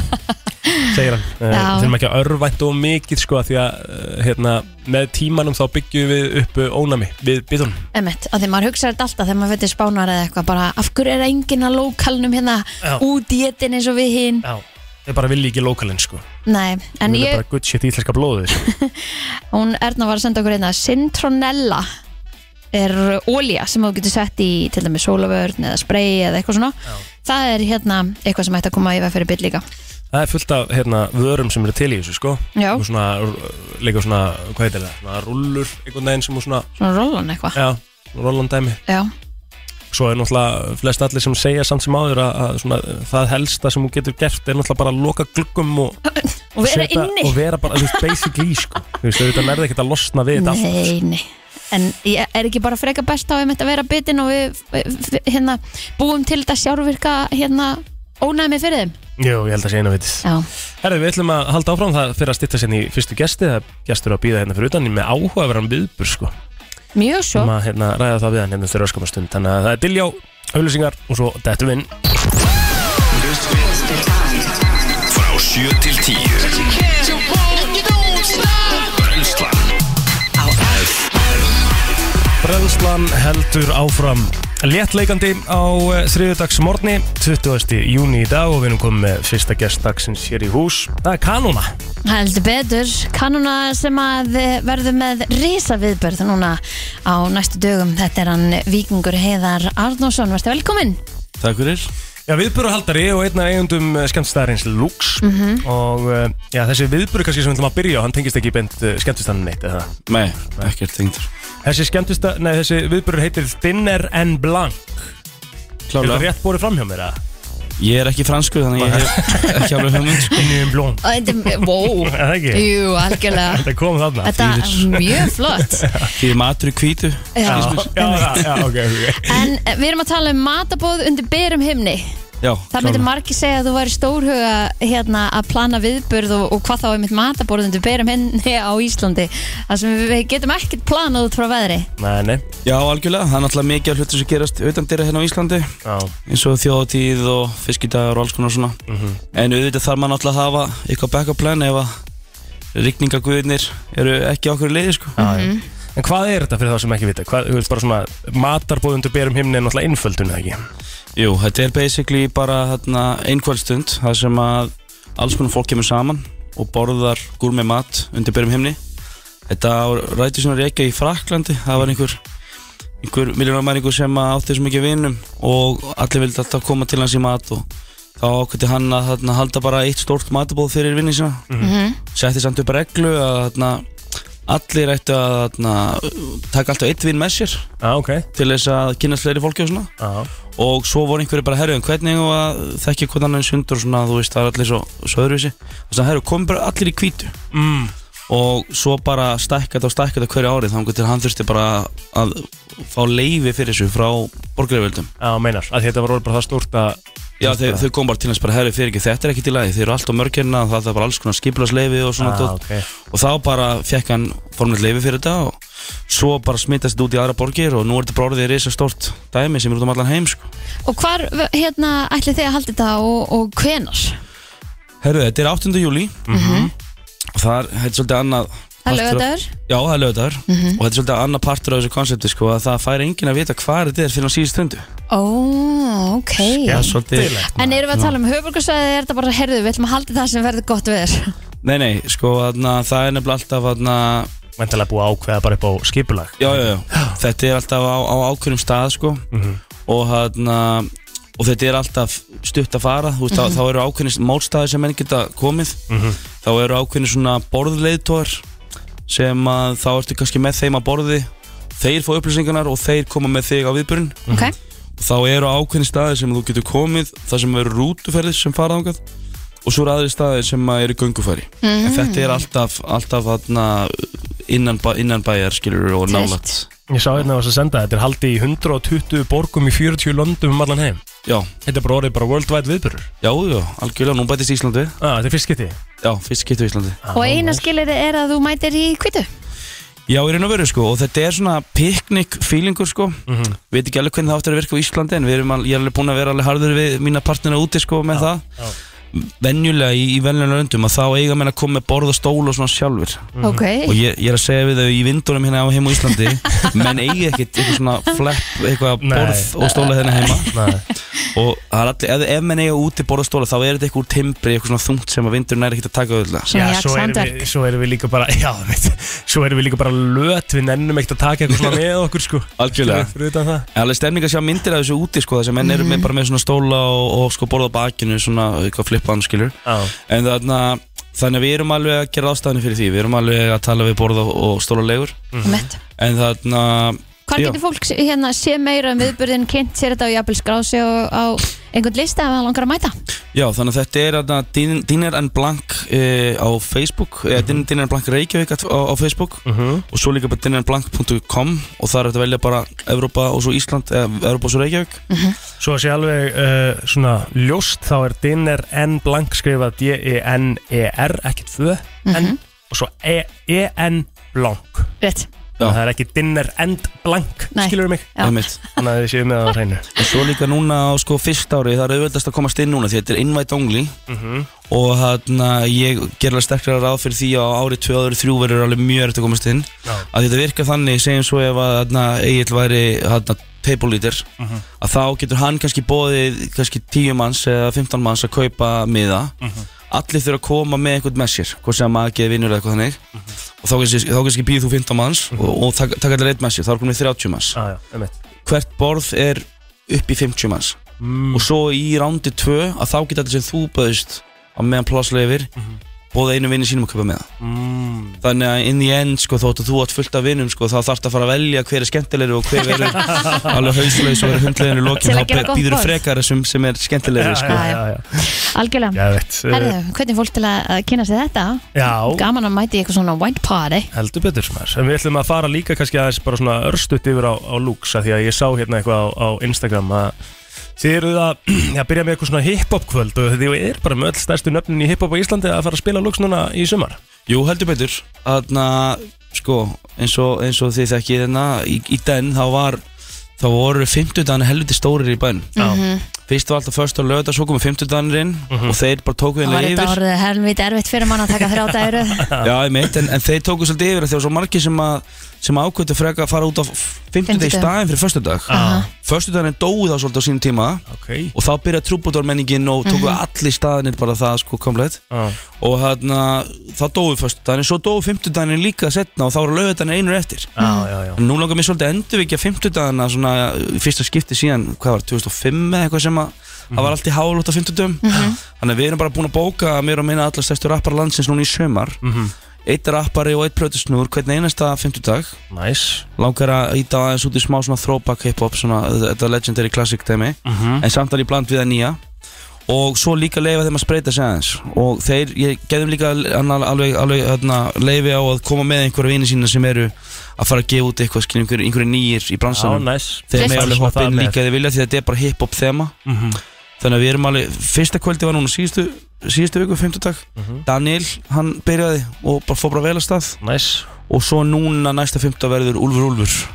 Speaker 3: segir hann Eh,
Speaker 4: Já.
Speaker 3: við þurfum ekki að örvænta og mikið sko af því að eh, hérna, með tímanum þá byggjum við upp eh, ónæmi við bitunum
Speaker 4: Emmett, að því maður hugsa þetta alltaf þegar maður fyrir spánar eða eitthvað bara af hverju er enginn að lókalnum hérna
Speaker 3: Já.
Speaker 4: út í etin eins og við hinn
Speaker 3: Já, þeir bara vilja ekki lókalinn sko
Speaker 4: Nei, en
Speaker 3: Þeir vilja
Speaker 4: ég,
Speaker 3: bara good shit í íslenska blóðið sko.
Speaker 4: hún Erna var að senda okkur einna Sintronella er ólía sem þú getur sett í til dæmis sólavörn eða spray eða eitthvað svona það er hérna eitthvað sem ætti að koma í veg fyrir byll líka
Speaker 3: það er fullt af hérna, vörum sem eru til í þessu sko
Speaker 4: Já.
Speaker 3: og svona, r- líka svona, hvað heitir það svona rullur, einhvern veginn sem þú svona
Speaker 4: svona rollan eitthvað
Speaker 3: já, rollan dæmi
Speaker 4: Já,
Speaker 3: svo er náttúrulega flest allir sem segja samt sem áður að, að svona, það helsta sem hún getur gert er náttúrulega bara að loka gluggum og,
Speaker 4: og vera
Speaker 3: setja-
Speaker 4: inni.
Speaker 3: og vera bara, þú veist, basically sko. þú veist, þetta nærði ekkert að losna við þetta allt sko.
Speaker 4: nei, nei En ég er ekki bara freka best á einmitt að vera bitin og við við- hérna, búum til þetta sjárvirka hérna, ónæmi fyrir þeim
Speaker 3: Jú, ég held að sé einu vitið
Speaker 4: Já.
Speaker 3: Herðu, við ætlum að halda áfram það fyrir að styrta sérni í fyrstu gesti það er gestur að býða hérna fyrir utan með áhugaverðan viðbur sko
Speaker 4: Mjög svo
Speaker 3: um að hérna, ræða það við hann hérna þegar öskum að stund þannig að það er Diljá, auðlýsingar og svo dettum við inn
Speaker 1: Frá 7 til 10 Brennslan Á
Speaker 3: Brennslan heldur áfram léttleikandi á eh, þriðjudagsmorgni 20. júni í dag og við erum komið með fyrsta gestdagsins hér í hús Það er Kanúna
Speaker 4: Heldur betur, kannuna sem að eh, verður með risa viðbörð núna á næstu dögum. Þetta er hann vikingur Heiðar Arnósson, verður velkominn.
Speaker 3: Takk fyrir Já, viðburðahaldari og einn af eigundum skemmtistæðarins Lux
Speaker 4: Mhm.
Speaker 3: og eh, já, þessi viðburð kannski sem við ætlum að byrja á hann tengist ekki beint skemmtistæðan neitt eða það?
Speaker 17: Nei, ekkert tengdur
Speaker 3: Þessi skemmtistæð, nei þessi viðburður heitir Dinner en Blanc Er
Speaker 17: Klárlega.
Speaker 3: það rétt borið fram hjá mér eða?
Speaker 17: Ég er ekki franskur þannig að ég hef ekki alveg hugmynd sko.
Speaker 3: Dinner en Blanc
Speaker 4: Og þetta er, wow,
Speaker 17: Er það ekki?
Speaker 4: jú, algjörlega.
Speaker 3: Þetta kom þarna
Speaker 4: Þetta er mjög flott.
Speaker 17: Því er matur í hvítu
Speaker 4: Já.
Speaker 3: já, já, ok, ok
Speaker 4: En eh, við erum að tala um matabóð undir berum himni.
Speaker 17: Já,
Speaker 4: Það myndir margir segja að þú væri stórhuga hérna, að plana viðbörð og, og hvað þá er mitt matabóð undir berum himni á Íslandi. Það sem við getum ekkert planað út frá veðri.
Speaker 3: Nei, nei
Speaker 17: Já, algjörlega, það er náttúrulega mikið af hlutum sem gerast utan dyra hérna á Íslandi
Speaker 3: Já.
Speaker 17: eins og þjóðatíð og fiskidagar og alls konar svona
Speaker 3: Mhm.
Speaker 17: En auðvitað þarf maður náttúrulega að hafa eitthvað backup plan ef að rigningaguðirnir eru ekki okkur í liði sko
Speaker 3: Já, já. En hvað er þetta fyrir þá sem ekki vita? Hvað, þú veist bara svona matarbóðundur berum himni er náttúrulega einföldun eða ekki?
Speaker 17: Jú, þetta er basically bara þarna, einhverjstund það sem að alls konar fólk kemur saman og borðar gúrmi mat undir byrjum himni Þetta rætti svona reykja í Fraklandi það var einhver, einhver miljónarmæringur sem að átti þessum mikið vinum og allir vildi alltaf koma til hans í mat og þá ákvæmdi hann að þarna, halda bara eitt stórt matabóð fyrir vinni sína
Speaker 4: Mhm.
Speaker 17: setti samt upp reglu að þarna, allir ættu að þarna, taka alltaf eitt vinn með sér
Speaker 3: ah, okay.
Speaker 17: til þess að kynna fleiri fólki og svona
Speaker 3: ah.
Speaker 17: og svo voru einhverju bara herru, en hvernig eigum við að þekkja hvernig annan sundur og svona, þú veist, það er allir svo, svo öðruvísi og þannig herru, komum bara allir í hvítu
Speaker 3: Mm.
Speaker 17: og svo bara stækka þetta og stækka þetta hverju árið þannig til hann þurfti bara að Mhm. fá leifi fyrir þessu frá borgaröfjöldum
Speaker 3: Já, meinar, að þetta var orðið bara það stórt að
Speaker 17: Já, þau, þau kom bara til hans bara, herru, fyrir ekki, þetta er ekki til aðeins, þeir eru alltaf mörgirna, það er bara alls konar skipilagsleifi og svona
Speaker 3: Ah,
Speaker 17: dót.
Speaker 3: ok.
Speaker 17: Og þá bara fekk hann formlega leifi fyrir þetta og svo bara smittast þetta út í aðra borgir og nú er þetta bara orðið risa stórt dæmi sem er út um allan heim, sko.
Speaker 4: Og hvar hérna ætli þið að halda þetta og, og hvenar?
Speaker 17: Herru, þetta er 8. júli og það er, þetta er svolítið annað
Speaker 4: Mhm. Það er
Speaker 17: partur af-
Speaker 4: laugardagur.
Speaker 17: Já, það er lögadagur
Speaker 4: Mhm.
Speaker 17: og þetta er svolítið annað partur af þessu konsepti sko, að það fær enginn að vita hvað þetta er fyrir á síðust stundu
Speaker 4: Ó, ok.
Speaker 17: Það er svolítið
Speaker 4: En erum við að tala um höfburgarsvæði eða er þetta bara, heyrðu, við ætlum að halda það sem verður gott veður?
Speaker 17: Nei, nei, sko, þarna, það er nefnilega alltaf þarna
Speaker 3: Væntalega búið að ákveða bara upp á skipulag
Speaker 17: Já, já, já, þetta er alltaf á, á ákveðnum stað sko
Speaker 3: Mhm.
Speaker 17: og þarna og þetta er alltaf stutt að fara þú veist, mm
Speaker 3: Mhm.
Speaker 17: þá eru ákveðnir málstæði sem enn geta komið
Speaker 3: Mhm.
Speaker 17: þá eru ákveðnir svona borðleiðtóar sem að þá ertu kannski með þeim að borði þeir fá upplýsingarnar og þeir koma með þig á viðbyrjun
Speaker 4: Ok.
Speaker 17: þá eru ákveðni staðir sem þú getur komið þar sem eru rútuferðir sem fara ángað og svo eru aðri staðir sem að eru göngufæri
Speaker 4: Mm.
Speaker 17: en þetta er alltaf, alltaf þarna, innan, uh, bæ, innan bæjar skilur og
Speaker 4: Tryllt.
Speaker 17: nálat
Speaker 3: Ég sá hérna þess að senda þetta er haldið í 120 borgum í 40 löndum um allan heim
Speaker 17: Já
Speaker 3: Þetta er bara orðið bara worldwide viðbörur
Speaker 17: Já, já, algjörlega, nú bætist Ísland við
Speaker 3: Já, þetta er fyrst getið
Speaker 17: Já, fyrst getið Íslandi
Speaker 4: Og eina skilirði er að þú mætir í kvitu
Speaker 17: Já, í raun og veru sko, og þetta er svona piknik feelingur sko
Speaker 3: Mhm.
Speaker 17: Veit ekki alveg hvernig það áttur að virka á Íslandi En við erum alveg, ég er alveg búin að vera alveg harður við mína partnera úti sko með það
Speaker 3: já.
Speaker 17: Venjulega í, í venjulega löndum að þá eiga menn að koma með borð og stól og svona sjálfur
Speaker 4: Mhm. Ok.
Speaker 17: Og ég, ég er að segja við þau í vindunum hérna á heim á Íslandi Menn eigi ekkit eitthvað svona flepp, eitthvað
Speaker 3: Nei.
Speaker 17: borð og stóla hérna heima
Speaker 3: Nei.
Speaker 17: Og það er allir, ef, ef menn eiga úti borð og stóla þá er þetta eitthvað úr timbri, eitthvað svona þungt sem að vindurinn er ekkit að taka öll
Speaker 3: Já, svo erum, við, svo erum við líka bara Já, veit, svo erum við líka bara löt Við nennum ekkert að taka eitthvað svona með okkur sko
Speaker 17: Algjörlega.
Speaker 3: Fyrir utan það
Speaker 17: Það er alveg stemning að sjá myndir af þessu úti sko, þess að menn eru
Speaker 4: Mhm.
Speaker 17: með, bara með svona stóla og, og sko borða á bakinu svona eitthvað flippan skilur
Speaker 3: ah.
Speaker 17: en þarna, þannig að við erum alveg að gera ástæðinu fyrir því, við erum alveg að tala við borða og stóla legur
Speaker 4: Mhm. Einmitt.
Speaker 17: en þarna
Speaker 4: Hvar
Speaker 17: já.
Speaker 4: getur fólk sé- hérna sé meira um viðburðin kynnt sér þetta og jafnvel skráð sér á á einhvern lista ef það langar að mæta
Speaker 17: Já, þannig að þetta er þarna Din- Dinner and Blank eh, á Facebook eða Din- Dinner and Blank Reykjavík at- á, á Facebook og svo líka bara dinnerandblank.com og þar er þetta að velja bara Evrópa og svo Ísland eða Evrópa og svo Reykjavík
Speaker 4: Mhm.
Speaker 3: Svo að sé alveg uh, svona ljóst Þá er dinner n blank skrifað E D-E-N-E-R Ekkert föð N Og svo E- E-N blank
Speaker 4: Mhm. Rétt
Speaker 3: Það er ekki dinner and blank
Speaker 4: Nei.
Speaker 3: Skilur mig
Speaker 4: Já.
Speaker 17: Einmitt.
Speaker 3: Þannig að þið séu með það á hreinu
Speaker 17: En svo líka núna á sko fyrst ári það er auðveldast að komast inn núna því þetta er invite only
Speaker 3: Mhm.
Speaker 17: og þarna ég ger alveg sterklega ráð fyrir því að á ári 2 ári 3 verður alveg mjög erfitt að komast inn
Speaker 3: Já.
Speaker 17: að þetta virkar þannig segjum svo ef að þarna Egil væri þarna table leader
Speaker 3: Mhm.
Speaker 17: að þá getur hann kannski bóðið kannski 10 manns eða 15 manns að kaupa miða
Speaker 3: Mhm.
Speaker 17: allir þurfa að koma með eitthvað með sér hvort sem að geði vinnur eða eitthvað þannig og þá kannski, þá kannski býð þú 15 manns og, og taka taka allir eitt með sér, þá er komið 30 manns
Speaker 3: Mhm. Já, já, einmitt
Speaker 17: hvert borð er upp í 50 manns
Speaker 3: Mm.
Speaker 17: og svo í rándi 2 að þá geta allir sem þú bauðist að meðan plásleifir mm -hmm. bóða einu vinni sínum að köpa með það
Speaker 3: Mhm. mm.
Speaker 17: þannig að inn í end sko þótt að þú átt fullt af vinnum sko þá þarfst að fara að velja hver er skemmtilegri og hver verður alveg hauslaus og verður hundleginu
Speaker 4: Til
Speaker 17: lokin
Speaker 4: að gera
Speaker 17: þá
Speaker 4: gott
Speaker 17: býður
Speaker 4: borð.
Speaker 17: frekar þessum sem er skemmtilegri sko
Speaker 4: Já, já, Algjörlega
Speaker 3: Geðveikt.
Speaker 4: Herðu, hvernig er fólk til að að kynna sér þetta?
Speaker 3: Já.
Speaker 4: Gaman að mæti í eitthvað svona wine party
Speaker 3: Heldur betur smar En við ætlum að fara líka kannski aðeins bara svona örstutt yfir á, á looks af Því að ég sá hérna eitthvað á, á Instagram að Þið eruð að, að byrja með eitthvað svona hip-hop kvöld og þið er bara með öll stærstu nöfnin í hip-hop á Íslandi að fara að spila looks núna í sumar
Speaker 17: Jú, heldur betur Þarna, sko, eins og, eins og þið þekkið hérna í, í den þá var þá voru 50 dagarnir helviti stórir í bæn
Speaker 4: Mhm.
Speaker 17: Fyrst var alltaf först og lögða, svo komu 50 dagarnir inn
Speaker 3: Mhm.
Speaker 17: og þeir bara tóku
Speaker 4: Það
Speaker 17: hérna
Speaker 4: var
Speaker 17: yfir
Speaker 4: þetta orðið helvít erfitt fyrir mann að taka þrjá dæru
Speaker 17: Já, ég meit, en, en þeir tóku svolítið yfir af því að það var svo margir sem, að, sem ákvöldu freka að fara út á 50 dag í
Speaker 4: Fimmtudögum.
Speaker 17: staðin fyrir förstu dag
Speaker 4: Aha.
Speaker 17: Förstu daginn dói þá svolítið á sínum tíma
Speaker 3: okay.
Speaker 17: og þá byrjaði trúbútormenningin og tóku
Speaker 4: Mhm.
Speaker 17: allir staðinir bara það sko komplett og þarna, þá dói förstu daginn svo dói 50 daginn líka setna og þá voru lögðu daginn einur eftir
Speaker 3: Já, já, já.
Speaker 17: Nú langar mér svolítið að endurvíkja 50 dagina svona í fyrsta skipti síðan, hvað var, 2005 eða eitthvað sem að það
Speaker 3: Mhm.
Speaker 17: var allt í hálótt á 50 dagum Þannig að við erum bara búin að bóka mér og minna allar stærstu rappar landsins núna í sömar
Speaker 3: Mhm.
Speaker 17: Eitt rappari og eitt plötusnúr hvern einasta 50 dag
Speaker 3: nice.
Speaker 17: Langar að íta aðeins út í smá svona throwback hip-hop svona, þetta legendary classic dæmi
Speaker 3: Mhm.
Speaker 17: en samt alveg bland við að nýja og svo líka leifa þeim að spreita sig aðeins og þeir, ég geðum líka annað- alveg, alveg hérna, leifi á að koma með einhverja vini sína sem eru að fara að gefa út eitthvað, skilja einhverju einhver nýjir í bransanum
Speaker 3: Já, nice.
Speaker 17: þeir með
Speaker 3: Flestir.
Speaker 17: alveg hoppa inn
Speaker 3: Það með.
Speaker 17: líka ef þeir vilja því þetta er bara hip-hop þema
Speaker 3: Mhm.
Speaker 17: þannig að við erum alveg, fyrsta kvöldi var núna síðustu, síðustu viku, fimmtudag
Speaker 3: Mhm.
Speaker 17: Daniel, hann byrjaði og bara fór bara vel að stað
Speaker 3: nice.
Speaker 17: og svo núna næsta fimmta verður Úlfur Úlfur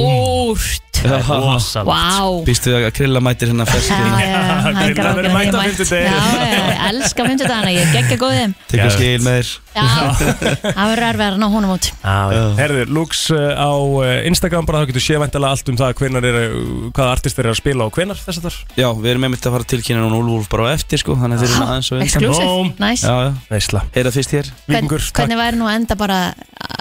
Speaker 4: Stórt Það
Speaker 17: Já.
Speaker 4: er rosalegt. Vá.
Speaker 17: Býstu við að krilla mætir hérna fyrst
Speaker 4: Grilla
Speaker 3: verður mætt á
Speaker 4: Já, ég elska 50 dagana, ég geggja góðið
Speaker 17: Tekur skil með þér
Speaker 4: Já, það verður erfið að ná honum út
Speaker 3: Já, já. Herðu, looks uh, á uh, Instagram bara þá getur séð væntalega allt um það hvenar er, hvaða artistir er að spila og hvenar þess að þar
Speaker 17: Já, við erum einmitt að fara að tilkynna núna Úlfur bara á eftir sko, þannig að þeir eru aðeins og
Speaker 4: Exclusive, nice.
Speaker 17: Já, já,
Speaker 3: veistla
Speaker 17: Heyra fyrst hér
Speaker 4: Hvern- Hvernig væri nú að enda bara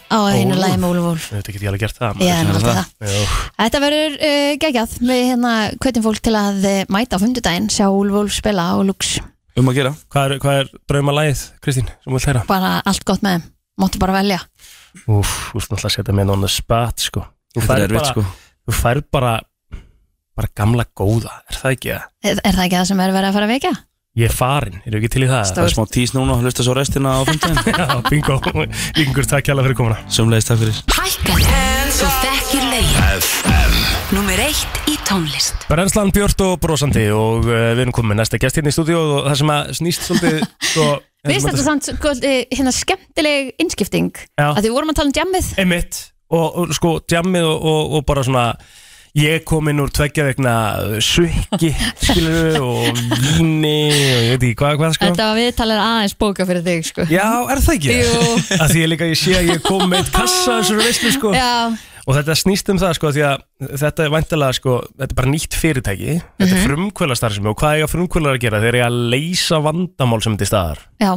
Speaker 4: á einu
Speaker 3: Úlfur.
Speaker 4: lagi með Úlfúlf
Speaker 3: Þetta get ég alveg gert það
Speaker 4: Ég er náttúrulega
Speaker 3: Jú.
Speaker 4: Þetta verður uh, geggjað Við hérna hvetjum fólk til að eh, mæta á 50 daginn Sjá Úlfúlf spila og lúks
Speaker 17: Um að gera
Speaker 3: Hvað er, hvað er draumalagið, Kristín, sem við hlæra?
Speaker 4: Bara allt gott með þeim, máttu bara velja
Speaker 3: Úf, þú ert náttúrulega að setja með on the spot sko.
Speaker 17: Þetta
Speaker 3: Þú
Speaker 17: er
Speaker 3: færð
Speaker 17: erfitt,
Speaker 3: bara-
Speaker 17: sko.
Speaker 3: Þú færð bara bara gamla góða, er það ekki það?
Speaker 4: Er, er það ekki það sem er verið að fara að vekja?
Speaker 3: Ég er farin, eru ekki til í það?
Speaker 17: Það er smá tís núna, hlusta svo restina á fundin
Speaker 3: Já, bingo Yngur, takk hjá fyrir komuna
Speaker 17: Sumleis, takk fyrir
Speaker 18: Hækkan, þú þekkir lögin
Speaker 1: FM
Speaker 18: Númer eitt í tónlist
Speaker 3: Brennslan Björn og brosandi og uh, við erum komið með næsta gest hérna í stúdíu og það sem að snýst svolítið sko,
Speaker 4: Mér finnst þetta samt sko, eh, hérna skemmtileg innskipting
Speaker 3: Já.
Speaker 4: að því við vorum að tala um jammið
Speaker 3: Einmitt og, og sko djammið og, og, og bara svona ég kom inn úr tveggja vegna sukki skilur og víni og ég veit ekki hvað hvað sko
Speaker 4: Þetta var við talar aðeins bóka fyrir þig sko.
Speaker 3: Já, er það ekki?
Speaker 4: Jú,
Speaker 3: að því ég líka ég sé að ég kom með eitt kassa þessari veislu sko
Speaker 4: já,
Speaker 3: og þetta snýst um það sko því að þetta er væntalega sko þetta er bara nýtt fyrirtæki þetta
Speaker 4: Mhm.
Speaker 3: er frumkvöla starfsemi og hvað eiga frumkvölar að gera þeir eiga að leysa vandamál sem þetta er staðar
Speaker 4: já,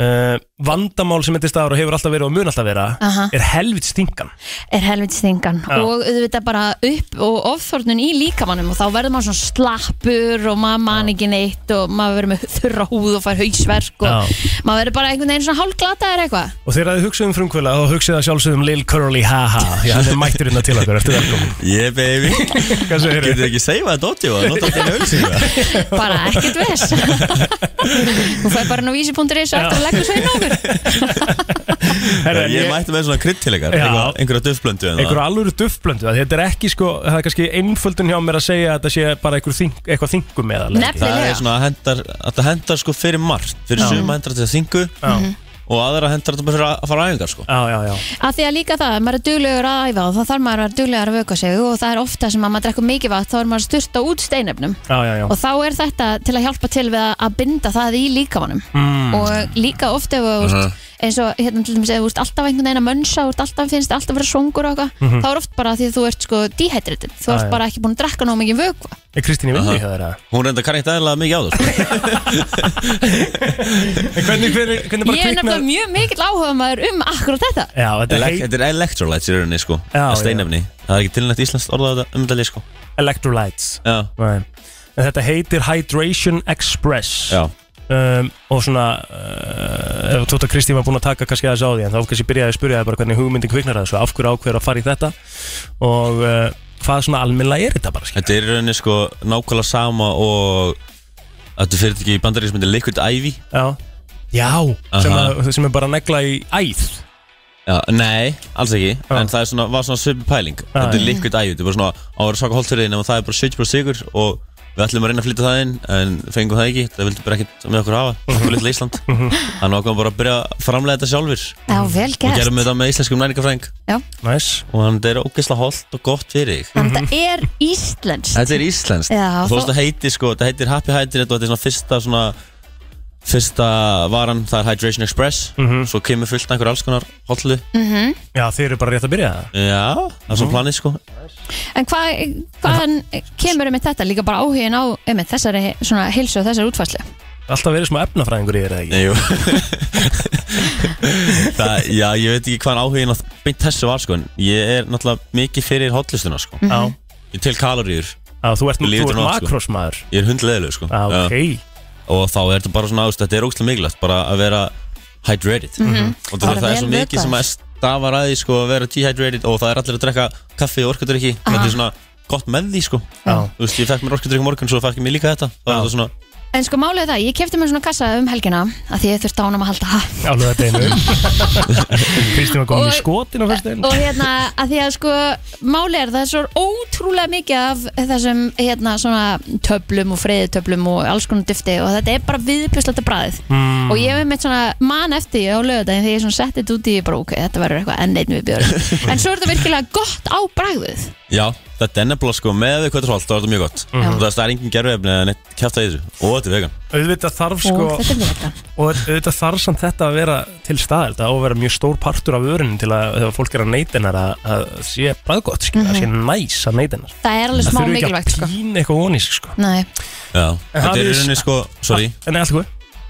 Speaker 3: uh, vandamál sem þetta er staðar og hefur alltaf verið og mun alltaf vera
Speaker 4: Aha.
Speaker 3: er helvit stingan
Speaker 4: er helviti stingan
Speaker 3: Já.
Speaker 4: og auðvitað bara upp og ofþórnun í líkamannum og þá verður maður svona slappur og maður man ekki neitt og maður verður með þurra húð og fær hausverk og maður verður bara einhvern veginn svona hálglataður eitthvað
Speaker 3: og þegar þið hugsið um frumkvöla þá hugsið það sjálfsögum um Lil Curly Haha já, hann er mættur inn að til okkur, ertu velkomin
Speaker 19: Yeah baby
Speaker 3: Hvað segir
Speaker 19: þau? Getur ekki seifað að dotja og nota alltaf ölsinga
Speaker 4: bara ekkert ves þú fær bara nú vísi.is og eftir að leggur sveinu okkur
Speaker 19: Ég mætti með svona krydd til ykkar
Speaker 3: Já.
Speaker 19: einhver- Einhverja duftblöndu en það.
Speaker 3: einhver alvöru duftblöndu að þetta er ekki sko það er kannski einföldun hjá mér að segja að þetta sé bara einhver þing, eitthvað þingum eða
Speaker 19: Það er svona að hendar, að það hendar sko fyrir margt Fyrir
Speaker 3: Já.
Speaker 19: suma hendar þetta þingu
Speaker 4: Mhm.
Speaker 3: Já.
Speaker 19: Og aðra hendar þetta bara fyrir að fara á æfingar sko
Speaker 3: Já, já, já
Speaker 4: að því að líka það, ef maður er duglegur að æfa og þá þarf maður að vera duglegur að vöka sig og það er ofta sem að maður drekkur mikið vatn þá er maður að styrta út steinefnum
Speaker 3: já, já, já.
Speaker 4: og þá er þetta til að hjálpa til við að- að binda það í líkamannum
Speaker 3: Mm.
Speaker 4: og líka ofta ef þú
Speaker 3: Mhm.
Speaker 4: veist eins og hérna til dæmis ef þú ert alltaf einhvern veginn að mönsa og ert alltaf finnst alltaf að vera svongur og eitthvað
Speaker 3: Mhm.
Speaker 4: þá er oft bara því að þú ert sko dehydrated þú
Speaker 19: Já,
Speaker 4: ert
Speaker 19: já.
Speaker 4: bara ekki búin að drekka nóg mikið vöku
Speaker 3: Er Kristín í vinnu hjá þeirra?
Speaker 19: Hún reynda kann eitt aðeinslega mikið á það sko.
Speaker 3: hvernig, hvernig, hvernig
Speaker 4: ég er nefnilega mjög mikill áhuga maður um akkurat þetta
Speaker 3: Já, þetta
Speaker 19: Elec- Þetta er electrolytes í rauninni sko
Speaker 3: Já,
Speaker 19: Það er Steinefni Það er ekki tilnætt íslenskt orðað um þetta lið sko
Speaker 3: Electrolytes
Speaker 19: Já
Speaker 3: Nei. En þetta heitir Hydration Express
Speaker 19: Já
Speaker 3: um, Og svona uh, Ef Tóta Kristín var búin að taka kannski aðeins á því En þá kannski byrjaði að spyrja þig bara hvernig hugmyndin kviknar að þessu Af hverju ákveður að fara í þetta Og uh, hvað svona almennilega er þetta bara skil?
Speaker 19: Þetta er í rauninni sko nákvæmlega sama og Þetta fyrir ekki í bandarísmyndi Liquid Ivy
Speaker 3: Já, já sem,
Speaker 19: Aha.
Speaker 3: að, sem er bara að negla í æð
Speaker 19: Já, nei, alls ekki En það er svona, var svona svipi pæling Þetta er
Speaker 3: já.
Speaker 19: liquid ægjum, þetta er bara svona á að vera svaka holt fyrir þig Nefnum það er bara 70% sigur og við ætlum að reyna að flytta það inn En fengum það ekki, það vildi bara ekkert með okkur hafa Okkur litla Ísland
Speaker 3: Mhm.
Speaker 19: Þannig ákveðum bara að byrja að framlega þetta sjálfur
Speaker 4: Já, vel
Speaker 19: Og
Speaker 4: gert.
Speaker 19: gerum þetta með íslenskum næningafræðing
Speaker 4: Já.
Speaker 3: Næs
Speaker 19: Og þannig þetta er ógeðslega holt og gott fyrir þig
Speaker 4: þannig að þetta er íslenskt
Speaker 19: Þetta er íslenskt
Speaker 4: Já,
Speaker 19: Og Þú veist
Speaker 4: þá-
Speaker 19: það heiti sko, það heitir Happy Hydrate og þetta er svona fyrsta svona Fyrsta varan, það er Hydration Express Svo kemur fullt af einhver alls konar hóllu
Speaker 4: Mhm.
Speaker 3: Mhm. Já, þeir eru bara rétt að byrja Mhm. það
Speaker 19: Já, það er svona planið sko
Speaker 4: en hvað hvaðan kemur um þetta líka bara áhugin á um þessari svona hilsu og þessari útfæslu
Speaker 3: Alltaf verið smá efnafræðingur í þér eða ekki?
Speaker 19: Jú það, Já, ég veit ekki hvaðan áhugin að beint þessu var sko En ég er náttúrulega mikið fyrir hollustuna sko
Speaker 4: Mm. Mhm.
Speaker 3: Já.
Speaker 19: Ég tel kaloríur
Speaker 3: Já, þú ert, þú
Speaker 19: Lífið
Speaker 3: ert
Speaker 19: er nóg, sko.
Speaker 3: makrósmaður
Speaker 19: Ég er hundleðileg sko
Speaker 3: Já, Ah, ok.
Speaker 19: Og þá er þetta bara svona, þú veist, þetta er ógstlega mikilvægt Bara að vera hydrated
Speaker 3: Mhm.
Speaker 19: Og það,
Speaker 3: Bara
Speaker 19: það er svo
Speaker 3: vel
Speaker 19: mikið sem
Speaker 3: vökvaður.
Speaker 19: að stafar að því sko Að vera dehydrated og það er allir að drekka kaffi og orkudrykki Þetta
Speaker 3: Ah.
Speaker 19: er svona gott með því sko
Speaker 3: Já.
Speaker 19: Þú veist, ég fekk mér orkudrykk morgun Svo fekk ég mér líka þetta Það er þetta svona
Speaker 4: En sko málið er það, ég kefti mér svona kassa um helgina að því ég þurfti ánum að halda
Speaker 3: Alveg þetta einu Kristín var komin í skotin á fyrstu
Speaker 4: og hérna að því að sko málið er það er svo ótrúlega mikið af þessum hérna svona töflum og freyðutöflum og alls konar dufti og þetta er bara viðbjöslegt að bræðið
Speaker 13: Mm.
Speaker 4: og ég hef meitt svona man eftir á lögadaginn þegar ég svona setti þetta út í ég bara ok, þetta verður eitthvað enn einn viðbjörn en svo er þetta virkilega gott á bræðið
Speaker 19: Já, þetta er nefnilega sko með við hvað þetta er holdt, þá er þetta mjög gott
Speaker 4: Mhm.
Speaker 19: og það er engin gerfið eða neitt kæft að þessu og þetta er vegan
Speaker 3: Auðvitað þarf sko
Speaker 4: og þetta er þetta
Speaker 3: Og auðvitað þarf samt þetta að vera til staðar Þetta á að vera mjög stór partur af vörunum til að þegar fólk er að neyta hennar að, að sé bræðgott, skil, að sé
Speaker 4: Mhm.
Speaker 3: næs að neyta hennar
Speaker 4: það er alveg smá
Speaker 3: þurfi ekki
Speaker 4: mikilvægt sko
Speaker 3: að pína eitthvað onísk sko
Speaker 4: Nei.
Speaker 19: Já, þetta er
Speaker 3: hafið
Speaker 19: í
Speaker 3: þið-
Speaker 19: rauninni sko, sorry
Speaker 3: En allt hvað?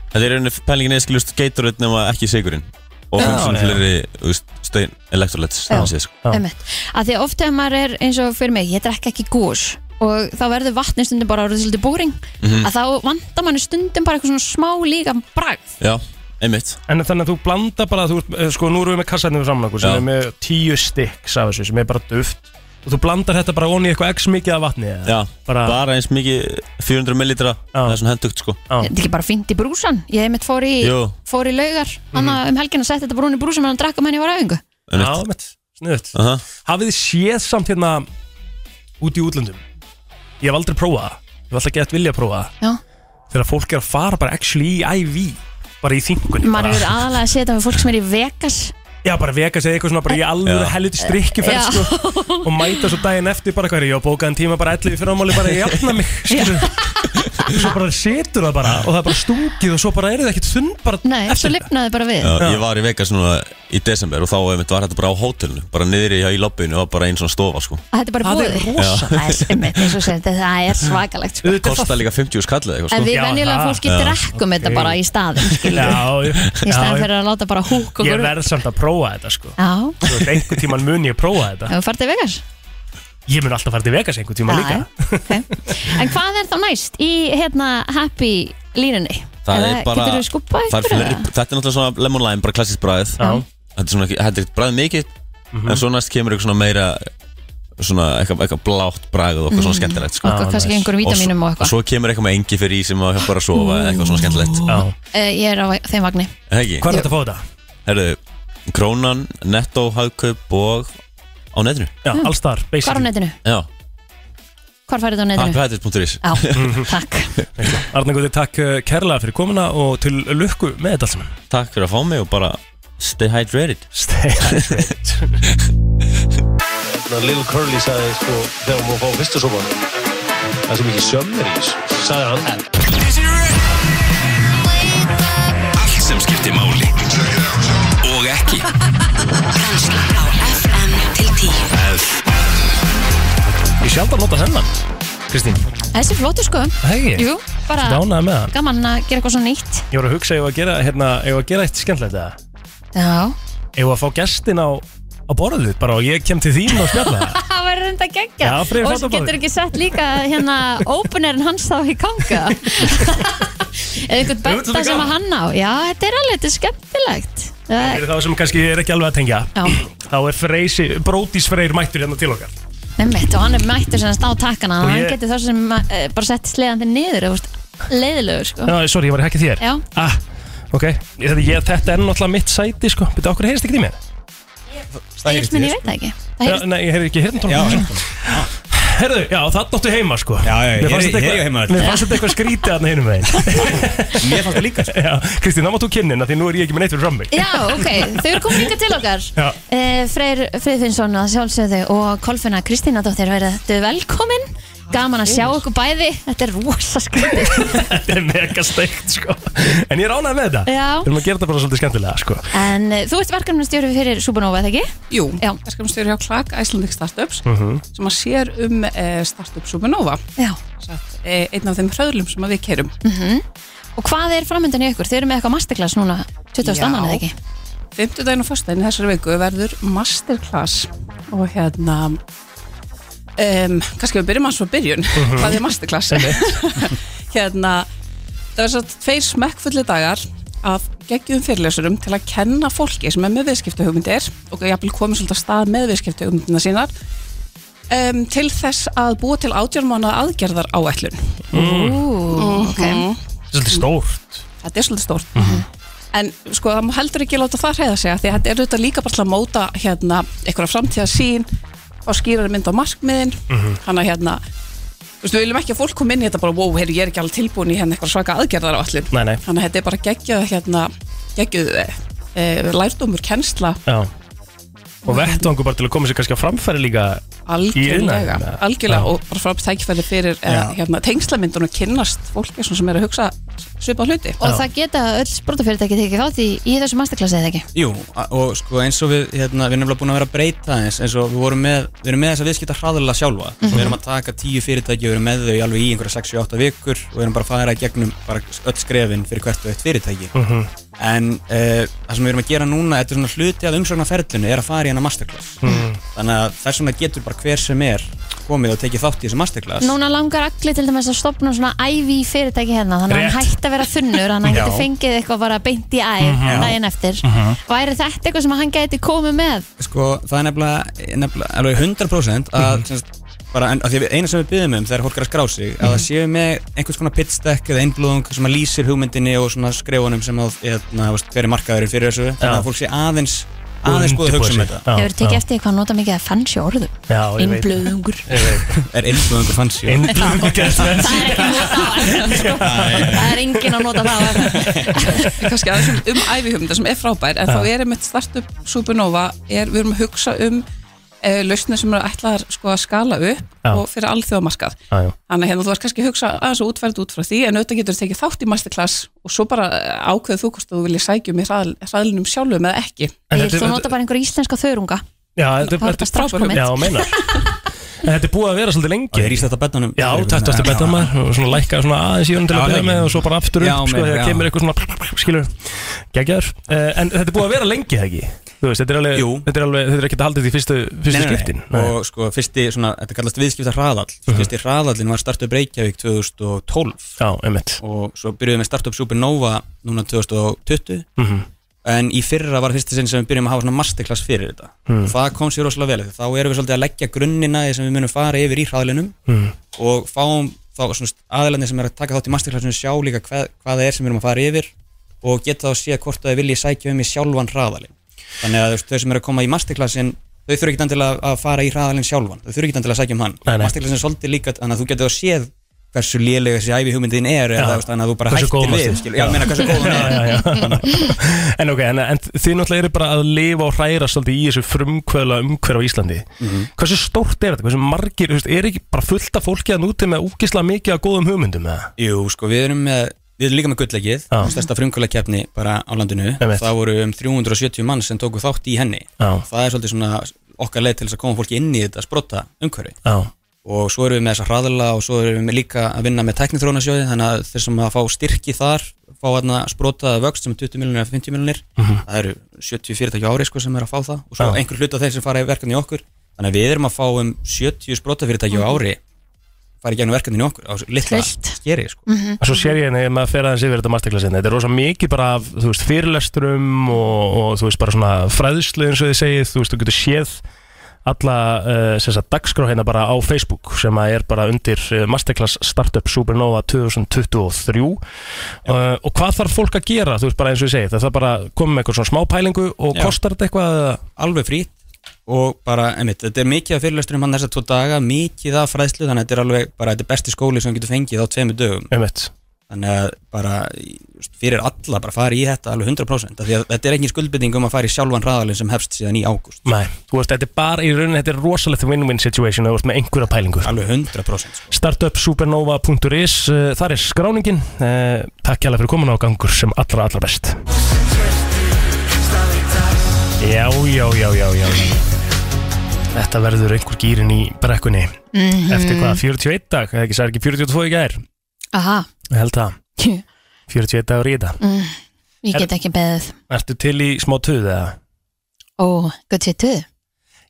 Speaker 19: Þetta er í rauninni pælingin eða skiljust geituröð nema ekki sigurinn og
Speaker 4: Já,
Speaker 19: finnst svona
Speaker 4: já.
Speaker 19: fleiri þú veist, stein elektrolets
Speaker 4: Já,
Speaker 19: þannig séð sko
Speaker 4: einmitt. að því að oft þegar maður er eins og fyrir mig, ég drekk ekki gós og þá verður vatni stundum bara orðið svolítið bóring
Speaker 19: Mhm.
Speaker 4: að þá vandar manni stundum bara eitthvað svona smá líka bragð
Speaker 19: Já, einmitt
Speaker 3: En þannig að þú blanda bara, þú, ert- eh, sko nú erum við með kassarnir við saman okkur sem
Speaker 19: Já.
Speaker 3: er með tíu stykks af þessu sem er bara duft og þú blandar þetta bara onni eitthvað x mikið af vatni eða?
Speaker 19: Já, bara, eins mikið 400 millilitra, það er svona hendugt sko
Speaker 4: þetta er ekki bara fínt í brúsan ég hef mitt fór í,
Speaker 19: Jú. Mhm.
Speaker 4: um fór í laugar mm -hmm. um helgin að setja þetta brún í brúsan meðan að drakka menn ég var á æfingu
Speaker 19: Já,
Speaker 3: mitt Snuðt Hafið þið séð samt hérna út í útlöndum Ég hef aldrei prófað það Ég hef alltaf gett vilja að prófa það
Speaker 4: Já.
Speaker 3: Þegar fólk er að fara bara actually í IV Bara í þingunni
Speaker 4: maður hefur aðalega að setja fyrir fólk sem er í Vegas
Speaker 3: Já, bara veka sig eitthvað svona bara í alvöru
Speaker 19: Já.
Speaker 3: helviti
Speaker 4: Já.
Speaker 3: strikkjuferð sko, og mæta svo daginn eftir bara hverju, já, bókaðan tíma bara 11 fyrir ámáli bara ég jafna mig, skilur svo bara setur það bara og það er bara stungið og svo bara eru það ekkert þunn bara
Speaker 4: Nei, svo lifnaði bara við
Speaker 19: Já, ég var í Vegas núna í desember og þá einmitt var þetta bara á hótelinu bara niðri hjá í lobbyinu og bara einn svona stofa sko.
Speaker 4: Að Þetta er bara
Speaker 19: Það er
Speaker 4: búið
Speaker 19: rosa.
Speaker 4: Það er einmitt, eins og segir, þetta- það er svakalegt sko.
Speaker 19: Kosta líka 50 skallið eitthvað sko.
Speaker 4: En við venjulega fólki
Speaker 19: Já.
Speaker 4: drekkum þetta bara í staðin
Speaker 3: Já, já,
Speaker 4: Í staðin
Speaker 3: já,
Speaker 4: fyrir að láta bara húk og
Speaker 3: ég
Speaker 4: gurfa.
Speaker 3: verð samt að prófa þetta sko
Speaker 4: Já,
Speaker 3: Þú veist, einhver tíman mun ég prófa þetta
Speaker 4: hefur farið til Vegas
Speaker 3: Ég mun alltaf fara til Vegas einhver
Speaker 4: Já,
Speaker 3: tíman líka
Speaker 4: En hvað er þá næst í hérna happy línunni?
Speaker 19: Það er bara-
Speaker 4: Getur þú skuppa
Speaker 19: það er
Speaker 4: ykkur?
Speaker 19: fleiri,
Speaker 4: eða?
Speaker 19: þetta er náttúrulega svona lemon lime, bara klassist bræðið
Speaker 4: Já.
Speaker 19: þetta er svona, ekki- þetta er ekkert bræðið mikið
Speaker 3: Mhm.
Speaker 19: en svo næst kemur eitthvað svona meira svona eitthvað, eitthvað blátt bræðið og eitthvað svona
Speaker 4: Mhm.
Speaker 19: skemmtilegt sko.
Speaker 4: Eitthvað, kannski einhverjum vítamínum og
Speaker 19: og, svo-
Speaker 4: eitthvað.
Speaker 19: svo kemur eitthvað með engi fyrir í sem maður bara að sofa eða eitthvað svona skemmtilegt
Speaker 4: Eh, Ég er á þeim vagni
Speaker 19: Eða ekki?
Speaker 3: Hvað er þetta að fá þetta?
Speaker 19: Herðu, krónan, netto, hagkaup og á netinu
Speaker 3: Já, alls þar,
Speaker 4: Hvar á netinu?
Speaker 19: Já,
Speaker 4: Hvar færið þetta á netinu?
Speaker 19: happyhattis.is
Speaker 4: Já,
Speaker 3: Mhm.
Speaker 4: takk
Speaker 3: Arna Guði, takk uh, kærlega fyrir komuna og til lukku með þetta allt saman
Speaker 19: Takk fyrir að fá mig og bara stay hydrated
Speaker 3: Stay hydrated
Speaker 20: Lil Curly sagði sko þegar hún var að fá fyrstu sopan það er svo mikið sömmer í þessu sagði hann
Speaker 1: Allt sem skiptir máli Og ekki
Speaker 18: Brennslan á FM til 10
Speaker 3: Ég sjálf að nota þennan, Kristín
Speaker 4: Þessi er flótur sko
Speaker 3: Hei.
Speaker 4: Jú, bara
Speaker 3: Dánaði með hann
Speaker 4: gaman að gera eitthvað svona nýtt
Speaker 3: Ég voru að hugsa, ég var að gera, hérna, ég var að gera eitt skemmtilegt eða
Speaker 4: Já
Speaker 3: Ég var að fá gestin á, á borðið bara og ég kem til þín og spjalla
Speaker 4: Það verður reynda að gegja
Speaker 3: Já, fyrir
Speaker 4: Og svo
Speaker 3: fatabáði.
Speaker 4: getur ekki sett líka hérna openerin hans þá í ganga Eða eitthvað
Speaker 3: Jú, þetta
Speaker 4: betta
Speaker 3: er
Speaker 4: sem
Speaker 3: gaman.
Speaker 4: að hann á Já, þetta er alveg, þetta er skemmtilegt Eh, Það
Speaker 3: Fyrir þá sem kannski er ekki alveg að tengja
Speaker 4: Já.
Speaker 3: Þá er Freysi, Brótis Freyr mættur hérna til okkar
Speaker 4: Nemmett, og hann er mættur sem stá takkana
Speaker 3: Og
Speaker 4: Þannig að
Speaker 3: ég-
Speaker 4: hann getur þá sem eh, bara sett sleðan þig niður eða, þú veist, Leiðilegur sko
Speaker 3: Já, sorry, ég var ekki þér
Speaker 4: Já.
Speaker 3: ah, Ok, ég, ég, þetta er náttúrulega mitt sæti sko Býttu, okkur heyrist ekki í mér? Það
Speaker 4: Heyrist mér, ég veit það ekki Það
Speaker 3: Já,
Speaker 4: heyrist
Speaker 3: nei, ég heyrði ekki hérna
Speaker 4: Já,
Speaker 3: Herðu, já, það náttu heima sko Já, já,
Speaker 5: ég er- ég er heima þarna.
Speaker 3: Mér fannst þetta eitthvað skrítið að hinum veginn Mér fannst þetta líka Já, Kristín, þá máttu kynnin að því nú er ég ekki með neitt fyrir frammi
Speaker 4: Já, ok, þau eru komin líka til okkar
Speaker 3: Já,
Speaker 4: Eh, Freyr Friðfinnsson að sjálfsögðu og Kolfinna Kristína dóttir verið velkomin gaman að sjá okkur bæði þetta er rosa skrítið
Speaker 3: þetta er mega steikt sko En ég er ánægð með þetta
Speaker 4: Já.
Speaker 3: Við erum að gera þetta bara svolítið skemmtilega sko
Speaker 4: en eh, þú ert verkefnumstjóri fyrir Supernova, eða ekki?
Speaker 21: Jú,
Speaker 4: Já.
Speaker 21: verkefnumstjóri hjá Clark Icelandic Startups
Speaker 3: Mhm.
Speaker 21: sem að sér um e, Startup Supernova
Speaker 4: Já.
Speaker 21: Satt, e, einn af þeim hröðlum sem að við kerum
Speaker 4: Mhm. og hvað er framöndan í ykkur? Þau eru með eitthvað masterclass núna 20.
Speaker 21: Já.
Speaker 4: annan, eða ekki?
Speaker 21: Fymtudaginn og fyrstaginn þessari viku verður masterclass og hérna um, kannski við byrjum að svo byrjun
Speaker 22: Mhm.
Speaker 21: hvað er masterclass hérna það er svo tveir smekkfulli dagar af geggjum fyrirlesurum til að kenna fólki sem er með viðskiptahugmyndir og jafnvel komið svolítið af stað með viðskiptahugmyndina sínar um, til þess að búa til átjármána aðgerðar áætlun
Speaker 3: Mm.
Speaker 21: Mhm.
Speaker 3: Svolítið stórt
Speaker 21: þetta er svolítið stórt
Speaker 3: Mhm.
Speaker 21: en sko það má heldur ekki láta það hræða sig af því að þetta er auðvitað líka bara til að móta hérna einhverja framtíðarsýn og skýrar mynd á markmiðin
Speaker 23: Mhm.
Speaker 21: hann að hérna þú veist, við viljum ekki að fólk kom inn í þetta bara wow, heyr, ég er ekki alveg tilbúin í hérna eitthvað svaka aðgerðar á allir
Speaker 3: Nei, nei
Speaker 21: þannig að þetta er bara geggjað hérna geggjuð e, lærdómur kennsla
Speaker 3: Já Og vettvangu bara til að koma sér kannski á framfæri líka í
Speaker 21: algjörlega,
Speaker 3: iðnaðinum, eða?
Speaker 21: algjörlega
Speaker 3: Já.
Speaker 21: og bara frá tækifæri fyrir
Speaker 3: Já.
Speaker 21: eh, hérna, tengslamyndun og kynnast fólki svona sem er að hugsa svipað hluti
Speaker 4: og það geta öll sprótafyrirtæki tekið þátt í, í þessu masterclassi, eða ekki?
Speaker 5: Jú, a- og sko eins og við, hérna, við erum nefnilega búin að vera að breyta aðeins eins og við vorum með, við erum með þess að viðskipta hraðalega sjálfa
Speaker 4: Mhm.
Speaker 5: við erum að taka tíu fyrirtæki og við erum með þau alveg í einhverja 6-8 vikur og við erum bara að fara í gegnum bara öll skrefin fyrir hvert og eitt fyrirtæki
Speaker 3: Mhm.
Speaker 5: en uh, það sem við erum að gera núna þetta er svona hluti af umsögnaferlinu er að fara í hana masterclass
Speaker 3: Mhm.
Speaker 5: þannig að þess vegna getur bara hver sem er komið og tekið þátt í þessu masterclass
Speaker 4: Núna langar allir til dæmis að stopna svona IV fyrirtæki hérna, þannig að hann
Speaker 5: Rétt.
Speaker 4: hætti að vera þunnur þannig að hann
Speaker 5: Já.
Speaker 4: geti fengið eitthvað bara beint í æð
Speaker 5: Mhm.
Speaker 4: daginn eftir
Speaker 5: Mhm.
Speaker 4: Væri þetta eitthvað sem hann geti komið með?
Speaker 5: sko, það er nefnilega, nefnilega alveg 100% að,
Speaker 3: Mhm.
Speaker 5: mm bara, en, að því að eina sem við byggjum um þegar fólk er að skrá sig að
Speaker 3: Mhm.
Speaker 5: það séu með einhvers konar pitch deck eða einblóðung sem að lýsir hugmyndinni og svona skrefunum sem að hérna, þú veist, hver er markaðurinn fyrir þessu þannig
Speaker 3: Já.
Speaker 5: að fólk sé aðeins aðeins búið að hugsa um þetta
Speaker 4: Hefur tekið eftir hvað hann nota mikið að fancy orðum
Speaker 5: Já, ég veit.
Speaker 4: Innblöðungur
Speaker 5: Er innblöðungur fancy
Speaker 3: Innblöðungur
Speaker 4: Það er ekki nota á FM sko. Það er enginn að nota það á FM
Speaker 21: kannski aðeins um, um æfihugmynda sem er frábær en
Speaker 4: Já.
Speaker 21: þá er einmitt startup Supernova er, við erum að hugsa um e, lausnir sem eru ætlaðar sko að skala upp
Speaker 3: Já.
Speaker 21: og fyrir alþjóðamarkað
Speaker 3: Já, já.
Speaker 21: þannig að hérna þú varst kannski að hugsa aðeins og útfærið út frá því en auðvitað getur tekið þátt í masterclass og svo bara ákveðu þú hvort að þú viljið sækja um í hraðl, hraðlinum sjálfum eða ekki
Speaker 3: En
Speaker 4: Ég vil þú nota bara einhver íslenska þörunga
Speaker 3: Já, þetta
Speaker 4: Þá er þetta strax komið.
Speaker 3: Já, meina En þetta er búið að vera svolítið lengi Það er íslætt að betanum Já, þetta er betanum maður og svona lækka svona aðeins í honum til
Speaker 5: Já,
Speaker 3: að byrja
Speaker 5: lengi.
Speaker 3: með og svo bara aftur upp
Speaker 5: Já,
Speaker 3: sko,
Speaker 5: meina,
Speaker 3: þegar
Speaker 5: já.
Speaker 3: kemur eitthvað svona skilur, geggjaður uh, En þetta er búið að vera lengi, það ekki? Þú veist, þetta er alveg, þetta er alveg, þetta er ekki að haldið í fyrstu, fyrstu skiptin Uh-huh.
Speaker 5: Og sko, fyrsti, svona, þetta kallast viðskipta hraðall Fyrsti hraðallin var Startup Reykjavík 2012
Speaker 3: Já, einmitt
Speaker 5: Og svo byrjuðum við Startup Supernova núna 2020
Speaker 3: Mhm.
Speaker 5: En í fyrra var fyrsti sinn sem við byrjum að hafa svona masterclass fyrir þetta
Speaker 3: Mhm.
Speaker 5: Og það kom sér rosalega vel Þá erum við svolítið að leggja grunnina því sem við munum fara yfir í hraðlinum
Speaker 3: Mhm.
Speaker 5: Og fáum þá svona aðalarnir sem er að taka þátt í masterclassinu sjá líka hvað, hvað það er sem við erum að fara yfir Og geta þá að sé hvort það vilji sækja um í sjálfan hraðalinn Þannig að þú veist, þau sem eru að koma í masterclassin þau þurfa ekki endilega að fara í hraðalinn sjálfan þau þurfa ekki endilega að sækja um hann
Speaker 3: Nei, nei.
Speaker 5: masterclassin er svolítið líka þannig að þú getur að séð hversu lélega þessi æfi hugmyndin er eða þú veist, þannig að þú bara
Speaker 3: Hversu
Speaker 5: hættir
Speaker 3: góð varstu?
Speaker 5: við skilur. já, ég meina hversu góð hún
Speaker 3: Já,
Speaker 5: er
Speaker 3: já, já. En ok, en, en þið náttúrulega eru bara að lifa og hræra svolítið í þessu frumkvöðla umhverf á Íslandi Hversu stórt er þetta? Hversu margir, þú veist, er ekki bara fullt af fólki að núti með úkislega mikið að góðum hugmyndum eða?
Speaker 5: jú, sko, við erum með við erum líka með gullleggið stærsta frumkvöldakefni bara á landinu
Speaker 3: Einmitt.
Speaker 5: það voru um 370 mann sem tóku þátt í henni
Speaker 3: Já.
Speaker 5: það er svolítið svona okkar leið til þess að koma fólki inn í þetta sprota umhverfi
Speaker 3: Já,
Speaker 5: og svo erum við með þessa hraðala og svo erum við líka að vinna með teknitrónasjóði þannig að þeir sem að fá styrki þar fá hérna sprótaða vöxt sem er 20 miljonir eða 50 miljonir
Speaker 3: Mhm.
Speaker 5: það eru 70 fyrirtæki á ári sko, sem er að fá það og svo
Speaker 3: Já.
Speaker 5: einhver hluta þeir sem fara í verkefni í okkur þannig að við erum að fá um 70 sprótafyrirtæki á ári fara í gegnum verkefni í okkur á svo litla skeri sko.
Speaker 3: -hmm. Svo sér ég henni ef maður fer aðeins yfir þetta masterclassinni Þetta er rosa mikið bara af, þú veist, fyrirlesturum og, og þú veist, bara svona fræðslu eins og þið segið, þú veist, þú getur séð alla uh, þessa dagskrá hérna bara á Facebook sem að er bara undir eh, Masterclass Startup Supernova 2023 uh, og hvað þarf fólk að gera, þú veist, bara eins og ég segið það þarf bara að koma með eitthvað svona smá pælingu og
Speaker 5: Já.
Speaker 3: kostar þetta eitthvað
Speaker 5: alveg frýtt og bara, einmitt, þetta er mikið af fyrirlesturum hann þessa tvo daga, mikið af fræðslu þannig að þetta er alveg, bara þetta er besti skóli sem þú getur fengið á tveimur dögum
Speaker 3: einmitt.
Speaker 5: þannig að bara í- fyrir alla, bara fara í þetta alveg 100% af því að þetta er ekki skuldbytting um að fara í sjálfan hraðalinn sem hefst síðan í ágúst
Speaker 3: Nei, þú veist, þetta er bara í rauninni, þetta er rosalegt win-win situation og þú veist með einhverja pælingu
Speaker 5: Alveg 100% sko.
Speaker 3: Startupsupernova.is, uh, þar er skráningin uh, Takk hérlega fyrir komin á gangur sem allra, allra best Já, já, já, já, já Þetta verður einhver gýrin í brekkunni
Speaker 4: Mhm.
Speaker 3: Eftir hvað, 41 dag, eða ekki, sagði ekki 42 í gær
Speaker 4: Aha,
Speaker 3: Ég held það 41 dagur í þetta
Speaker 4: mm, ég get ekki beðið
Speaker 3: Ertu til í smá töðu eða?
Speaker 4: Ó, gott sér tuð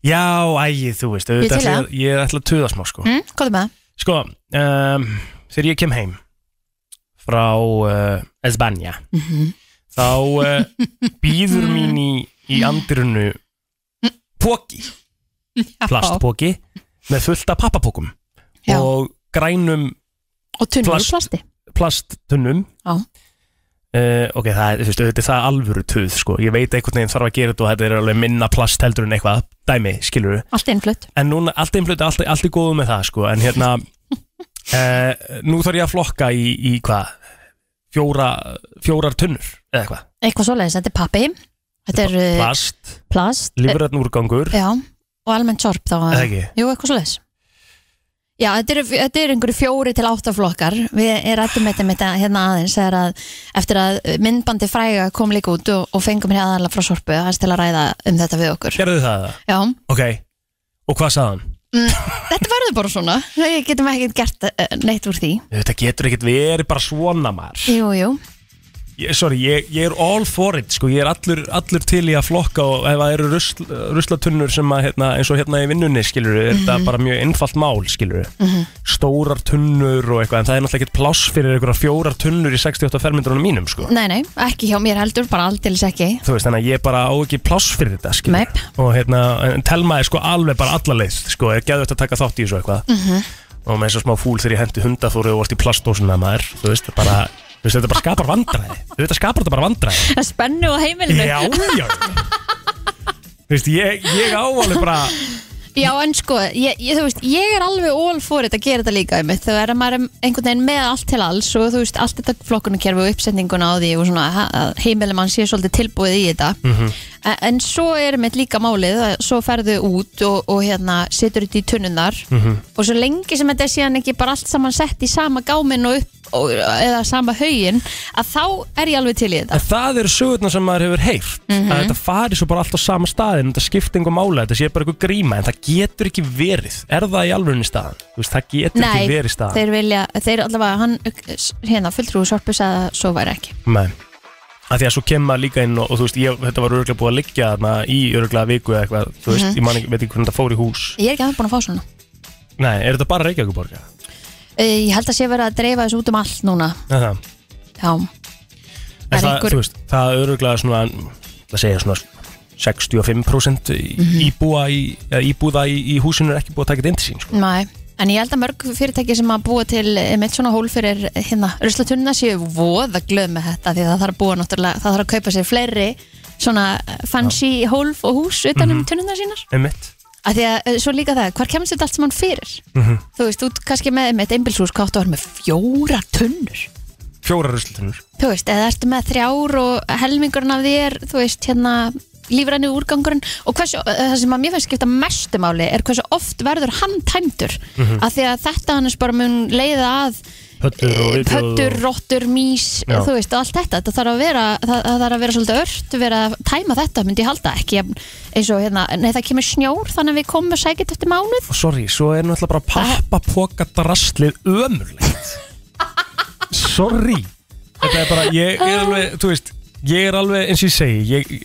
Speaker 3: Já, ægi, þú veist
Speaker 4: Ég
Speaker 3: auðvitað
Speaker 4: til í
Speaker 3: ætla ég- Ég ætla að töða smá sko
Speaker 4: mm, Hvað er með það?
Speaker 3: Sko, um, þegar ég kem heim frá uh, Esbanja
Speaker 4: Mhm.
Speaker 3: þá uh, býður mín í, í andirinu póki plastpóki með fullt af pappapókum
Speaker 4: Já.
Speaker 3: og grænum
Speaker 4: Og tunnur úr plasti.
Speaker 3: plasttunnum
Speaker 4: Já.
Speaker 3: Uh, ok, það er, þú veist, auðvitað er það alvöru töð sko. ég veit einhvern veginn þarf að gera þetta og þetta er alveg minna plast heldur en eitthvað dæmi, skilur við
Speaker 4: Allt innflutt
Speaker 3: en núna, allt einflut, allt, allt er góðu með það sko, en hérna uh, nú þarf ég að flokka í, í hvað fjóra, fjórar tunnur eða eitthvað,
Speaker 4: Eitthvað svoleiðis, þetta er pappi Þetta er eh,
Speaker 3: plast,
Speaker 4: plast eh,
Speaker 3: lífrætn úrgangur
Speaker 4: Já, og almennt sorp þá
Speaker 3: Eða ekki?
Speaker 4: Jú, eitthvað svoleiðis Já, þetta eru þetta er einhverju fjóri til átta flokkar Við erum rættum þetta með þetta hérna aðeins þegar að, eftir að myndbandi fræga kom líka út og, og fengum hér aðalega frá sorpu hans til að ræða um þetta við okkur
Speaker 3: gerðu það það?
Speaker 4: Já,
Speaker 3: ok, og hvað sagði hann?
Speaker 4: mm, þetta verður bara svona Við getum ekkert gert eh, neitt úr því
Speaker 3: þetta getur ekkert verið bara svona maður
Speaker 4: Jú, jú,
Speaker 3: ég, sorry, ég, ég er all for it sko, ég er allur, allur til í að flokka og ef það eru rusl, ruslatunnur sem að hérna, eins og hérna í vinnunni skilur er þetta bara mjög einfalt mál skilur
Speaker 4: Mhm.
Speaker 3: stórar tunnur og eitthvað en það er náttúrulega ekkert pláss fyrir einhverja fjórar tunnur í 68 fermyndrunum mínum sko
Speaker 4: nei, nei, ekki hjá mér heldur, bara aldeilis ekki
Speaker 3: þú veist, þannig að ég bara á ekki pláss fyrir þetta skilur
Speaker 4: Nei.
Speaker 3: og hérna, en Telma er sko alveg bara alla leið sko, er geðvægt að taka þátt í þessu eitthvað
Speaker 4: mm -hmm.
Speaker 3: og með þess að smá fúl þegar ég hendi hundaþóru og vart í plastdósuna maður, þú veist, bara þú veist, þetta bara skapar vandræði, þetta skapar þetta bara vandræði
Speaker 4: Spennu á heimilinu
Speaker 3: Já, já Þú veist, ég, ég ávalið bara
Speaker 4: Já, en sko, ég, ég, þú veist, ég er alveg all for it að gera þetta líka einmitt. Þú er að maður er einhvern veginn með allt til alls og þú veist, allt þetta flokkunarkerfi og uppsetninguna á því og svona ha- að heimilum hann sé svolítið tilbúið í þetta.
Speaker 3: Mhm.
Speaker 4: En, en svo er mitt líka málið, að svo ferðu út og, og hérna, setur þetta í tunnunar
Speaker 3: Mm.
Speaker 13: Mhm.
Speaker 4: og svo lengi sem þetta er síðan ekki bara allt saman sett í sama gáminn og upp og, eða sama haugin, að þá er ég alveg til í þetta.
Speaker 3: En það eru sögurnar sem maður hefur heyrt
Speaker 4: Mhm.
Speaker 3: Að þetta fari svo bara allt á sama staðin Þetta skipting og mála, þetta sé bara eitthvað gríma En það getur ekki verið Er það í alvörunni staðan? Þú veist, það getur
Speaker 4: Nei,
Speaker 3: ekki verið staðan
Speaker 4: þeir vilja, þeir allavega, hann, hérna, fulltrú sorpu sagði að svo væri ekki.
Speaker 3: Nei að því að svo kemur maður líka inn og, og þú veist, ég, þetta var örgulega búið að liggja þarna í örgulega viku eða eitthvað, þú veist,
Speaker 4: Mhm.
Speaker 3: ég man ekki, veit ekki hvernig þetta fór í hús
Speaker 4: Ég er ekki aðeins búin að fá svona.
Speaker 3: Nei, er þetta bara Reykjavíkuborga?
Speaker 4: Eh, Ég held að sé verið að dreifa þessu út um allt núna
Speaker 3: Nei, það
Speaker 4: Já,
Speaker 3: En
Speaker 4: er
Speaker 3: það,
Speaker 4: einhver-
Speaker 3: þú veist, það örgulega svona, það segja svona 65% í-
Speaker 4: Mhm.
Speaker 3: íbúa í, eða íbúða í, í húsinu er ekki búið að taka þetta inn til sín, sko
Speaker 4: næ En ég held að mörg fyrirtæki sem að búa til eh, mitt svona hól fyrir hérna ruslatunna séu voða glöð með þetta því að það þarf að búa náttúrulega, það þarf að kaupa sér fleiri svona eh, fancy hólf og hús utan um
Speaker 3: Mhm.
Speaker 4: tunnuna sínar
Speaker 3: Einmitt
Speaker 4: að því að eh, svo líka það, hvar kemst þetta allt saman fyrir?
Speaker 3: Mhm.
Speaker 4: Þú veist, þú ert kannski með mitt einbilshús káttu að vera með fjóra tunnur
Speaker 3: Fjóra ruslitunnur
Speaker 4: þú veist, eða ertu með þrjár og helmingurinn af þér, þú veist, hérna lífræni úrgangurinn og hversu, eh, það sem að mér finnst skipta mestu máli er hversu oft verður hann tæmdur
Speaker 3: Mhm.
Speaker 4: af því að þetta annars bara mun leiða að
Speaker 3: Pöttur og viðbjóð og-
Speaker 4: pöttur, rottur, mís
Speaker 3: Já.
Speaker 4: þú veist, og allt þetta, það þarf að vera það, það þarf að vera svolítið ört, vera að tæma þetta myndi ég halda ekki, jafn- eins og hérna nei, það kemur snjór, þannig að við komum að sækja þetta eftir mánuð
Speaker 3: Og sorry, svo er náttúrulega bara pappapokadraslið ömurlegt Sorry Þetta er bara, ég er alveg, þú veist Ég er alveg, eins og ég segi ég,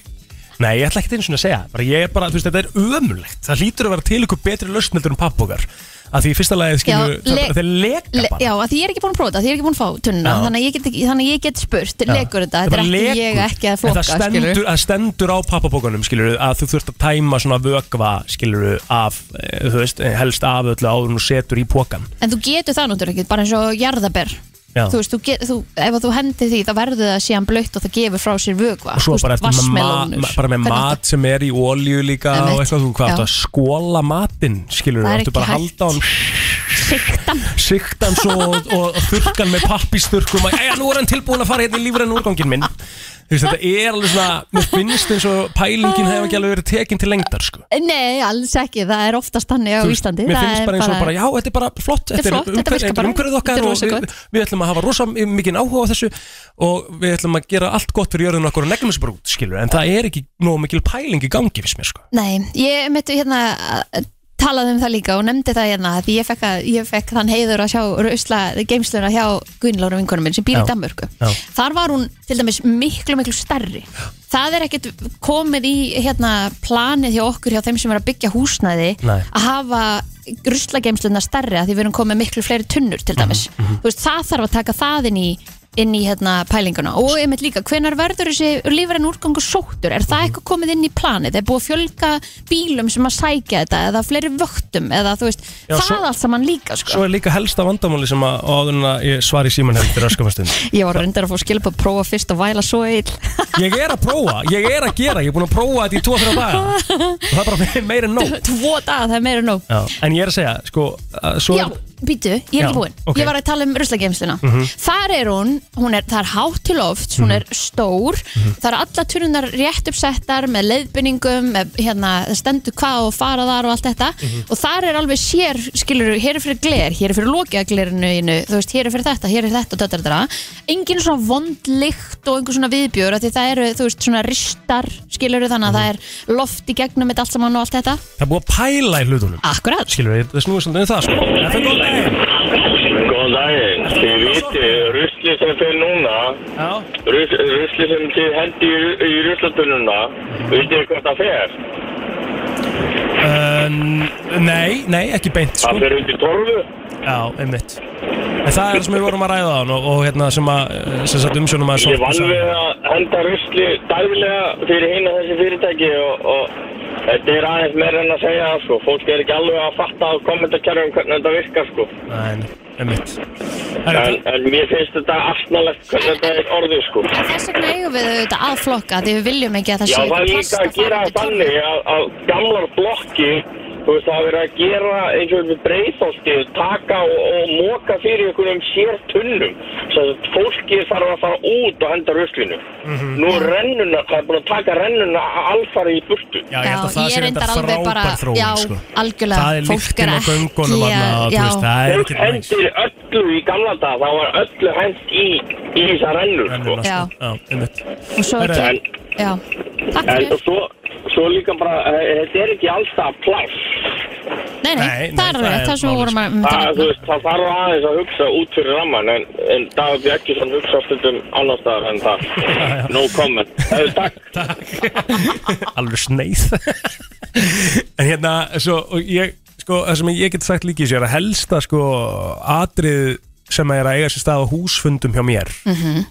Speaker 3: Nei, ég ætla ekkert einu svona að segja bara, Ég er bara, þú veist, þetta er ömurlegt Það hlýtur að vera til ykkur betri lausneldur en pappokar Að því í fyrsta lagi,
Speaker 4: Já,
Speaker 3: skilu,
Speaker 4: le-
Speaker 3: þeir leka
Speaker 4: Le,
Speaker 3: bara
Speaker 4: já, að því ég er ekki búin að prófa þetta, því ég er ekki búin að fá tunna
Speaker 3: Já.
Speaker 4: þannig að, ég get, ekki- þannig að ég get spurt,
Speaker 3: Já.
Speaker 4: legur þetta þetta er
Speaker 3: bara
Speaker 4: ekki
Speaker 3: lekur.
Speaker 4: ég ekki að
Speaker 3: En
Speaker 4: flokka
Speaker 3: það stendur,
Speaker 4: skilurðu.
Speaker 3: það stendur á pappabókunum skilur, að þú þurft að tæma svona vökva skilur, af, eh, þú veist, eh, helst af öllu áður og setur í pókan
Speaker 4: En þú getur það náttúrulega ekki, bara eins og jarðaber
Speaker 3: Já.
Speaker 4: Þú veist, þú get, þú, ef að þú hendir því þá verður það síðan blöytt og það gefur frá sér vökva
Speaker 3: og svo
Speaker 4: Þú
Speaker 3: bara,
Speaker 4: veist,
Speaker 3: ertu með ma-
Speaker 4: vatnsmelónur.
Speaker 3: ma- bara með
Speaker 4: Hvernig
Speaker 3: mat sem er í olíu líka
Speaker 4: Einmitt.
Speaker 3: og eitthvað, þú hvað
Speaker 4: Já.
Speaker 3: áttu að skóla matinn skilur,
Speaker 4: Það er
Speaker 3: áttu
Speaker 4: ekki
Speaker 3: bara að
Speaker 4: hægt.
Speaker 3: halda hann
Speaker 4: siktan
Speaker 3: siktan svo og, og, og þurkan með pappisturkum að, já, nú er hann tilbúin að fara hérna í lífræn úrgangin minn Þú veist, þetta er alveg svona, mér finnst eins og pælingin hefur ekki alveg verið tekin til lengdar sko.
Speaker 4: Nei, alls ekki, það er oftast þannig á
Speaker 3: Þú veist,
Speaker 4: Íslandi
Speaker 3: Mér
Speaker 4: Það
Speaker 3: finnst
Speaker 4: er
Speaker 3: bara eins og bara, já, þetta er bara flott
Speaker 4: Þetta er flott, þetta virkar bara.
Speaker 3: umhverfið
Speaker 4: Þetta
Speaker 3: okkar
Speaker 4: er
Speaker 3: og
Speaker 4: rosa
Speaker 3: við,
Speaker 4: gott.
Speaker 3: við ætlum að hafa rosa mikið áhuga á þessu og við ætlum að gera allt gott fyrir jörðun okkur og neglum þessu bara út, skilur en það er ekki nóg mikil pæling í gangi fyrst mér, sko
Speaker 4: Nei, ég myndi hérna að- talaði um það líka og nefndi það hérna því ég fekk, að, ég fekk þann heiður að sjá rausla geimsluna hjá Gunnlóru vinkonum minn sem býr
Speaker 13: Já.
Speaker 4: í Danmörku
Speaker 13: Já.
Speaker 4: þar var hún til dæmis miklu miklu stærri það er ekkert komið í hérna planið hjá okkur hjá þeim sem er að byggja húsnæði
Speaker 13: Nei.
Speaker 4: að hafa ruslageimsluna stærri að því við erum komið með miklu fleiri tunnur til dæmis
Speaker 3: Mhm,
Speaker 4: Þú veist, það þarf að taka það inn í inn í hérna pælinguna og einmitt líka hvenar verður þessi lífræn úrgangur sóttur, er það eitthvað komið inn í planið er búið að fjölga bílum sem að sækja þetta eða fleiri vögtum eða þú veist,
Speaker 3: Já,
Speaker 4: það
Speaker 3: svo-
Speaker 4: allt saman líka sko.
Speaker 3: Svo er líka helsta vandamáli sem að og áður en að ég svari síman hefði fyrir öskumastund
Speaker 4: ég var reyndar að fá skilpa að prófa fyrst og væla svo eil
Speaker 3: Ég er að prófa, ég er að gera, ég er búin að prófa þetta í 2-3 daga og það er bara meira en nóg
Speaker 4: tvo daga, það er meira en nóg
Speaker 3: Já, En ég er að segja, sko að svo
Speaker 4: Já, býtu, ég er
Speaker 3: Já,
Speaker 4: ekki búin
Speaker 3: ok.
Speaker 4: Ég var að tala um ruslageimsluna
Speaker 3: Mhm.
Speaker 4: Þar er hún, hún er, það er hátt til oft Hún er stór,
Speaker 3: Mhm.
Speaker 4: það er alla turunar rétt uppsettar með leiðbynningum með, hérna, það stendur hvað og fara þar og allt þetta
Speaker 13: Mhm.
Speaker 4: og þar er alveg sér, skilur hér er fyrir gler, hér er fyrir lokiðaglerinu einu, þú veist, hér er fyrir þetta, hér er þetta og þetta, þetta, þetta. engin svona vondlikt og einhver svona viðbjör, af því það eru, þú veist, svona ristar, skilur þannig
Speaker 3: Mhm.
Speaker 4: að það er loft í gegnum þetta allt saman og allt þetta
Speaker 3: Það er búið að pæla í hlutunum
Speaker 4: Akkurat
Speaker 3: Skilur, það snúið svolítið um það, sko FM, góðan daginn
Speaker 8: Góðan daginn, þið viti, rusli sem fyrir núna, rus, rusli sem þið hendi í, í ruslatununa,
Speaker 4: Mhm.
Speaker 8: vitið þið hvað það fer?
Speaker 3: Uh, nei, nei, ekki beint sko.
Speaker 8: Það fer undir torfu?
Speaker 3: Já, einmitt En það er það sem við vorum að ræða án og, og hérna sem að eh, sem sagt umsjónum að
Speaker 8: Ég
Speaker 4: um
Speaker 8: vann við að henda rusli daglega fyrir hinn að þessi fyrirtæki og, og þetta er aðeins meira en að segja það sko. Fólk er ekki alveg að fatta á kommentarkerfum hvernig þetta virkar sko.
Speaker 3: Nei, nei. Einmitt.
Speaker 8: En, en mér finnst þetta aftnalegt hvernig þetta er orðið sko.
Speaker 4: Þess vegna eigum við auðvitað að flokka því við viljum ekki að það
Speaker 8: Já,
Speaker 4: sé
Speaker 8: það er líka að gera það þannig að, að gamlar blokki, þú veist, það er verið að gera eins og við breyðholti, taka og, og móka fyrir einhverjum sér tunnum. Svo að fólki þarf að fara út og henda ruslinu.
Speaker 3: Mhm.
Speaker 8: Nú er rennuna, það er búin að taka rennuna alfari í burtu.
Speaker 3: Já, ég held að það sé reyndar frábær þróun
Speaker 4: já,
Speaker 3: sko.
Speaker 4: algjörlega
Speaker 3: Það er
Speaker 4: fólk
Speaker 3: líktinn á
Speaker 4: ekki-
Speaker 3: göngunum
Speaker 4: Já,
Speaker 3: þarna, þú
Speaker 4: já.
Speaker 3: veist, það er
Speaker 8: Fólk
Speaker 3: ekkert næst
Speaker 8: hendir öllu í gamla dag, það var öllu hend í, í þessar rennur sko.
Speaker 4: Já.
Speaker 3: Já, einmitt
Speaker 4: og svo
Speaker 8: Herra,
Speaker 4: ekki
Speaker 8: en-
Speaker 4: já, takk
Speaker 8: En
Speaker 4: fyrir
Speaker 8: svo, svo líka bara, eh, þetta er ekki alltaf pláss.
Speaker 4: nei, nei, það er rétt, það sem við vorum að
Speaker 8: Það, þú veist, það þarf aðeins að hugsa út fyrir ramman en, en Dagur Bjarkisson hugsa stundum annar staðar en það. No comment. Eh, Takk.
Speaker 3: alveg sneið en hérna, svo og ég, sko, það sem ég get sagt líki sér að helsta sko atrið sem er að eiga sér stað á húsfundum hjá mér
Speaker 13: Mhm.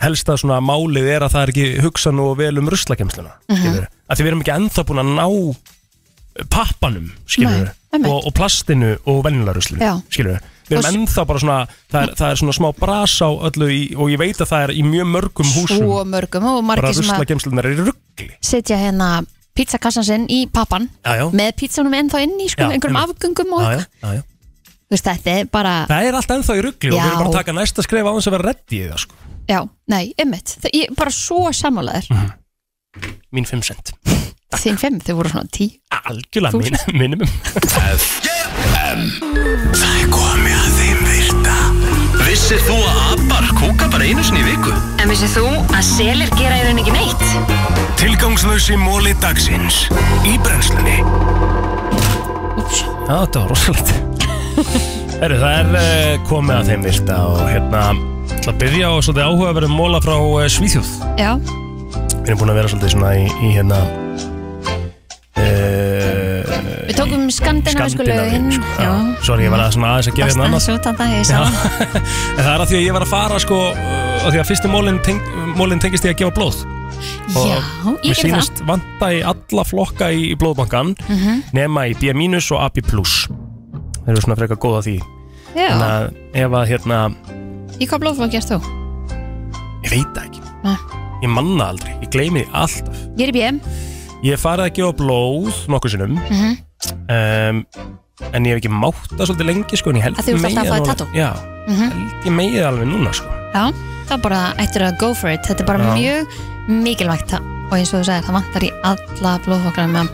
Speaker 3: helsta svona málið er að það er ekki hugsa nú vel um ruslakemsluna
Speaker 13: Mhm.
Speaker 3: skilurðu. að því við erum ekki ennþá búin að ná pappanum skilur
Speaker 4: Nei, einmitt.
Speaker 3: og, og plastinu og vennilega ruslinu
Speaker 4: Já.
Speaker 3: skilur við
Speaker 4: Og s-
Speaker 3: erum ennþá bara svona það er, það er svona smá bras á öllu í, og ég veit að það er í mjög sko. mörgum húsum
Speaker 4: svo mörgum og
Speaker 3: bara
Speaker 4: margir sem að
Speaker 3: ruslakemslunar er í rugg
Speaker 4: setja hérna pizzakassan sinn í pappan
Speaker 3: Já, já.
Speaker 4: með pizzanum ennþá inn í sko,
Speaker 3: Já,
Speaker 4: einhverjum
Speaker 3: einmitt.
Speaker 4: afgöngum og
Speaker 3: Já,
Speaker 4: eitthvað.
Speaker 3: já, já, já.
Speaker 4: Þú veist, þetta er bara
Speaker 3: Það er allt ennþá í ruggli og við erum
Speaker 4: Já.
Speaker 3: bara að taka næsta skref á þess að vera reddi í það sko.
Speaker 4: já, nei, einmitt, það, ég er bara svo sammálaður
Speaker 3: Mhm. Mín 5 cent
Speaker 4: þín fimm, þau voru svona tí
Speaker 3: Algjörlega mín, mínum
Speaker 1: FM Það er komið að þeim virta Vissir þú að abar kúka bara einu sinni í viku?
Speaker 18: En vissið þú að selir gera í rauninni ekki neitt?
Speaker 1: Tilgangslösi móli dagsins Í brennslunni
Speaker 3: Já, þetta var rosalegt Heru, Það er eh, komið að þeim virta og hérna ætla að byrja á svolítið áhugaverðum móla frá eh, Svíþjóð
Speaker 4: já,
Speaker 3: Við erum búin að vera svolítið svona í, í hérna uh,
Speaker 4: við tókum skandinavísku lögin
Speaker 3: sko,
Speaker 4: já,
Speaker 3: Sorry, ég var að svona aðeins að gera hérna annað
Speaker 4: svo þetta ég
Speaker 3: Já.
Speaker 4: sá
Speaker 3: En það er að því að ég var að fara sko uh, að því að fyrsti mólin, teng, mólin tengist ég að gefa blóð
Speaker 4: Já, ég
Speaker 3: mér
Speaker 4: gerði
Speaker 3: sýnist vanta í alla flokka í, í blóðbankan
Speaker 4: Mhm.
Speaker 3: nema í B- og AB+. Þeir eru svona frekar góða því
Speaker 4: Já.
Speaker 3: Þannig að ef að hérna
Speaker 4: í hvað blóðflokk gerst þú?
Speaker 3: ég veit það ekki
Speaker 4: Nei.
Speaker 3: ég manna aldrei, ég gleymi því alltaf
Speaker 4: ég er í BM
Speaker 3: ég hef farið að gefa blóð nokkur sinnum
Speaker 4: Mhm.
Speaker 3: um, en ég hef ekki mátt það svolítið lengi sko en ég held
Speaker 4: Að þú ert
Speaker 3: megi
Speaker 4: alltaf að fá þér
Speaker 3: alveg-
Speaker 4: tattoo?
Speaker 3: Já,
Speaker 4: Mhm.
Speaker 3: ég megið alveg núna sko
Speaker 4: já, það er bara eftir að go for it þetta er bara
Speaker 3: Já.
Speaker 4: mjög mikilvægt það- og eins og þú sagðir, það vantar í alla blóðflokkar með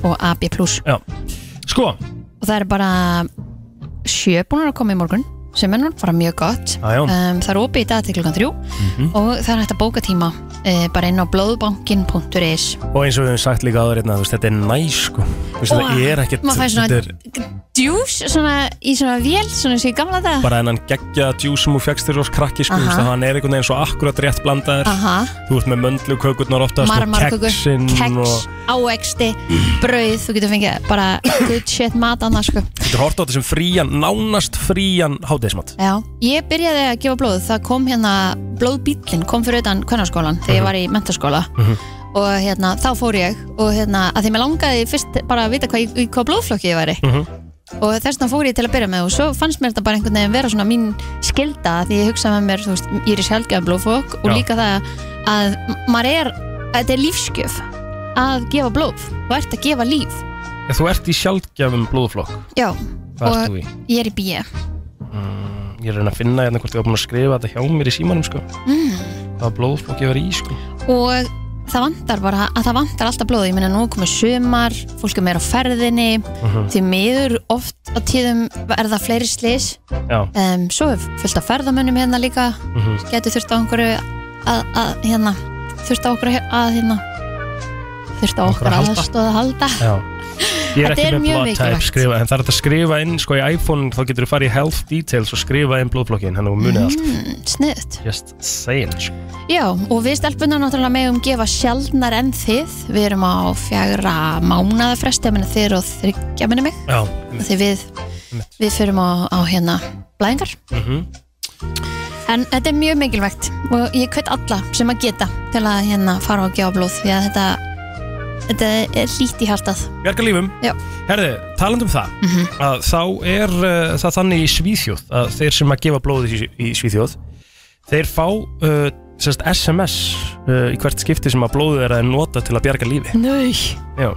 Speaker 4: B- og AB+.
Speaker 3: Já. Sko,
Speaker 4: og það er bara sjö búnar að koma í morgun sem er nú bara mjög gott
Speaker 3: Já, já. Mhm.
Speaker 4: Um, það er opið í dag til klukkan þrjú og það er hægt að bóka tíma e, bara inn á blóðbankin.is
Speaker 3: Og eins og við höfum sagt líka áður hérna, þú veist, þetta er næ, sko. Þú veist, þetta er ekkert,
Speaker 4: maður fær
Speaker 3: þetta er
Speaker 4: svona djús svona, í svona vél svona eins og í gamla dag
Speaker 3: bara hennan geggja djús sem þú fegst þér og krakki, sko,
Speaker 4: Aha.
Speaker 3: þú veist, að hann er einhvern veginn svo akkurat rétt blandaður.
Speaker 4: Aha.
Speaker 3: Þú ert með möndlu kökurnar oftast og
Speaker 4: marmarkökur,
Speaker 3: keksin
Speaker 4: keks,
Speaker 3: og...
Speaker 4: ávexti brauð, þú getur fengið bara good shit mat annars sko
Speaker 3: Þú getur horta á þessum frían, nánast frían hádegismat.
Speaker 4: Já, ég byrjaði að gefa blóð það kom hérna, blóðbíllinn kom fyrir utan kvennarskólan þegar ég var
Speaker 3: Mhm.
Speaker 4: í mentaskóla og hérna, þá fór ég og hérna, að því mér langaði fyrst bara að vita hvað, í- í hvað blóðflokki ég væri og þess vegna fór ég til að byrja með og svo fannst mér þetta bara einhvern veginn vera svona mín skilda því ég hugsaði með mér, þú veist, ég er í sjálfgjöf blóðflokk og
Speaker 3: Já.
Speaker 4: líka það að m- maður er, þetta er lífsgjöf að gefa blóð, þú ert að gefa líf
Speaker 3: Ef þú ert í sjálfgjafum blóðflokk,
Speaker 4: já,
Speaker 3: Hvað ert
Speaker 4: og
Speaker 3: þú í?
Speaker 4: ég er í bíja
Speaker 3: mm, ég er að reyna að finna hérna hvort ég var búin að skrifa þetta hjá mér í símanum, sko.
Speaker 4: mm.
Speaker 3: Hvaða blóðflokk ég var í, sko.
Speaker 4: og það vantar bara að það vantar alltaf blóð, ég meina nú er komið sumar fólk er meira á ferðinni
Speaker 3: Mhm.
Speaker 4: því miður oft á tíðum er það fleiri slis
Speaker 3: Já.
Speaker 4: um, svo er fullt af ferðamönnum hérna líka
Speaker 3: Mhm.
Speaker 4: getur þurft á einhverju að, að hérna, þurft á okkur að hérna þurft á okkur
Speaker 3: að halda.
Speaker 4: aðstóð að halda
Speaker 3: Já. Ég er
Speaker 4: Þetta
Speaker 3: ekki
Speaker 4: er
Speaker 3: með
Speaker 4: mjög
Speaker 3: blood type
Speaker 4: mikilvægt.
Speaker 3: skrifa, en það er hægt að skrifa inn sko í iPhone, þá getur þú farið í health details og skrifa inn blóðflokkin, þannig að þú munið allt
Speaker 4: mm, sniðut
Speaker 3: just saying sko.
Speaker 4: Já, og við stelpunar náttúrulega megum gefa sjaldnar en þið við erum á fjagra mánaða fresti ég meina þið og þryggja minni mig
Speaker 3: Já,
Speaker 4: því við, við förum á, á hérna blæðingar
Speaker 3: mm -hmm.
Speaker 4: en þetta er mjög mikilvægt og ég kveit alla sem að geta til að hérna fara og gefa blóð því að þetta Þetta er lít í hjartað
Speaker 3: Bjarga lífum
Speaker 4: Já.
Speaker 3: Herði, taland um það
Speaker 4: Mhm.
Speaker 3: að Þá er uh, það þannig í Svíþjóð að þeir sem að gefa blóðið í, í Svíþjóð þeir fá uh, sérst, SMS uh, í hvert skipti sem að blóðið er að nota til að bjarga lífi
Speaker 4: Nau
Speaker 3: Já.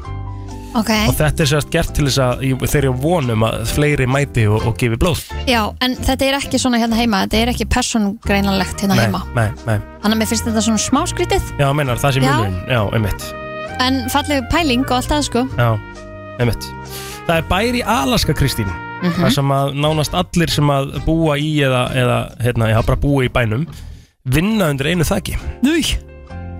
Speaker 4: Ok
Speaker 3: og þetta er sérst gert til þess að í- þeir eru vonum að fleiri mæti og, og gefi blóð
Speaker 4: Já, en þetta er ekki svona hérna heima Þetta er ekki persongreinanlegt hérna
Speaker 3: nei,
Speaker 4: heima
Speaker 3: nei, nei.
Speaker 4: Þannig að mér finnst þetta svona smá skrítið
Speaker 3: Já, meinar, það sé
Speaker 4: Já.
Speaker 3: munurinn Já, einmitt
Speaker 4: En fallegu pæling og allt það sko
Speaker 3: Já, einmitt Það er bær í Alaska, Kristín
Speaker 4: Mhm.
Speaker 3: Það sem að nánast allir sem að búa í eða, eða hérna, ég hafa bara búa í bænum vinna undir einu þaki
Speaker 4: Núi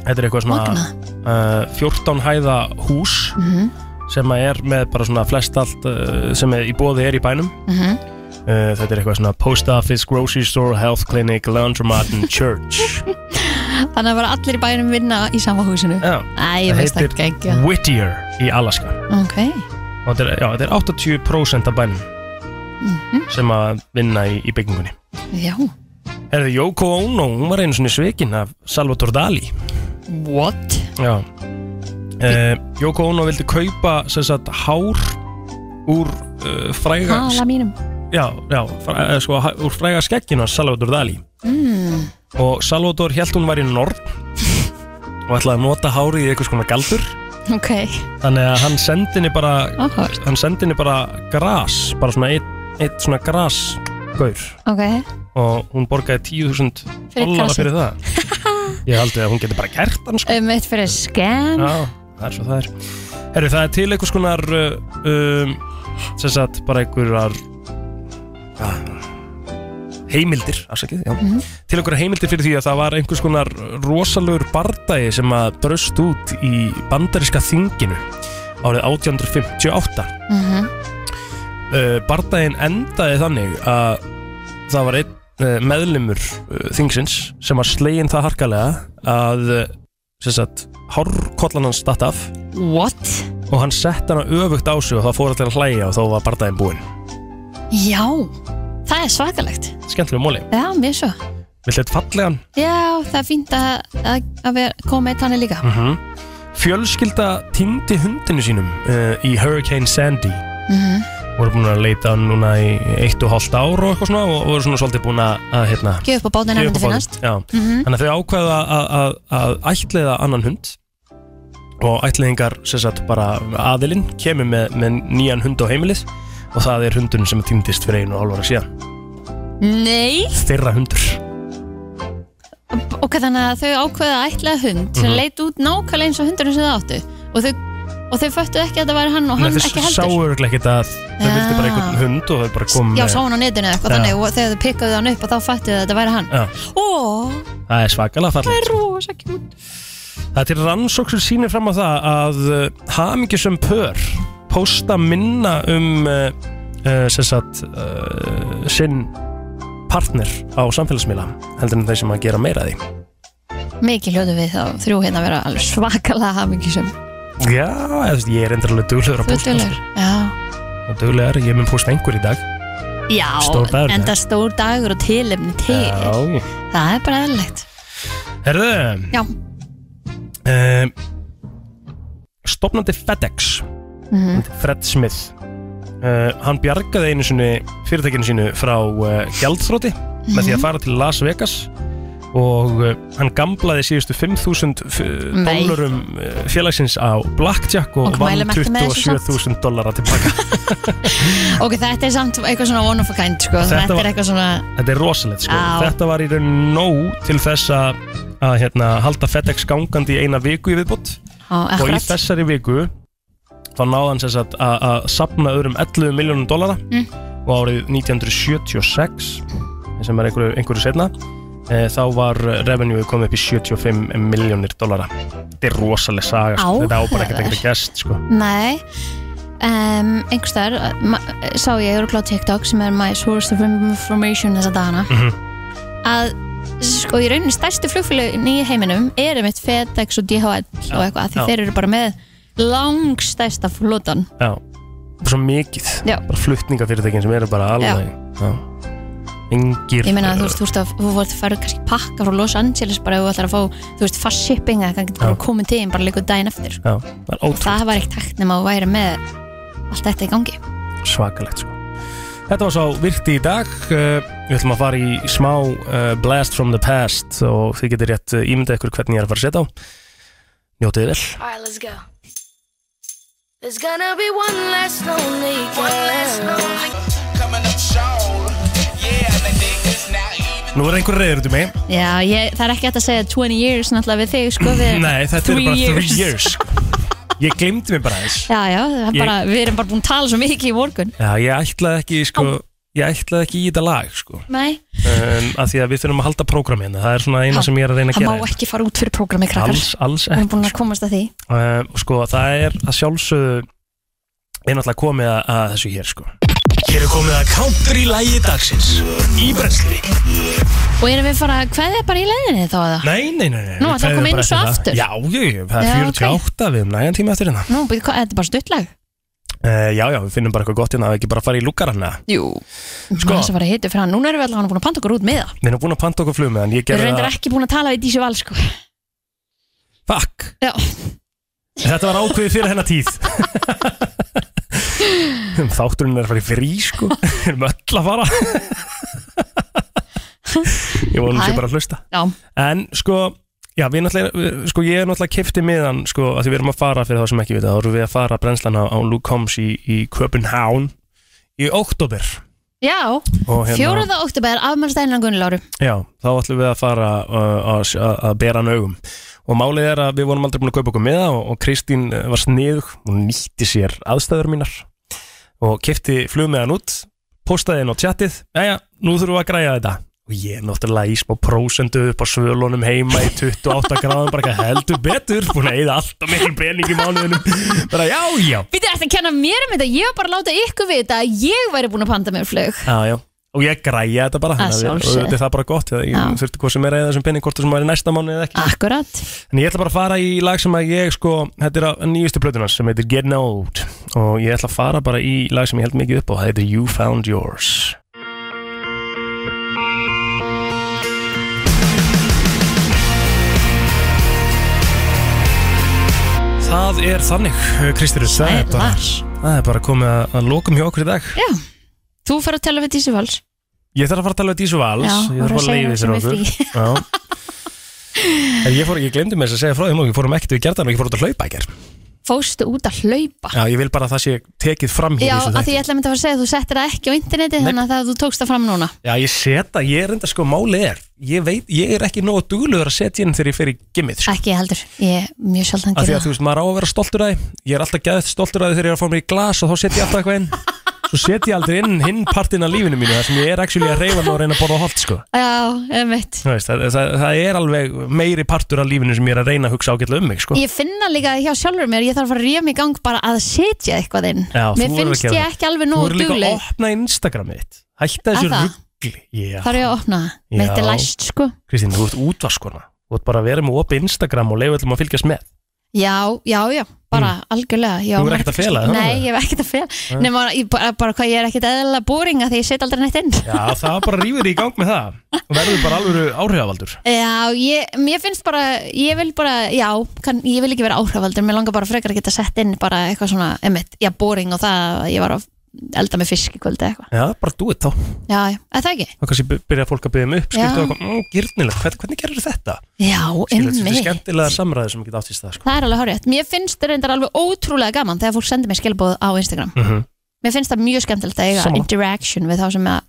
Speaker 3: Þetta er eitthvað svona uh, 14 hæða hús
Speaker 13: Mhm.
Speaker 3: sem að er með bara svona flest allt uh, sem er í bóði er í bænum
Speaker 13: Mhm.
Speaker 3: uh, Þetta er eitthvað svona post office, grocery store, health clinic, laundromat and church
Speaker 4: Þannig að bara allir í bænum vinna í sama húsinu
Speaker 3: Já
Speaker 4: Æ, ég veist ekki ekki
Speaker 3: Whittier í Alaska
Speaker 4: Ok
Speaker 3: og þetta er, já, þetta er 80% af bænum sem að vinna í, í byggingunni
Speaker 4: Mhm, Já
Speaker 3: Herðu, Yoko Ono, hún var einu svona svikin af Salvador Dali
Speaker 4: What?
Speaker 3: Já uh, Yoko Ono vildi kaupa sem sagt hár úr uh, fræga
Speaker 4: Hala mínum
Speaker 3: Já, já, fræ, eh, sko, ha- úr fræga skekkinu af Salvador Dali
Speaker 4: mm.
Speaker 3: og Salvador held hún var í Nord og ætlaði að nota hárið í eitthvað skona galdur
Speaker 4: Ok
Speaker 3: þannig að hann sendi henni bara
Speaker 4: Áhugavert.
Speaker 3: hann sendi henni bara gras bara svona eitt, eitt svona gras gaur
Speaker 4: Ok
Speaker 3: og hún borgaði 10.000
Speaker 4: Fyrir
Speaker 3: dollara
Speaker 4: grasið.
Speaker 3: fyrir það ég haldi að hún geti bara kert
Speaker 4: Um eitt fyrir skem
Speaker 3: Já, það er svo það er Herru, það er til einhvers konar uh, um, sem sagt bara einhverjar ja, heimildir afsakið, já,
Speaker 13: Mhm.
Speaker 3: til einhverjar heimildir fyrir því að það var einhvers konar rosalögur bardagi sem að bröst út í bandaríska þinginu árið 1858
Speaker 13: Mhm.
Speaker 3: uh, bardaginn endaði þannig að það var einn uh, meðlimur uh, þingsins sem var slegin það harkalega að uh, sem sagt, hárkollan hans datt af
Speaker 4: What?
Speaker 3: og hann sett hana öfugt á sig og það fór allir að hlæja og þá var bardaginn búinn
Speaker 4: Já Það er svakalegt
Speaker 3: skemmtilega móli,
Speaker 4: Já, mér svo
Speaker 3: viltu þetta fallegan?
Speaker 4: Já, það er fínt að, að, að vera, koma með þannig líka
Speaker 3: Mm Fjölskylda týndi hundinu sínum uh, í Hurricane Sandy
Speaker 4: Mhm.
Speaker 3: voru búin að leita hann núna í eitt og hálft ár og eitthvað svona og voru svona svolítið búin að að, hérna,
Speaker 4: Gefa upp á bátinn ef myndi
Speaker 3: gefa upp á bátinn.
Speaker 4: finnast.
Speaker 3: Já.
Speaker 4: Mhm.
Speaker 3: þannig að þau ákveða að, að, að ætliða annan hund og ætliðingar sem sagt bara aðilinn kemur með, með nýjan hund á heimilið og það er hundurinn sem týndist fyrir einu og hálf ára síðan
Speaker 4: Nei
Speaker 3: þeirra hundur
Speaker 4: Ok, þannig að þau ákveða að ætla hund sem
Speaker 3: Mhm.
Speaker 4: leit út nákvæmlega eins og hundurinn sem þau áttu og þau, og þau föttu ekki að það væri hann og hann
Speaker 3: Nei,
Speaker 4: ekki
Speaker 3: Þau sáu
Speaker 4: heldur
Speaker 3: örugglega ekkert að þau
Speaker 4: Já.
Speaker 3: vildi bara einhvern hund og þau bara komið
Speaker 4: Já, sá hann á netinu eða eitthvað
Speaker 3: Já.
Speaker 4: þannig og þegar þau pikkaðu hann upp og þá fættu þau að þetta væri hann
Speaker 3: Já,
Speaker 4: Ó,
Speaker 3: það er
Speaker 4: það
Speaker 3: svakalega fallið
Speaker 4: er rosa kjút
Speaker 3: Það er til rannsók sem sýnir fram á það að uh, hamingjusum pör posta minna um uh, uh, sem sagt uh, sinn partner á samfélagsmiðla heldur en þeir sem að gera meira af því
Speaker 4: Mikið hljótu við þá þrjú hérna að vera alveg svakalega hamingisum
Speaker 3: Já, eða, þú veist, ég er endur alveg duglegur að posta
Speaker 4: Fullulegur, já
Speaker 3: og duglegar, ég mun posta einhver í dag
Speaker 4: Já,
Speaker 3: Stór dagur,
Speaker 4: en
Speaker 3: nei?
Speaker 4: það stór dagur og tilefni til
Speaker 3: Já,
Speaker 4: Það er bara eðlilegt
Speaker 3: herðu
Speaker 4: Já,
Speaker 3: um, Stopnandi FedEx
Speaker 4: Mhm.
Speaker 3: Fred Smith uh, Hann bjargaði einu sinni fyrirtækinu sínu frá uh, gjaldþróti með
Speaker 4: Mhm.
Speaker 3: því að fara til Las Vegas og uh, hann gamlaði síðustu 5.000 f-
Speaker 4: Nei.
Speaker 3: dólarum uh, félagsins á Blackjack og
Speaker 4: Ok,
Speaker 3: vann
Speaker 4: mælum ekki með þessu samt.
Speaker 3: 27.000 dólara tilbaka
Speaker 4: ok, þetta er samt eitthvað svona one of a kind sko.
Speaker 3: Þetta
Speaker 4: Þetta,
Speaker 3: var-
Speaker 4: er eitthvað svona
Speaker 3: Þetta er rosalegt sko
Speaker 4: Á.
Speaker 3: Þetta var í raun nóg til þess að, að hérna, halda FedEx gangandi í eina viku í viðbútt
Speaker 4: á,
Speaker 3: og í
Speaker 4: akkurat
Speaker 3: þessari viku þá náði hann sem sagt að að sapna öðrum 11 miljónum dollara
Speaker 4: Mm.
Speaker 3: og árið 1976 sem er einhverju, einhverju setna e, þá var revenue komið upp í 75 miljónir dollara þetta er rosalega saga sko. þetta á bara ekkert ekkert að gest sko.
Speaker 4: Nei um, Einhverstaðar sá ég örglá TikTok sem er my source of information þessa dagana
Speaker 3: Mhm.
Speaker 4: að sko í rauninni stærstu flugfélögin í heiminum eru mitt FedEx og DHL og eitthvað því
Speaker 3: já.
Speaker 4: þeir eru bara með langstærsta flotan
Speaker 3: já, svo mikið
Speaker 4: Já.
Speaker 3: bara fluttningafyrirtækin sem eru bara alveg já. Engir eh,
Speaker 4: Ég meina, þú veist, þú veist að þú voru færðu kannski pakka frá Los Angeles bara ef þú ætlar að fá, þú veist, fast shipping eða kannski bara
Speaker 3: Já.
Speaker 4: komið til þeim bara líka daginn eftir
Speaker 3: Já, það er
Speaker 4: og það var ekkert hægt nema að væri með allt þetta í gangi
Speaker 3: ótrúlega svakalegt sko. Þetta var svo virti í dag uh, Við ætlum að fara í smá uh, blast from the past og þið getur rétt uh, ímyndað ykkur hvernig ég er að fara að setja á Njótið þið vel
Speaker 6: Alright, let's go. There's gonna be one less lonely girl. Coming up short. Yeah, the niggas now
Speaker 3: Nú er einhver reyður út í mig
Speaker 4: Já, ég, það er ekki hægt að segja 20 years náttúrulega við þig, sko, við
Speaker 3: Nei, þetta eru bara three years sko. Ég glimti mig bara þess
Speaker 4: Já, já, það er
Speaker 3: Ég-
Speaker 4: bara, við erum bara búin að tala svo mikið í morgun
Speaker 3: Já, ég ætlaði ekki sko, ég ætlaði ekki í þetta lag sko.
Speaker 4: Nei,
Speaker 3: um, að því að við þurfum að halda prógraminu það er svona eina sem ég er að reyna að
Speaker 4: það
Speaker 3: gera hérna.
Speaker 4: má ekki fara út fyrir prógrami krakkar
Speaker 3: Alls- alls sko.
Speaker 4: Við erum búin að komast að því
Speaker 3: um, sko, það er að sjálfsögðu er náttúrulega komið að, að þessu hér sko. Hér er komið að country lagi dagsins í brensli
Speaker 4: Og erum við fara, hvað er bara í leiðinni þá að það?
Speaker 3: Nei, nei, nei, nei
Speaker 4: Ah. Nú, það kom
Speaker 3: við kveðjum
Speaker 4: einu
Speaker 3: bara
Speaker 4: svo
Speaker 3: eftir það.
Speaker 4: aftur.
Speaker 3: Já, jú, jú, það
Speaker 4: Já,
Speaker 3: er 48 við um nægan tíma eftir hérna
Speaker 4: Nú, býðu, hvað, þetta er bara stuttlag
Speaker 3: uh, Já, já, við finnum bara eitthvað gott hérna að ekki bara fara í lúkarann eða?
Speaker 4: Jú, sko. maður sem var að hita fyrir hann Núna erum við allavega búin að panta okkur út með það
Speaker 3: Við erum búin að panta okkur flug með hann Ég
Speaker 4: Við erum
Speaker 3: gerði
Speaker 4: reyndar
Speaker 3: það
Speaker 4: ekki búin að tala við Dísi Val sko
Speaker 3: Fuck
Speaker 4: Já,
Speaker 3: Þetta var ákveðið fyrir hennar tíð Þátturinn er að fara í frí sko Við erum öll að fara Ég vonum sé
Speaker 4: Hæ.
Speaker 3: bara að hlusta
Speaker 4: já,
Speaker 3: En sko Já, við náttúrulega, við- sko ég er náttúrulega kiftið miðan sko, að því við erum að fara fyrir það sem ekki við það þá erum við að fara brennslan á, á Luke Combs í, í Copenhagen í oktober
Speaker 4: já.
Speaker 3: Og hérna-
Speaker 4: 4. oktober afmælstæðina Gunniláru
Speaker 3: Já, þá ætlum við að fara uh, að sj- að að bera hann augum og málið er að við vorum aldrei búin að kaupa okkur með það og, og Kristín uh, var sniðug og nýtti sér aðstæður mínar og kefti flugmiðan út postaði henn á tjattið Jæja, nú þurfum við að græja þetta og ég er náttúrulega í smá prósendu upp á svölunum heima í 28 gráðum bara eitthvað heldur betur, búin að eyða alltaf mikil pening í mánuðinum bara já, já
Speaker 4: Við erum að kenna mér um þetta, ég var bara að láta ykkur vita að ég væri búin að panta mér flug
Speaker 3: Já, já Og ég græja þetta bara
Speaker 4: Að
Speaker 3: þannig að-
Speaker 4: sjálfsögðu.
Speaker 3: Og þetta er það bara gott Ég
Speaker 4: Já. Ah.
Speaker 3: þurfti hvað sem er eða þessum penning Hvort sem væri næsta mánu eða ekki
Speaker 4: Akkurat
Speaker 3: En ég ætla bara að fara í lag sem að ég sko Þetta er að nýjustu plötunars sem heitir Get Out Og ég ætla að fara bara í lag sem ég held mikið upp á Það heitir You Found Yours Það er þannig, Kristur Það er bara, það er bara komið að, að lokum hjá okkur í dag
Speaker 4: Já, þú fer að tala við Dísi Vals
Speaker 3: Ég þarf að fara að tala við Dísu Vals
Speaker 4: Já,
Speaker 3: Ég
Speaker 4: voru að
Speaker 3: þarf að fara að
Speaker 4: segja
Speaker 3: leiði
Speaker 4: sem
Speaker 3: þér
Speaker 4: er
Speaker 3: okkur
Speaker 4: frí.
Speaker 3: Já. En ég, fór, ég glemdi mér þess að segja frá því nú, Ég fórum ekkert við gerðan og ég fór út að hlaupa ekkert
Speaker 4: Fóstu út að hlaupa
Speaker 3: Já, ég vil bara að það sé tekið fram hér
Speaker 4: Já,
Speaker 3: í þessu
Speaker 4: af því
Speaker 3: þætti.
Speaker 4: ég ætla að mynda að fara að segja að þú settir það ekki á interneti
Speaker 3: Nei.
Speaker 4: þannig að það- þú tókst það fram núna
Speaker 3: Já, ég seta, ég er enda sko máli er Ég veit, ég er ekki nógu dugluður að setja inn þegar ég fer í gimmið sko.
Speaker 4: Ekki heldur, ég er mjög sjaldan
Speaker 3: Af því
Speaker 4: gerði
Speaker 3: að þú veist, maður á að vera stoltur að því Ég er alltaf gæðið stoltur að því þegar ég er að fá mér í glas og þá setja ég alltaf eitthvað inn Svo setja ég aldrei inn hinn partinn af lífinu mínu þar sem ég er actually að reyfa mig og reyna að borða holt sko.
Speaker 4: það Já, emitt
Speaker 3: Þú veist, það, það, það er alveg meiri partur af lífinu sem ég er að reyna að hugsa ágætlega um mig sko.
Speaker 4: Ég finna líka hjá sjálfur mér, ég þarf að fara að ríða mig í gang bara að setja eitthvað inn
Speaker 3: Já,
Speaker 4: Mér
Speaker 3: þú verður
Speaker 4: finnst
Speaker 3: að gera
Speaker 4: ég
Speaker 3: það.
Speaker 4: ekki alveg nógu
Speaker 3: Þú verður líka
Speaker 4: dugleg
Speaker 3: að opna Instagramið þitt Hætta þessu
Speaker 4: Er það?
Speaker 3: ruggli Já.
Speaker 4: Þarf ég að opna það,
Speaker 3: Já.
Speaker 4: mitt er læst sko
Speaker 3: Kristín, þú ert útvaskona Þú ert bara að vera með opið Instagram og leiða öllum að fylgjast með
Speaker 4: Já, já, já, bara algjörlega já,
Speaker 3: Mm. Þú er ekkert að fela það, Mm.
Speaker 4: Nei,
Speaker 3: þannig?
Speaker 4: ég er ekkert að
Speaker 3: Nei.
Speaker 4: fela Nei, bara, ég, bara, bara hvað ég er ekkert eðlilega bóring að því ég set aldrei neitt inn
Speaker 3: Já, það bara rýfur í gang með það og verður bara alveg áhrifavaldur
Speaker 4: Já, ég, mér finnst bara, ég vil bara, já, kann, ég vil ekki vera áhrifaldur Mér langar bara frekar að geta sett inn bara eitthvað svona, emitt, já, bóring og það að Ég var að elda með fisk í kvöldi eitthvað
Speaker 3: Já, bara do it þá
Speaker 4: Já, já, er það ekki?
Speaker 3: Þá kannski by- byrja fólk að byrja mig upp
Speaker 4: Já.
Speaker 3: Skiltu okkur, mmm, girnilegt, hvernig, hvernig gerir þetta?
Speaker 4: Já,
Speaker 3: Skilur þetta
Speaker 4: einmitt.
Speaker 3: skemmtilega samræði sem geta áttist það sko.
Speaker 4: Það er alveg horrið Mér finnst reyndar alveg ótrúlega gaman þegar fólk sendir mér skilbóð á Instagram
Speaker 3: mm -hmm.
Speaker 4: Mér finnst það mjög skemmtilegt að eiga
Speaker 3: Sammála.
Speaker 4: interaction við þá sem að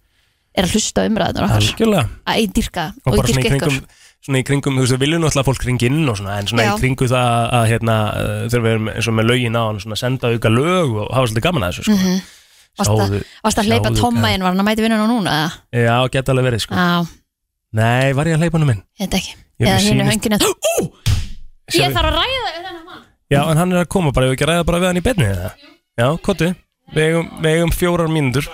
Speaker 4: er að hlusta umræðunar okkar
Speaker 3: Algjörlega
Speaker 4: að ég dyrka
Speaker 3: og
Speaker 4: og ég
Speaker 3: bara svona
Speaker 4: dyrka
Speaker 3: í
Speaker 4: ykkur
Speaker 3: kringum svona í kringum, þú veist, við viljum náttúrulega að fólk ringi inn og svona, en svona
Speaker 4: Já.
Speaker 3: í kringu það að hérna, uh, þegar við erum eins og með lögin á hann svona senda auka lög og hafa svolítið gaman að þessu sko.
Speaker 4: Mhm. Varst að-
Speaker 3: Sjáðu-
Speaker 4: varst að hleypa
Speaker 3: sjáðu
Speaker 4: Tomma Ah.
Speaker 3: hvað-
Speaker 4: inn var hann að mæti vinnun og núna eða?
Speaker 3: Já, geta alveg verið sko
Speaker 4: á,
Speaker 3: Nei, var ég að hleypa hann um inn?
Speaker 4: ég veit ekki
Speaker 3: Ég
Speaker 4: eða
Speaker 3: mér
Speaker 4: hinn er
Speaker 3: sýnist-
Speaker 4: höngin ég
Speaker 3: Sérðu-
Speaker 4: þarf að ræða við þennan mann
Speaker 3: Já, en hann er að koma bara, ég vil ekki að ræða bara við hann í beinni eða? Já, kottu, við eigum, við eigum fjórar mínútur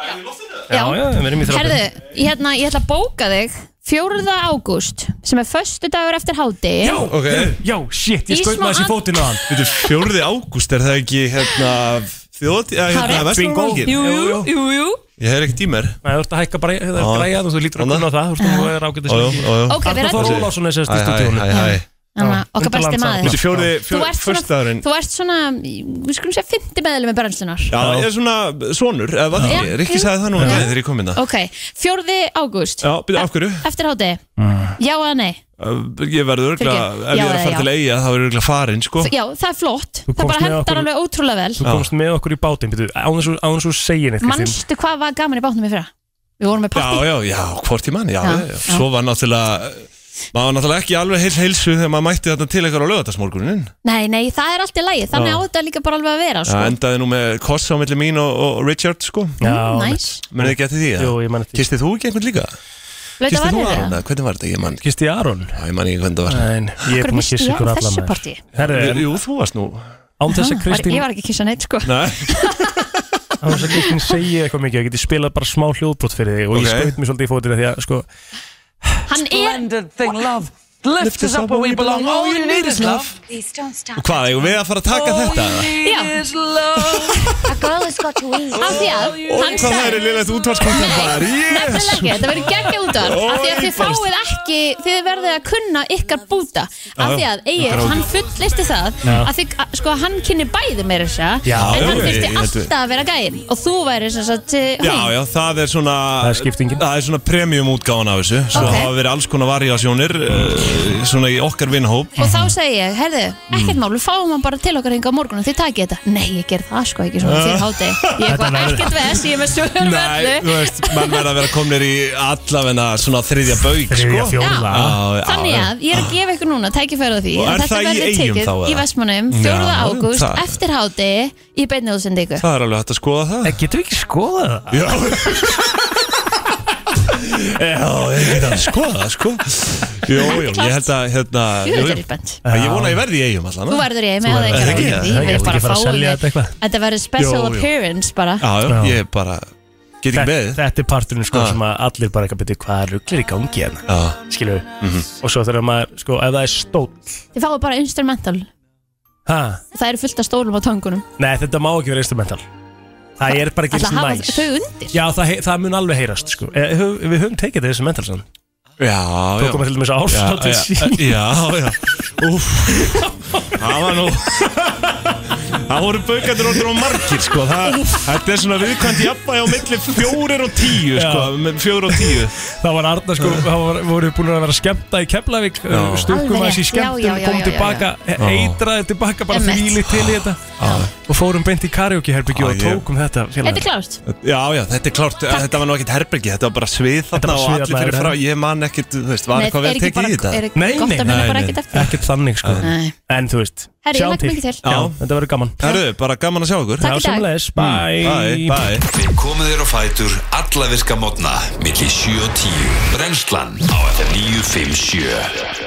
Speaker 3: Já, já, við erum í þrjá
Speaker 4: herðu, hérna, ég ætla að bóka þig 4. ágúst sem er förstu dagur eftir háti
Speaker 3: Já, já, shit,
Speaker 4: Í
Speaker 3: ég skaut
Speaker 4: smá
Speaker 3: maður þessi
Speaker 4: and-
Speaker 3: fótinn á hann
Speaker 22: Þetta er fjórði ágúst, er það ekki hérna
Speaker 2: Þjóðatíð, eða, hérna, verslunarmannahelgin?
Speaker 21: Jú, jú, jú, jú
Speaker 2: Ég hefur ekki tímer
Speaker 3: Nei, þú ert að hækka bara
Speaker 2: Já.
Speaker 3: græðan og þú lítur að kunna á það Þú veist, þú er ágætið
Speaker 2: Ó, jú, ó, jú.
Speaker 4: Ok, við
Speaker 3: Arnur Þór
Speaker 4: ræddum-
Speaker 3: Ólafsson er sérst í
Speaker 2: Hæ, hæ,
Speaker 3: stúdíónu
Speaker 2: hæ, hæ.
Speaker 4: Þannig að okkar besti maður
Speaker 2: Þetta er fjórði,
Speaker 4: Þú ert svona,
Speaker 2: fyrstaðurinn
Speaker 4: þú ert svona við skulum segja 50 meðlum með brennslunar
Speaker 2: Já, ég er svona sonur, eða var það
Speaker 4: Já.
Speaker 2: ekki? Rikki sagði það nú
Speaker 4: Já.
Speaker 2: en þegar ég kom inn
Speaker 4: Ok, 4. ágúst
Speaker 2: Já, byrja, af hverju?
Speaker 4: Eftir háti, já eða nei
Speaker 2: Uh, Ég verður örgla,
Speaker 4: Mm. Fyrirgefðu.
Speaker 2: ef ég er
Speaker 4: Já,
Speaker 2: að fara
Speaker 4: já.
Speaker 2: til eiga þá verður örgla farin, sko
Speaker 4: Já, það er flott, það
Speaker 3: komst
Speaker 4: bara
Speaker 3: með
Speaker 4: hendar
Speaker 3: okkur-
Speaker 4: alveg ótrúlega
Speaker 3: Þú
Speaker 4: vel
Speaker 3: komst með okkur í bátinn, byrju, án þess að- án þess að þú segja neitt Kristín.
Speaker 4: Manstu hvað var gaman í bátnum í fyrra? Við vorum með
Speaker 2: Já,
Speaker 4: partí
Speaker 2: já, já, hvort í mann,
Speaker 4: Já,
Speaker 2: já, já, já.
Speaker 4: já.
Speaker 2: Svo var náttúrulega, maður var náttúrulega ekki alveg heil heilsu þegar maður mætti þarna til eitthvað á lögatarsmorgunin
Speaker 4: Nei, nei, það er allt í lagi, þannig
Speaker 2: Já.
Speaker 4: á þetta líka bara alveg að vera
Speaker 2: Það
Speaker 4: sko.
Speaker 2: endaði nú með kossa á milli mín og, og Richard, sko
Speaker 4: Já, næs.
Speaker 2: Menið þið getið því, já? Jú, ég manið því Kistið þú ekki einhvern líka?
Speaker 4: Blauta
Speaker 2: Kyssti þú
Speaker 4: varir
Speaker 2: Aron,
Speaker 4: eða?
Speaker 2: eða hvernig var þetta? Ég man Kisti Aron? Já, ég man ekki hvernig það var
Speaker 3: Nein, ég
Speaker 4: Af hverju missti ég af þessu partí?
Speaker 2: Herri, Jú, þú varst nú
Speaker 3: Án þess að
Speaker 4: Var-
Speaker 3: Kristín
Speaker 4: Ég var ekki að kissa neitt sko
Speaker 2: Nei
Speaker 3: Án þess að Kristín segja eitthvað mikið Ég geti spilað bara smá hljóðbrot fyrir þig Og
Speaker 2: Ok.
Speaker 3: ég skaut mér svolítið í fótina Því að sko
Speaker 4: Hann
Speaker 13: Splendid thing love Lift us up where we belong All you need is love
Speaker 7: Please don't stop.
Speaker 2: Og hvað, eigum við að fara að taka þetta?
Speaker 7: Já. A girl has got to eat.
Speaker 4: Af því að
Speaker 2: Og
Speaker 4: hann
Speaker 2: hvað það er
Speaker 4: sagði
Speaker 2: liðlegt útvarskvöldum þar
Speaker 4: Nefnilega ekki, þetta verður geggja út af Af því að þið
Speaker 2: Oj, best.
Speaker 4: fáið ekki, þið verðið að kunna ykkar búta Af því
Speaker 2: Já,
Speaker 4: að
Speaker 2: já.
Speaker 4: Egil,
Speaker 2: Ykkar búta.
Speaker 4: hann fulllisti það
Speaker 2: Já.
Speaker 4: Að þið, að- sko hann kynni bæði meira þess að
Speaker 2: Já,
Speaker 4: En hann
Speaker 2: já,
Speaker 4: þurfti
Speaker 2: ég- ég-
Speaker 4: alltaf að vera gæinn Og þú væri sem sagt eh,
Speaker 2: Já,
Speaker 4: hún
Speaker 2: já, það er svona Það er skiptingin Það er svona premium útgáðan af þessu Svo
Speaker 4: Ok.
Speaker 2: hafa verið alls konar variasjónir uh, Svona í okkar vinhóp
Speaker 4: Og þá segi ég, herðu,
Speaker 2: Mm.
Speaker 4: ekkert mál, við fáum hann bara til okkar hinga á morgun og þið takið þetta. Nei, ég ger það sko ekki svona
Speaker 2: Ah.
Speaker 4: fyrir háti. Ég
Speaker 2: Þetta
Speaker 4: var
Speaker 2: verður-
Speaker 4: ekkert ves, ég er með sögur með
Speaker 2: Nei,
Speaker 4: öllu.
Speaker 2: þú veist, mann verða að vera komnir í allavegna svona þriðja bauk Þriðja sko.
Speaker 4: fjórða.
Speaker 2: Já, já,
Speaker 4: Þannig að ég er að gefa ykkur núna tækifærið því að
Speaker 2: Og er
Speaker 4: þetta
Speaker 2: það í
Speaker 4: verður
Speaker 2: Eyjum
Speaker 4: tekið
Speaker 2: þá, eða?
Speaker 4: í Vestmannum
Speaker 2: Já,
Speaker 4: 4. ágúst
Speaker 2: það-
Speaker 4: eftir háti í beinni útsendingu.
Speaker 2: Það er alveg hægt að skoða
Speaker 4: Eh,
Speaker 2: það
Speaker 3: Getur við ekki skoða það?
Speaker 2: Já Já, ég get að skoða það sko Jó, jó, ég held að hérna,
Speaker 4: Jú,
Speaker 2: jú,
Speaker 4: þetta
Speaker 2: jú.
Speaker 4: er spennt.
Speaker 2: Ég vona að ég verði í eigum allan
Speaker 4: Þú verður í Eyjum, eða
Speaker 2: ekki
Speaker 4: ekki
Speaker 2: ekki,
Speaker 4: ráðið.
Speaker 2: það
Speaker 4: Ég vil bara
Speaker 2: ekki fara að
Speaker 4: fá
Speaker 2: selja
Speaker 4: þig.
Speaker 2: þetta eitthvað
Speaker 4: Þetta verður special
Speaker 2: Jú, jú.
Speaker 4: appearance bara.
Speaker 2: Já, já,
Speaker 3: Já.
Speaker 2: ég bara get ekki
Speaker 3: Þetta-
Speaker 2: beðið Ah.
Speaker 3: Þetta er parturinn sko sem að allir bara eitthvað byrja Hvað rugglir í gangi hérna? Skilju
Speaker 2: Mhm.
Speaker 3: Og svo þegar maður, sko, ef það er stóll
Speaker 4: Þið fáið bara instrumental.
Speaker 3: Ha?
Speaker 4: Það eru fullt af stólum á tangunum.
Speaker 3: Nei, þetta má ekki vera instrumental Það er bara ekki
Speaker 4: Ætla að hafa
Speaker 3: næs
Speaker 4: þau undir?
Speaker 3: Já, það, hei- það mun alveg heyrast sko. e, höf, Við höfum tekið þetta instrumental saman
Speaker 2: Já, já
Speaker 3: Tókum við til dæmis Árshátíð
Speaker 2: Já, já,
Speaker 3: sín.
Speaker 2: Já, já Úf Það var nú Það voru baukandur orður og margir sko það, Þetta er svona viðkvæmt jafnvæg á milli fjórir og tíu sko með Fjórir og tíu
Speaker 3: Það var Arna sko, það var, voru búin að vera skemmta í Keflavík eh,
Speaker 2: Já.
Speaker 3: Stukkum
Speaker 2: Alveg
Speaker 3: að þessi
Speaker 4: Já, já,
Speaker 2: rétt.
Speaker 3: skemmtum
Speaker 4: já,
Speaker 3: Komum
Speaker 4: já, já,
Speaker 3: tilbaka,
Speaker 2: já.
Speaker 3: e- eitraði tilbaka Bara
Speaker 4: Emmett.
Speaker 3: þvíli til í þetta Og fórum beint í karaoke herbyggju
Speaker 2: Já,
Speaker 3: og
Speaker 2: ég-
Speaker 3: tókum þetta félagar.
Speaker 4: Þetta er klárt.
Speaker 2: Já, já, þetta er klárt Þetta var nú ekkert herbergi, þetta var bara svið
Speaker 3: var
Speaker 2: þarna og
Speaker 3: svið
Speaker 2: allir
Speaker 3: þarna,
Speaker 2: fyrir
Speaker 3: já.
Speaker 2: frá Ég man ekkert, þú veist, var
Speaker 4: Nei,
Speaker 2: eitthvað
Speaker 4: er
Speaker 2: vel
Speaker 4: ekki
Speaker 2: tekið
Speaker 4: bara-
Speaker 2: í þetta
Speaker 4: er ekki gott að muna bara ekkert eftir?
Speaker 3: Ekkert þannig sko
Speaker 4: Nei.
Speaker 3: En þú veist,
Speaker 4: Herri, ég
Speaker 3: sjá
Speaker 4: legg
Speaker 3: til
Speaker 4: mikið til.
Speaker 3: Já,
Speaker 4: Já.
Speaker 3: Þetta verður gaman
Speaker 2: Herru, bara gaman að sjá ykkur
Speaker 4: Takk í dag. Mm.
Speaker 3: sömuleiðis. Bye.
Speaker 2: Bye, bye
Speaker 1: Við komum þér á fætur alla virka mótna millir 7 og 10 Brennslan á FM 957